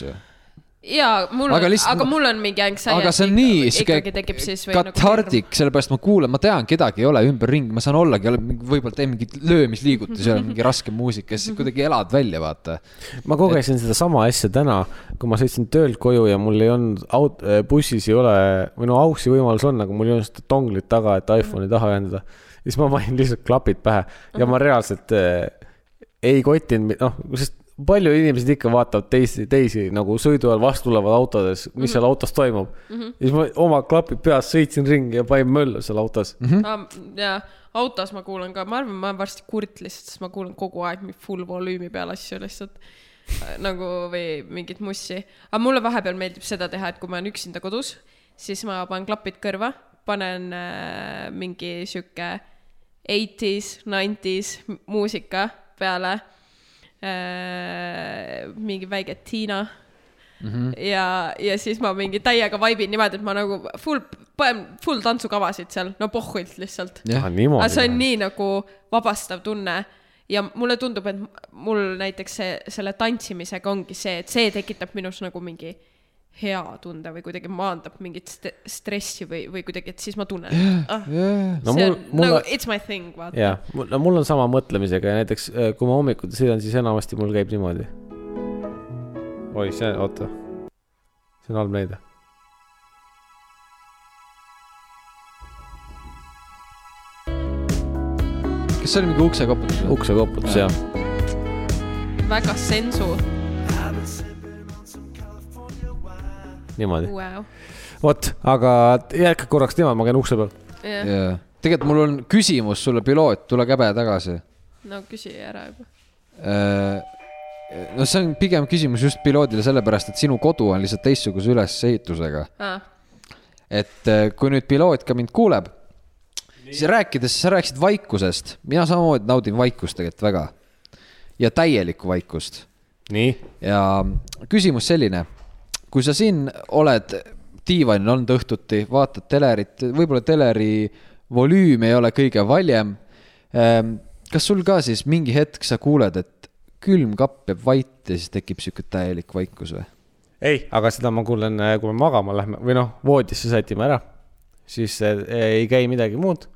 jaa , mul , Aga aga, lihtsalt aga ma- mul on mingi anxiety . aga see on nii sihuke ikkagi tekib siis või nagu katardik , sellepärast ma kuulan , ma tean , kedagi ei ole ümberringi , ma saan ollagi , võib-olla teen mingeid löömisliigutusi , ole mingi raske muusika , siis kuidagi elad välja , vaata . ma kogesin sedasama asja täna , kui ma sõitsin töölt koju ja mul ei olnud aut- , bussis ei ole , või no auksi võimalus on , aga mul ei olnud seda donglit taga , et Mhm. iPhone'i taha ühendada . siis ma panin lihtsalt klapid pähe ja ma reaalselt äh, ei kotinud , noh , sest palju inimesed ikka vaatavad teisi , teisi nagu sõidu ajal vastu tulevad autodes , mis mm Mhm. -hmm. seal autos toimub mm . -hmm. ja siis ma oma klapid peas sõitsin ringi ja panin möllu seal autos Mhm. mm . Hm? katardik . jaa , autos ma kuulan ka , ma arvan , ma olen varsti kurt lihtsalt , sest ma kuulan kogu aeg mingi full volüümi peal asju lihtsalt . nagu või mingit mussi . aga mulle vahepeal meeldib seda teha , et kui ma olen üksinda kodus , siis ma panen klapid kõrva , panen äh, mingi sihuke 80s , 90s muusika peale äh, . mingi väike Tiina ja , ja siis ma mingi täiega vaibin niimoodi , et ma nagu full , panen full tantsukavasid seal , no pohhuilt lihtsalt . Ah, jah , aga see on nii nagu vabastav tunne ja mulle tundub , et mul näiteks see , selle tantsimisega ongi see , et see tekitab minus nagu mingi hea tunde või kuidagi maandab mingit st stressi või , või kuidagi , et siis ma tunnen ah, . no see mul on , mul nagu it's my thing , vaata . jah , no mul on sama mõtlemisega ja näiteks äh, kui ma hommikuti sõidan , siis enamasti mul käib niimoodi . oi , see , oota , see on halb näide . kas see oli mingi uksekoputus või ? ukse koputus jah . väga sensu niimoodi , wow. . vot , aga jääge korraks niimoodi , ma käin ukse peal . Yeah. jaa , tegelikult mul on küsimus sulle , piloot , tule käbe tagasi Äh, no küsi ära juba . no see on pigem küsimus just piloodile sellepärast , et sinu kodu on lihtsalt teistsuguse ülesehitusega . Ah, et eh, kui nüüd piloot ka mind kuuleb , siis rääkides , sa rääkisid vaikusest , mina samamoodi naudin vaikust tegelikult väga ja täielikku vaikust nii , ja küsimus selline , kui sa siin oled , diivanil olnud õhtuti , vaatad telerit , võib-olla teleri volüüm ei ole kõige valjem . kas sul ka siis mingi hetk sa kuuled , et külm kapp jääb vait ja siis tekib sihuke täielik vaikus või ? ei , aga seda ma kuulen , kui me magama lähme või noh , voodisse sätime ära , siis äh, ei käi midagi muud .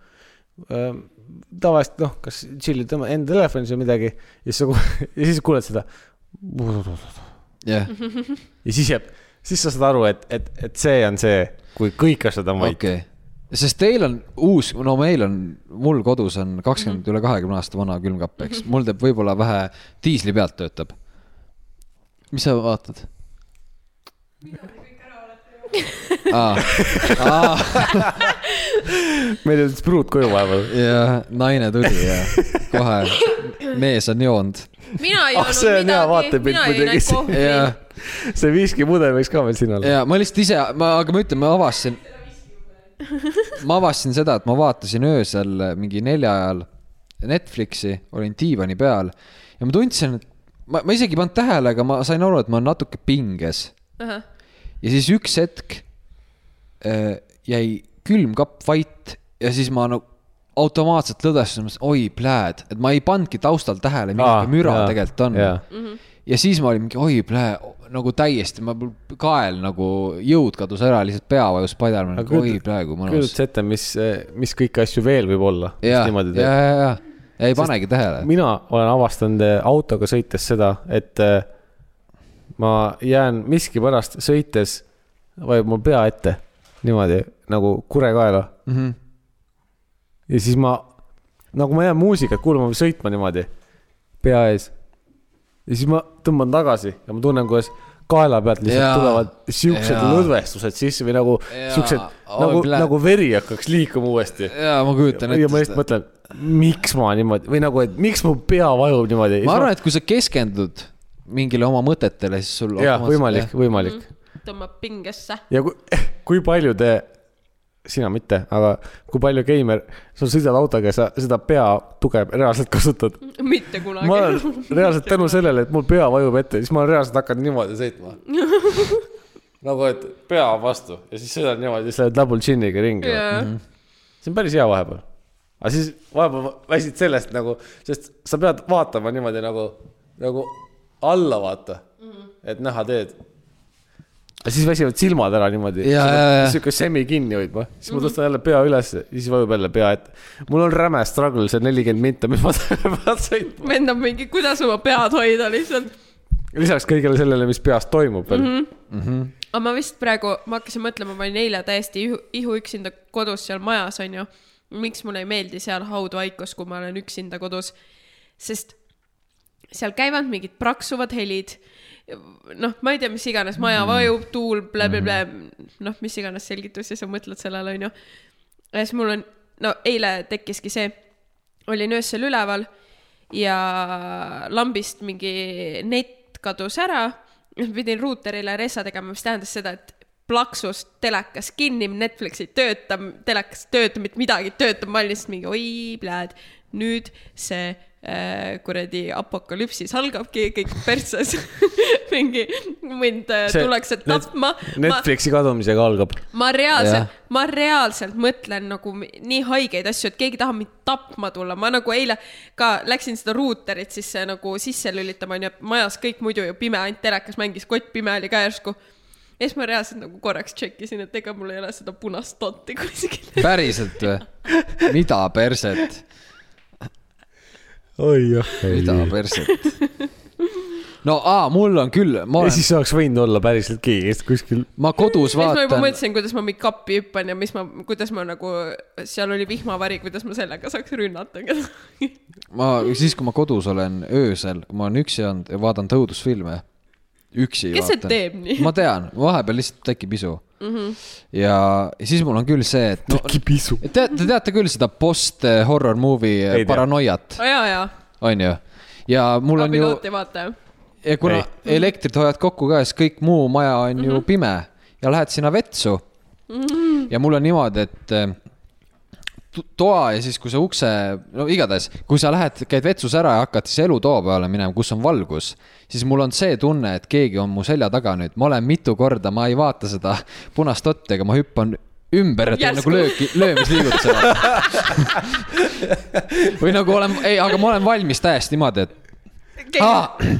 tavaliselt noh , kas tšillid oma- enda telefonis või midagi ja siis sa kuuled , *laughs* ja siis kuuled seda jah , ja siis jääb , siis sa saad aru , et , et , et see on see , kui kõik asjad on vait okay. . okei . sest teil on uus , no meil on , mul kodus on kakskümmend mm -hmm. üle kahekümne aasta vana külmkapp , eks , mul teeb võib-olla vähe , diisli pealt töötab . mis sa vaatad ? aa , meil oli spruut koju vahepeal . ja naine tuli ja *laughs* kohe mees on joonud . mina ei Ah, see on hea joonud midagi , vaatepilt mina jõin muidugi. ainult kohvi . ja , see viskipudel võiks ka veel siin olla . ja ma lihtsalt ise , ma , aga ma ütlen , ma avastasin , ma avastasin seda , et ma vaatasin öösel mingi nelja ajal Netflixi , olin diivani peal ja ma tundsin , et ma , ma isegi ei pannud tähele , aga ma sain aru , et ma olen natuke pinges ja siis üks hetk äh, jäi külmkapp vait ja siis ma nagu automaatselt lõdvestasin , oi plääd , et ma ei pannudki taustal tähele , Aa, milline müra Ah, jaa, tegelikult on jaa. . ja siis ma olin mingi oi plää , nagu täiesti , ma kael nagu jõud kadus ära , lihtsalt pea vajus padjale , ma olin nagu, oi plää , kui mõnus . kujuta ette , mis , mis kõiki asju veel võib olla . ja , ja , ja , ja , ja ei panegi tähele . mina olen avastanud eh, autoga sõites seda , et eh, ma jään miskipärast sõites , vajub mul pea ette niimoodi nagu kure kaela mm . Mhm. -hmm. ja siis ma , nagu ma jään muusikat kuulama või sõitma niimoodi pea ees . ja siis ma tõmban tagasi ja ma tunnen , kuidas kaela pealt lihtsalt Jaa. ja, tulevad siuksed Jaa. lõdvestused sisse või nagu Jaa. siuksed Oi, nagu , plää- nagu veri hakkaks liikuma uuesti ja ma kujutan ja ma ette just . mõtlen , miks ma niimoodi või nagu , et miks mu pea vajub niimoodi . ma arvan , et kui sa keskendud mingile oma mõtetele , siis sul . jah , võimalik ,. võimalik tõmbab pingesse . ja kui , *laughs* kui palju te , sina mitte , aga kui palju geimer , sa sõidad autoga ja sa seda peatuge reaalselt kasutad . mitte kunagi . ma *laughs* olen reaalselt tänu sellele , et mul pea vajub ette , siis ma olen reaalselt hakanud niimoodi sõitma . nagu , et pea on vastu ja siis sõidad niimoodi , siis lähed Lamborghiniga ringi yeah. . see on päris hea vahepeal . aga siis vahepeal väsid sellest nagu , sest sa pead vaatama niimoodi nagu , nagu alla vaata mm , -hmm. et näha teed . ja siis väsivad silmad ära niimoodi . Jaa, jaa, jaa. sihuke semi kinni hoidma , siis ma tõstan jälle pea ülesse , siis vajub jälle pea ette . mul on räme struggle see nelikümmend minta , mis ma *laughs* pean sõitma . vendab mingi , kuidas oma pead hoida lihtsalt . lisaks kõigele sellele , mis peas toimub veel mm . -hmm. aga ma vist praegu , ma hakkasin mõtlema , ma olin eile täiesti ihu, ihu üksinda kodus seal majas , onju . miks mulle ei meeldi seal haudvaikus , kui ma olen üksinda kodus , sest seal käivad mingid praksuvad helid , noh , ma ei tea , mis iganes , maja Mhm. vajub , tuul blä, , blä-blä-blä , noh , mis iganes selgitus ja sa mõtled sellele , onju . ja siis mul on , no eile tekkiski see , olin öösel üleval ja lambist mingi nett kadus ära , pidin ruuterile resa tegema , mis tähendas seda , et plaksus telekas kinni , Netflix ei tööta , telekas ei tööta , mitte midagi ei tööta , ma olin lihtsalt mingi oi , pläd , nüüd see äh, kuradi apokalüpsis algabki , kõik perses , *laughs* mingi mind äh, See- tullakse Net- tapma . Netflixi kadumisega algab . ma reaalselt Jah. , ma reaalselt mõtlen nagu mi- nii haigeid asju , et keegi tahab mind tapma tulla , ma nagu eile ka läksin seda ruuterit sisse nagu sisse lülitama , onju , majas kõik muidu ju pime , ainult telekas mängis , kott pime oli ka järsku . ja siis ma reaalselt nagu korraks tšekkisin , et ega mul ei ole seda punast dotti *laughs* kuskil . päriselt või ? mida perset , oi jah . mida perset ? no aa , mul on küll , ma ja olen , siis oleks võinud olla päriselt keegi , kes kuskil ma kodus siis ma juba vaatan , mõtlesin , kuidas ma mingi kappi hüppan ja mis ma , kuidas ma nagu , seal oli vihmavari , kuidas ma sellega saaks rünnata kedagi . ma siis , kui ma kodus olen õösel , kui ma olen üksi olnud ja vaatan õudusfilme , üksi Kes see vaatan. teeb nii? Mhm. ma tean , vahepeal lihtsalt tekib isu mm . -hmm. ja siis mul on küll see , et no, tekib isu . te, te teate küll seda post-horror movie Ei tea. paranoiat , *laughs* aa jaa , jaa , onju . ja mul on ju abiloot ei vaata ju . ja kuna elektrit hoiad kokku ka , siis kõik muu maja on ju mm -hmm. pime ja lähed sinna vetsu mm . -hmm. ja mul on niimoodi , et eh, to- toa ja siis , kui sa ukse , no igatahes , kui sa lähed , käid vetsus ära ja hakkad siis elutoa peale minema , kus on valgus , siis mul on see tunne , et keegi on mu selja taga nüüd , ma olen mitu korda , ma ei vaata seda punast otti , aga ma hüppan ümber , et teen Järsku. nagu lööki , löömisliigutuse . *laughs* või nagu olen , ei , aga ma olen valmis täiesti niimoodi , et ah, . Ah,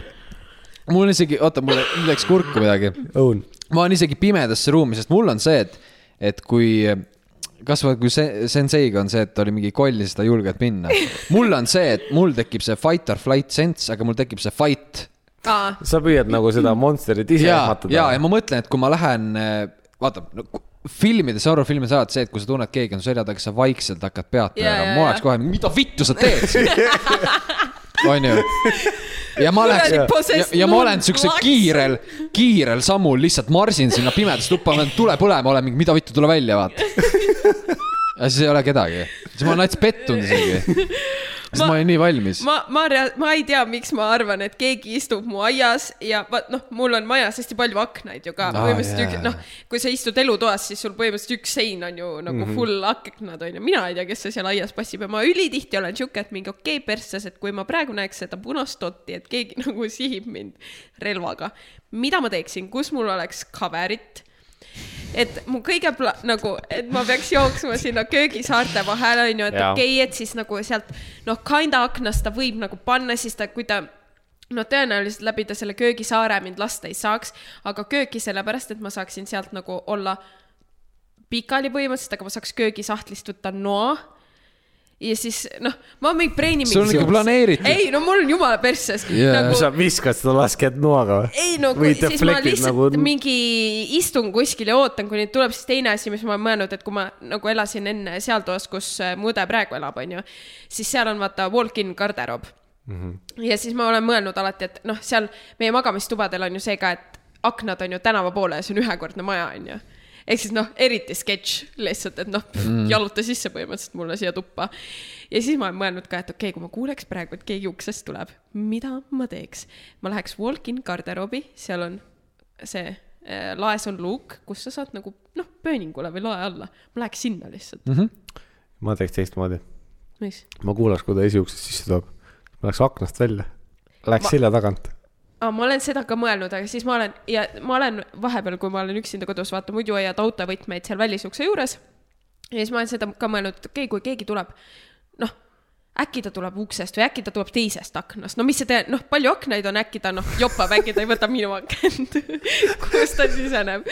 *clears throat* mul isegi , oota , mul läks kurku midagi . õun . ma olen isegi pimedasse ruumi , sest mul on see , et , et kui , kasvõi kui see , senseiga on see , et oli mingi koll ja siis ta ei julgenud minna . mul on see , et mul tekib see fight or flight sense , aga mul tekib see fight . aa , sa püüad nagu seda monsterit ise ja , ehmatada . ja , ja ma mõtlen , et kui ma lähen , eh, vaata no, , filmides , horrorfilmides alati see , et kui sa tunned , keegi on su selja taga , sa vaikselt hakkad pead Jaa, pöörama jaa, , ma oleks jaa. kohe , mida vittu sa teed *laughs* siin ? onju . ja ma läheks Kuradi ja, possessed ja ma nun olen siukse laks. kiirel , kiirel sammul lihtsalt marsin sinna pimedasse tuppa , tule põlema , olen mingi , mida vittu , tule välja , *laughs* vaata . ja siis ei ole kedagi , siis ma olen nats pettunud isegi . sest ma, Ma- ma olin nii valmis . ma , ma , ma ei tea , miks ma arvan , et keegi istub mu aias ja vaat noh , mul on majas hästi palju aknaid ju ka Aa, ah, , põhimõtteliselt jaa. yeah. noh , kui sa istud elutoas , siis sul põhimõtteliselt üks sein on ju nagu mm -hmm. full aknad on ju , mina ei tea , kes see seal aias passib ja ma ülitihti olen siuke , et mingi okei okay, persses , et kui ma praegu näeks seda punast dotti , et keegi *laughs* nagu sihib mind relvaga , mida ma teeksin , kus mul oleks cover'it et mu kõige pla- , nagu , et ma peaks jooksma sinna köögisaarte vahele , onju , et Jaa. okei okay, , et siis nagu sealt noh , kinda aknast ta võib nagu panna , siis ta , kui ta no tõenäoliselt läbi ta selle köögisaare mind lasta ei saaks , aga kööki sellepärast , et ma saaksin sealt nagu olla pikali põhimõtteliselt , aga ma saaks köögisahtlist võtta noa ja siis noh , ma mingi brain'i . Sul on ikka planeeritud. ei , no mul on jumala persses Jaa. nagu, sa viskad seda laskjat noaga või ? ei no kui, Või siis ma deflect'id lihtsalt nagu- nagu... mingi istun kuskil ja ootan , kuni tuleb siis teine asi , mis ma olen mõelnud , et kui ma nagu elasin enne seal toas , kus äh, mu õde praegu elab , onju , siis seal on vaata walk-in garderoob mm . -hmm. ja siis ma olen mõelnud alati , et noh , seal meie magamistubadel on ju see ka , et aknad on ju tänava poole ja see on ühekordne maja , onju ehk siis noh , eriti sketš lihtsalt , et noh mm. , jaluta sisse põhimõtteliselt mulle siia tuppa . ja siis ma olen mõelnud ka , et okei okay, , kui ma kuuleks praegu , et keegi uksest tuleb , mida ma teeks ? ma läheks walk-in garderoobi , seal on see äh, laes on luuk , kus sa saad nagu noh , pööningule või lae alla . ma läheks sinna lihtsalt mm . ma teeks teistmoodi . -hmm. mis ? ma kuulaks , kui ta esiuksest sisse toob . ma läheks aknast välja . Läheks Ma- ma... selja tagant . aa , ma olen seda ka mõelnud , aga siis ma olen ja ma olen vahepeal , kui ma olen üksinda kodus , vaata muidu hoiad autovõtmeid seal välisukse juures . ja siis ma olen seda ka mõelnud , et okei okay, , kui keegi tuleb , noh , äkki ta tuleb uksest või äkki ta tuleb teisest aknast , no mis see tee- , noh , palju aknaid on , äkki ta noh , jopab , äkki ta ei võta minu akent , *laughs* kust ta siseneb .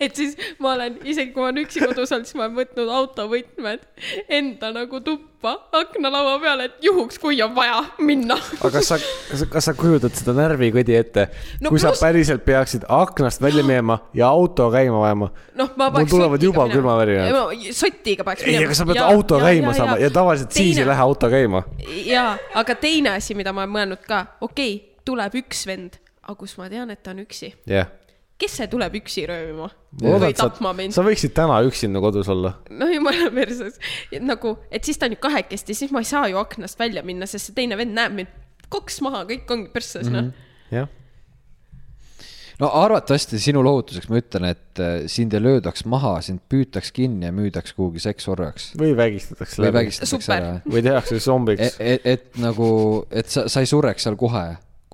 et siis ma olen , isegi kui ma olen üksi kodus olnud , siis ma olen võtnud autovõtmed enda nagu tuppa aknalaua peale , et juhuks , kui on vaja minna aga kas sa , kas sa kujutad seda närvikõdi ette No no, , kui pluss... pluss- sa päriselt peaksid aknast välja minema ja auto käima vajama ? noh , ma mul paneks . tulevad juba külmavärinad . sotiga paneks ei , aga sa pead auto käima saama ja tavaliselt teine... siis ei . lähe auto käima . jaa , aga teine asi , mida ma olen mõelnud ka , okei okay, , tuleb üks vend , aga kus ma tean , et ta on üksi , jah . kes see tuleb üksi röövima või tapma mind ? sa võiksid täna üksinda kodus olla . no jumala perses , nagu , et siis ta on ju kahekesti , siis ma ei saa ju aknast välja minna , sest see teine vend näeb mind koks maha , kõik ongi perses Mhm. mm -hmm. noh . jah . no arvatavasti sinu lohutuseks ma ütlen , et äh, sind ei löödaks maha , sind püütaks kinni ja müüdaks kuhugi seksorjaks . või vägistatakse või läbi . vägistatakse Super. ära . või tehakse zombiks et, . et, et nagu , et sa , sa ei sureks seal kohe ,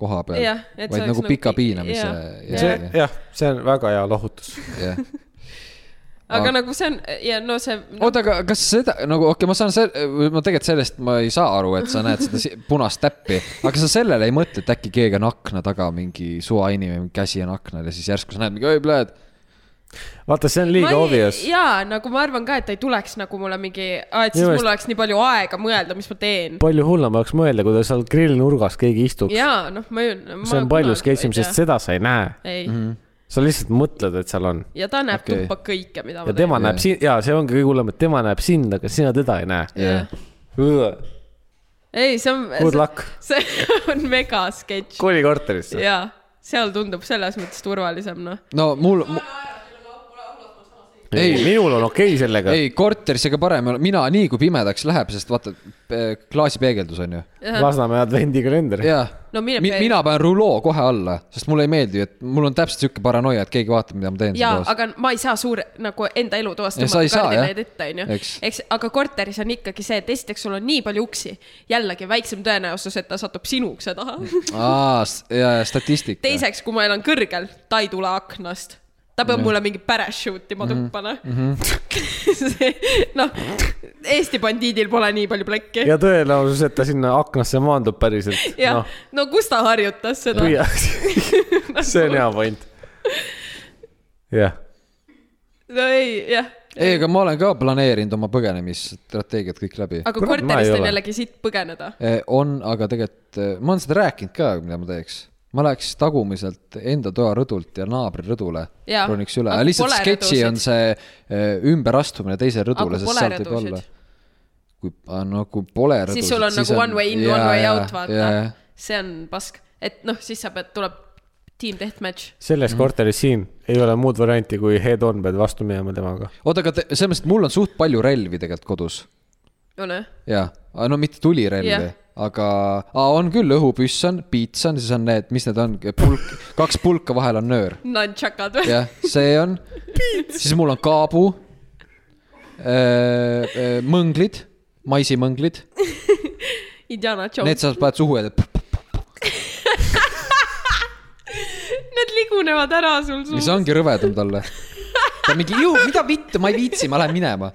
koha peal Jah, , et see vaid oleks nagu nagu pika pi- piinamise jah. ja, See- ja, jah , see on väga hea lohutus . ja. . aga Aga- nagu see on ja no see no, , oota , aga kas seda nagu , okei okay, , ma saan selle , ma tegelikult sellest ma ei saa aru , et sa näed seda si- punast täppi , aga sa sellele ei mõtle , et äkki keegi on akna taga , mingi suva inimene , käsi on aknal ja siis järsku sa näed mingi , oi , pläed . vaata , see on Ma liiga ei- obvious . jaa , nagu ma arvan ka , et ta ei tuleks nagu mulle mingi , et siis Minu mul meelest- oleks nii palju aega mõelda , mis ma teen . palju hullem oleks mõelda , kui ta seal grillnurgas keegi istuks . jaa , noh , ma ju . see on palju sketšim , sest . seda sa ei näe . ei mm , -hmm. sa lihtsalt mõtled , et seal on . ja ta näeb Okei. okay. tuppa kõike , mida ma ja tema Jaa. näeb sind ja see ongi kõige hullem , et tema näeb sind , aga sina teda ei näe . jah , ei , see on . Good luck. . see *laughs* on mega sketš . koolikorterisse . jaa , seal tundub selles mõttes turvalisem , noh . no mul, mul ei , minul on okei okay sellega . ei , korteris ega parem ei ole , mina nii kui pimedaks läheb , sest vaata pe- klaasipeegeldus on ju . Lasnamäe advendikalender . jaa No mine Mi, pee- mina panen ruloo kohe alla , sest mulle ei meeldi , et mul on täpselt sihuke paranoia , et keegi vaatab , mida ma teen . jaa , aga ma ei saa suur nagu enda elutoast Ja sa ei tõmmata saa, kardinaid jah. ette , onju . Eks. eks , aga korteris on ikkagi see , et esiteks sul on nii palju uksi , jällegi väiksem tõenäosus , et ta satub sinu ukse taha *laughs* aa , ja , ja statistika . teiseks , kui ma elan kõrgel , ta ei tule aknast . ta peab mulle mingi parachute ima tuppa , *laughs* noh . noh , Eesti bandiidil pole nii palju plekki . ja tõenäosus , et ta sinna aknasse maandub päriselt . jah noh , no kus ta harjutas seda ? püüa . *laughs* see on hea point . jah , no ei , jah . ei , aga ma olen ka planeerinud oma põgenemisstrateegiad kõik läbi . aga Kurat, ma ei korterist on ole. jällegi siit põgeneda . on , aga tegelikult eh, ma olen seda rääkinud ka , mida ma teeks . ma läheks tagumiselt enda toa rõdult ja naabri rõdule Jaa, roniks üle , aga lihtsalt pole sketši rõdusid. on see eh, ümberastumine teise rõdule , Aga sest pole sealt võib rõdusid. olla . kui , no kui pole rõdusid . siis sul on nagu one way in , one way out , vaata jaa, . see on pask , et noh , siis sa pead , tuleb team deathmatch . selles korteris siin ei ole muud varianti , kui head on pead vastu minema temaga . oota , aga te- selles mõttes , et mul on suht palju relvi tegelikult kodus . on ju ? jaa , no mitte tulirelvi Jah. yeah. , aga aa, on küll , õhupüss on , piits on , siis on need , mis need on , pulk , kaks pulka vahel on nöör . Nunchakad või ? jah , see on . siis mul on kaabu . mõnglid , maisimõnglid , *laughs* Oh. Indiana Jones need . sa paned suhu ja teed p- p- Need ligunevad ära sul ja see suus . ongi rõvedam talle . ta mingi , mida vittu , ma ei viitsi , ma lähen minema .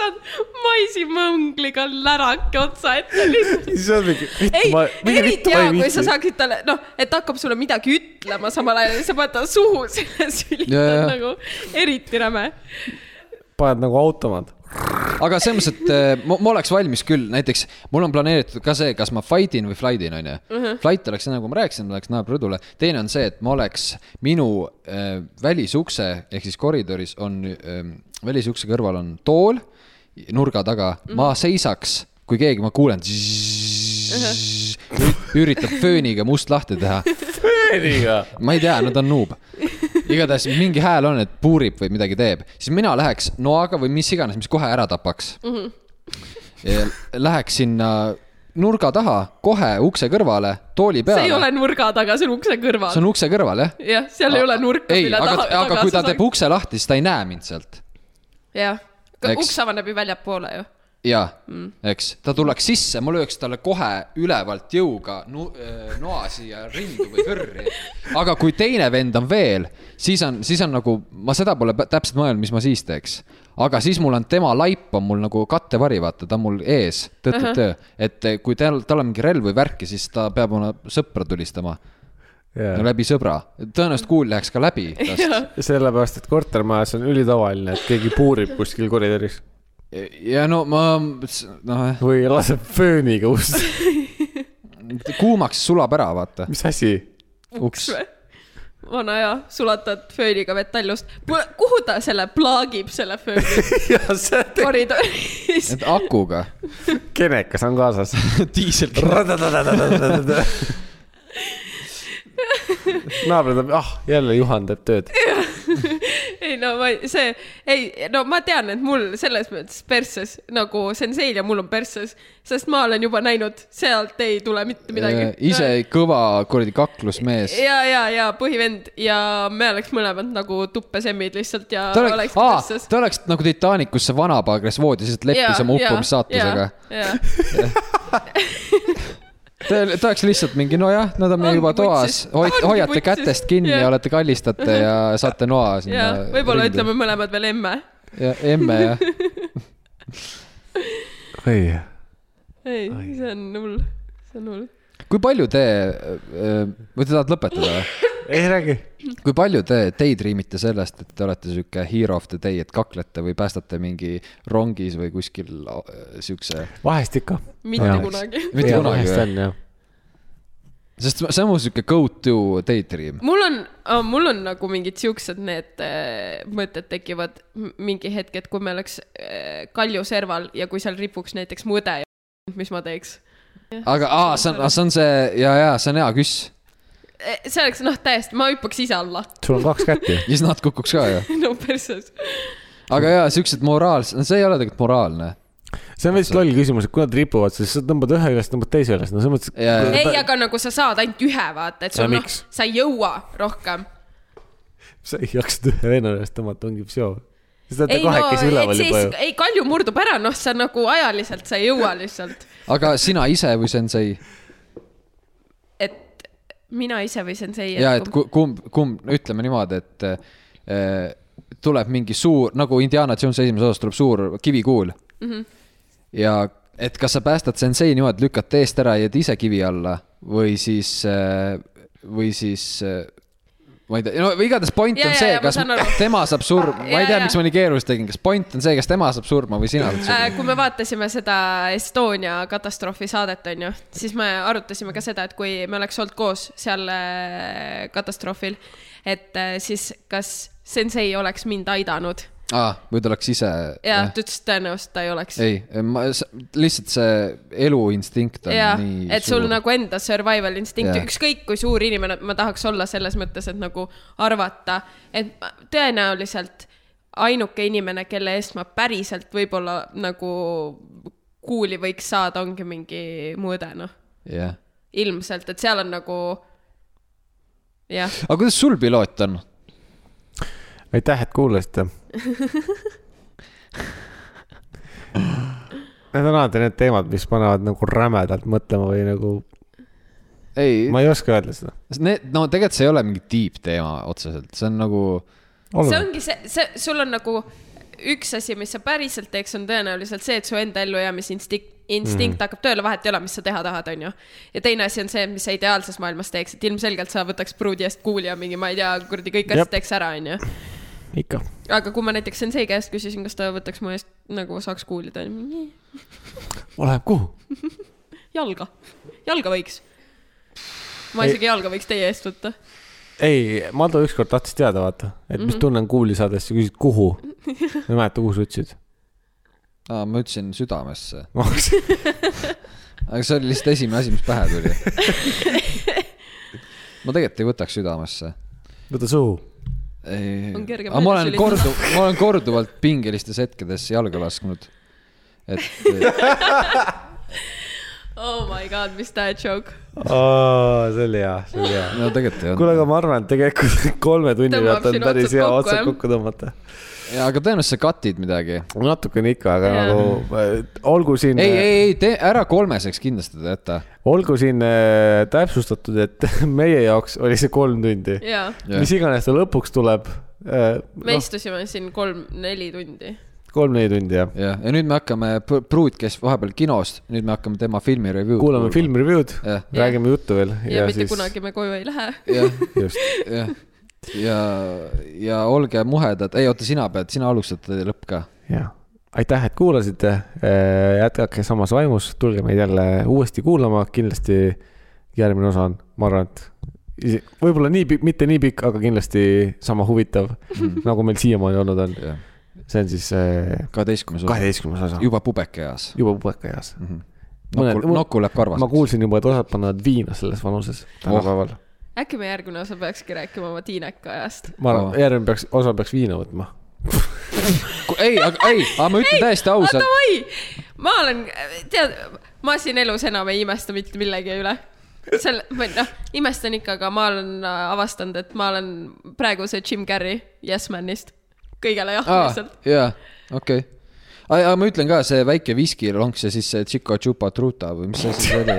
saad maisimõngliga lärake otsa ette lihtsalt . siis on mingi , ei , eriti hea , kui sa . saaksid talle , noh , et hakkab sulle midagi ütlema samal ajal ja sa paned ta suhu selle Jajah. sülitad nagu , eriti räme . paned nagu automaat . aga selles mõttes , et eh, ma, ma oleks valmis küll , näiteks mul on planeeritud ka see , kas ma fight in või flight in onju . Flight oleks see , nagu ma rääkisin , ma läheks naabrirõdule . teine on see , et ma oleks , minu äh, välisukse ehk siis koridoris on äh, , välisukse kõrval on tool nurga taga mm , -hmm. ma seisaks , kui keegi , ma kuulen . üritab fööniga must lahti teha . Eriga . ma ei tea , no ta on nuub . igatahes mingi hääl on , et puurib või midagi teeb , siis mina läheks noaga või mis iganes , mis kohe ära tapaks mm . Mhm. -hmm. Läheks sinna nurga taha , kohe ukse kõrvale , tooli see ei peale . ole nurga taga , see on ukse see kõrval . on ukse kõrval jah ? jah , seal ei ole nurka , ei , mille aga taha ,, aga kui ta teeb . ukse lahti , siis ta ei näe mind sealt . jah , Eks. uks avaneb ju väljapoole ju . jaa mm. , eks , ta tuleks sisse , ma lööks talle kohe ülevalt jõuga nu- , noa siia rindu või kõrri . aga kui teine vend on veel , siis on , siis on nagu , ma seda pole pä- täpselt mõelnud , mis ma siis teeks . aga siis mul on tema laip on mul nagu kattevari , vaata , ta on mul ees , tõtt-tõtt-töö . et eh, kui tal , tal on mingi relv või värki , siis ta peab oma sõpra tulistama . no läbi sõbra , tõenäoliselt kuul läheks ka läbi tast . sellepärast , et kortermajas on ülitavaline , et keegi puurib kuskil koridoris ja no ma , noh , või laseb fööniga ust . *laughs* kuumaks sulab ära , vaata . mis asi ? *laughs* uks või ? vana hea , sulatad fööniga metallust . kuhu ta selle plaagib , selle *laughs* fööni jah , see koridoris ? et akuga kenekas on kaasas . diisel . naabrid on , ah , jälle Juhan teeb *laughs* tööd . ei no ma , see , ei no ma tean , et mul selles mõttes perses nagu senseil ja mul on perses , sest ma olen juba näinud , sealt ei tule mitte midagi . Äh, ise kõva kuradi kaklusmees . ja , ja , ja põhivend ja me oleks mõlemad nagu tuppesemmid lihtsalt ja ta oleks , oleks aa , ta oleks nagu Titanicus see vanapagres voodis , lihtsalt leppis oma uppumissaatusega .. ta ta oleks lihtsalt mingi , nojah , nad on meil Ongi juba toas putsis. , Ongi hoiate putsis. kätest kinni ja Jah. olete kallistate ja saate noa ja sinna . võib-olla . ütleme mõlemad veel emme . emme jah , oi , ei , see on hull , see on hull . kui palju te , või te tahate lõpetada või ? ei räägi . kui palju te daydream ite sellest , et te olete sihuke hero of the day , et kaklete või päästate mingi rongis või kuskil äh, siukse vahest ikka . mitte kunagi . mitte kunagi vahest või ? on jah . sest see on mu sihuke go to daydream . mul on , mul on nagu mingid siuksed need äh, mõtted tekivad m- mingi hetk , et kui me oleks äh, Kalju serval ja kui seal ripuks näiteks mu õde , *laughs* mis ma teeks ? aga aa , see on , see on see ja , ja see on hea küss . see oleks noh , täiesti , ma hüppaks ise alla , *laughs* sul on kaks kätt ju . ja siis nad kukuks ka ju . no perses . aga ja siuksed moraalsed , no see ei ole tegelikult moraalne . see on veits loll küsimus , et kui nad ripuvad , siis sa tõmbad ühe üles , tõmbad teise üles , no selles mõttes . Jaa, jaa. ei , aga nagu sa saad ainult ühe , vaata , et Ja sul noh , miks? sa ei jõua rohkem . sa ei jaksa ühe venna üles tõmmata , ongi psühho . siis te olete ei no , kahekesi et üleval juba siis ju ,. ei Kalju murdub ära , noh , sa nagu ajaliselt , sa ei jõua lihtsalt . aga sina ise või sensei ? et mina ise või sensei . ja et ku- kumb , kumb , ütleme niimoodi , et äh, tuleb mingi suur , nagu Indiana Jones esimeses osas tuleb suur kivikuul mm . Mhm. -hmm. ja et kas sa päästad sensei niimoodi , et lükkad teest eh, ära ja jääd ise kivi alla või siis äh, , või siis äh, ma ei tea , no igatahes point Jaa, on jaa, see jaa, , ma kas saan aru. tema saab surma , ma *laughs* Jaa, ei tea jaa. , miks ma nii keerulist tegin , kas point on see , kas tema saab surma või sina oled surma ? Äh, kui me vaatasime seda Estonia katastroofi saadet , onju , siis me arutasime ka seda , et kui me oleks olnud koos seal äh, katastroofil , et äh, siis kas sensei oleks mind aidanud aa , või ta oleks ise . ja ta ütles , et tõenäoliselt ta ei oleks . ei , ma s- lihtsalt see eluinstinkt on ja nii , et sul suur. nagu enda survival instinct Jah. yeah. , ükskõik kui suur inimene ma tahaks olla selles mõttes , et nagu arvata , et ma- tõenäoliselt ainuke inimene , kelle eest ma päriselt võib-olla nagu kuuli võiks saada , ongi mingi mu õde , noh . jah . ilmselt , et seal on nagu jah , aga kuidas sul piloot on ? aitäh , et *laughs* kuulasite . Need on alati need teemad , mis panevad nagu rämedalt mõtlema või nagu , ei , ma ei oska öelda seda . need , no tegelikult see ei ole mingi deep teema otseselt , see on nagu , see ongi see , see , sul on nagu üks asi , mis sa päriselt teeks , on tõenäoliselt see , et su enda ellujäämisinstinkt , instinkt Mhm. mm. hakkab tööle , vahet ei ole , mis sa teha tahad , onju . ja teine asi on see , mis sa ideaalses maailmas teeks , et ilmselgelt sa võtaks pruudi eest kuulja mingi , ma ei tea , kuradi kõik Jep. asjad teeks ära , onju . ikka . aga kui ma näiteks sensei käest küsisin , kas ta võtaks mu eest nagu saaks kuulida , oleneb kuhu . jalga , jalga võiks . ma Ei- isegi jalga võiks teie eest võtta . ei , Mado ükskord tahtis teada , vaata , et Mhm. mis tunne on kuuli saades , sa küsid *laughs* kuhu . ma ei mäleta , kuhu sa ütlesid . aa , ma ütlesin südamesse , *laughs* aga see oli lihtsalt esimene asi , mis pähe *laughs* tuli . ma tegelikult ei võtaks südamesse võta suhu . ei , On kerge aga ma olen meelde kordu- , ma olen korduvalt pingelistes hetkedes jalga lasknud . et oh my god , mis dad joke . see oli hea , see oli hea . no tegelikult ei kuule , olnud . aga ma arvan , et tegelikult *laughs* kolme tunni Tõmbab pealt on siin päris otsad hea kokku, otsad jah. kokku tõmmata . aga tõenäoliselt sa cut'id midagi . natukene ikka , aga Jaa. nagu äh, olgu siin , ei , ei , ei tee ära kolmeseks kindlasti teda jäta . olgu siin äh, täpsustatud , et *laughs* meie jaoks oli see kolm tundi . jaa mis iganes ta lõpuks tuleb , me noh , istusime siin kolm-neli tundi . kolm-neli tundi jah . jah , ja nüüd me hakkame , Pruut käis vahepeal kinos , nüüd me hakkame tema filmi review'd . kuulame . film review'd , jah , räägime juttu veel ja, ja mitte siis... kunagi me koju ei lähe . jah , just , jah . ja , ja olge muhedad , ei oota , sina pead , sina alustad lõpp ka . jah . aitäh , et kuulasite , jätkake samas vaimus , tulge meid jälle uuesti kuulama , kindlasti järgmine osa on , ma arvan , et isi- võib-olla nii pikk , mitte nii pikk , aga kindlasti sama huvitav mm. , nagu meil siiamaani olnud on . see on siis äh, kaheteistkümnes osa , kaheteistkümnes osa , Mhm. juba pubekaeas . juba pubekaeas . nokku , nokku läheb karvaseks . ma kuulsin juba , et osad panevad viina selles vanuses tänapäeval oh. . äkki me järgmine osa peakski rääkima oma tiineka ajast . ma arvan Oh. oh. , järgmine peaks , osa peaks viina *laughs* võtma . ei , aga ei , aga ma ütlen täiesti ausalt . davai , ma olen , tead , ma siin elus enam ei imesta mitte millegi üle . seal , või noh , imestan ikka , aga ma olen äh, avastanud , et ma olen praegu see Jim Carrey Yes Manist . kõigele jah ah. aa lihtsalt ., jaa , okei . aga ma ütlen ka , see väike viskilonks ja siis see Chico Chupa Truta või mis asi see oli .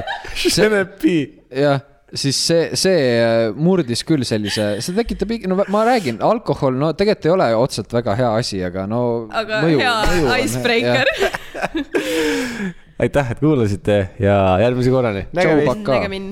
Senepi . jah , siis see , see äh, murdis küll sellise , see tekitab , no ma räägin , alkohol , no tegelikult ei ole otseselt väga hea asi , aga no . aga mõju, hea mõju icebreaker . aitäh , et kuulasite ja järgmise korrani . tšau , pakaa . nägemin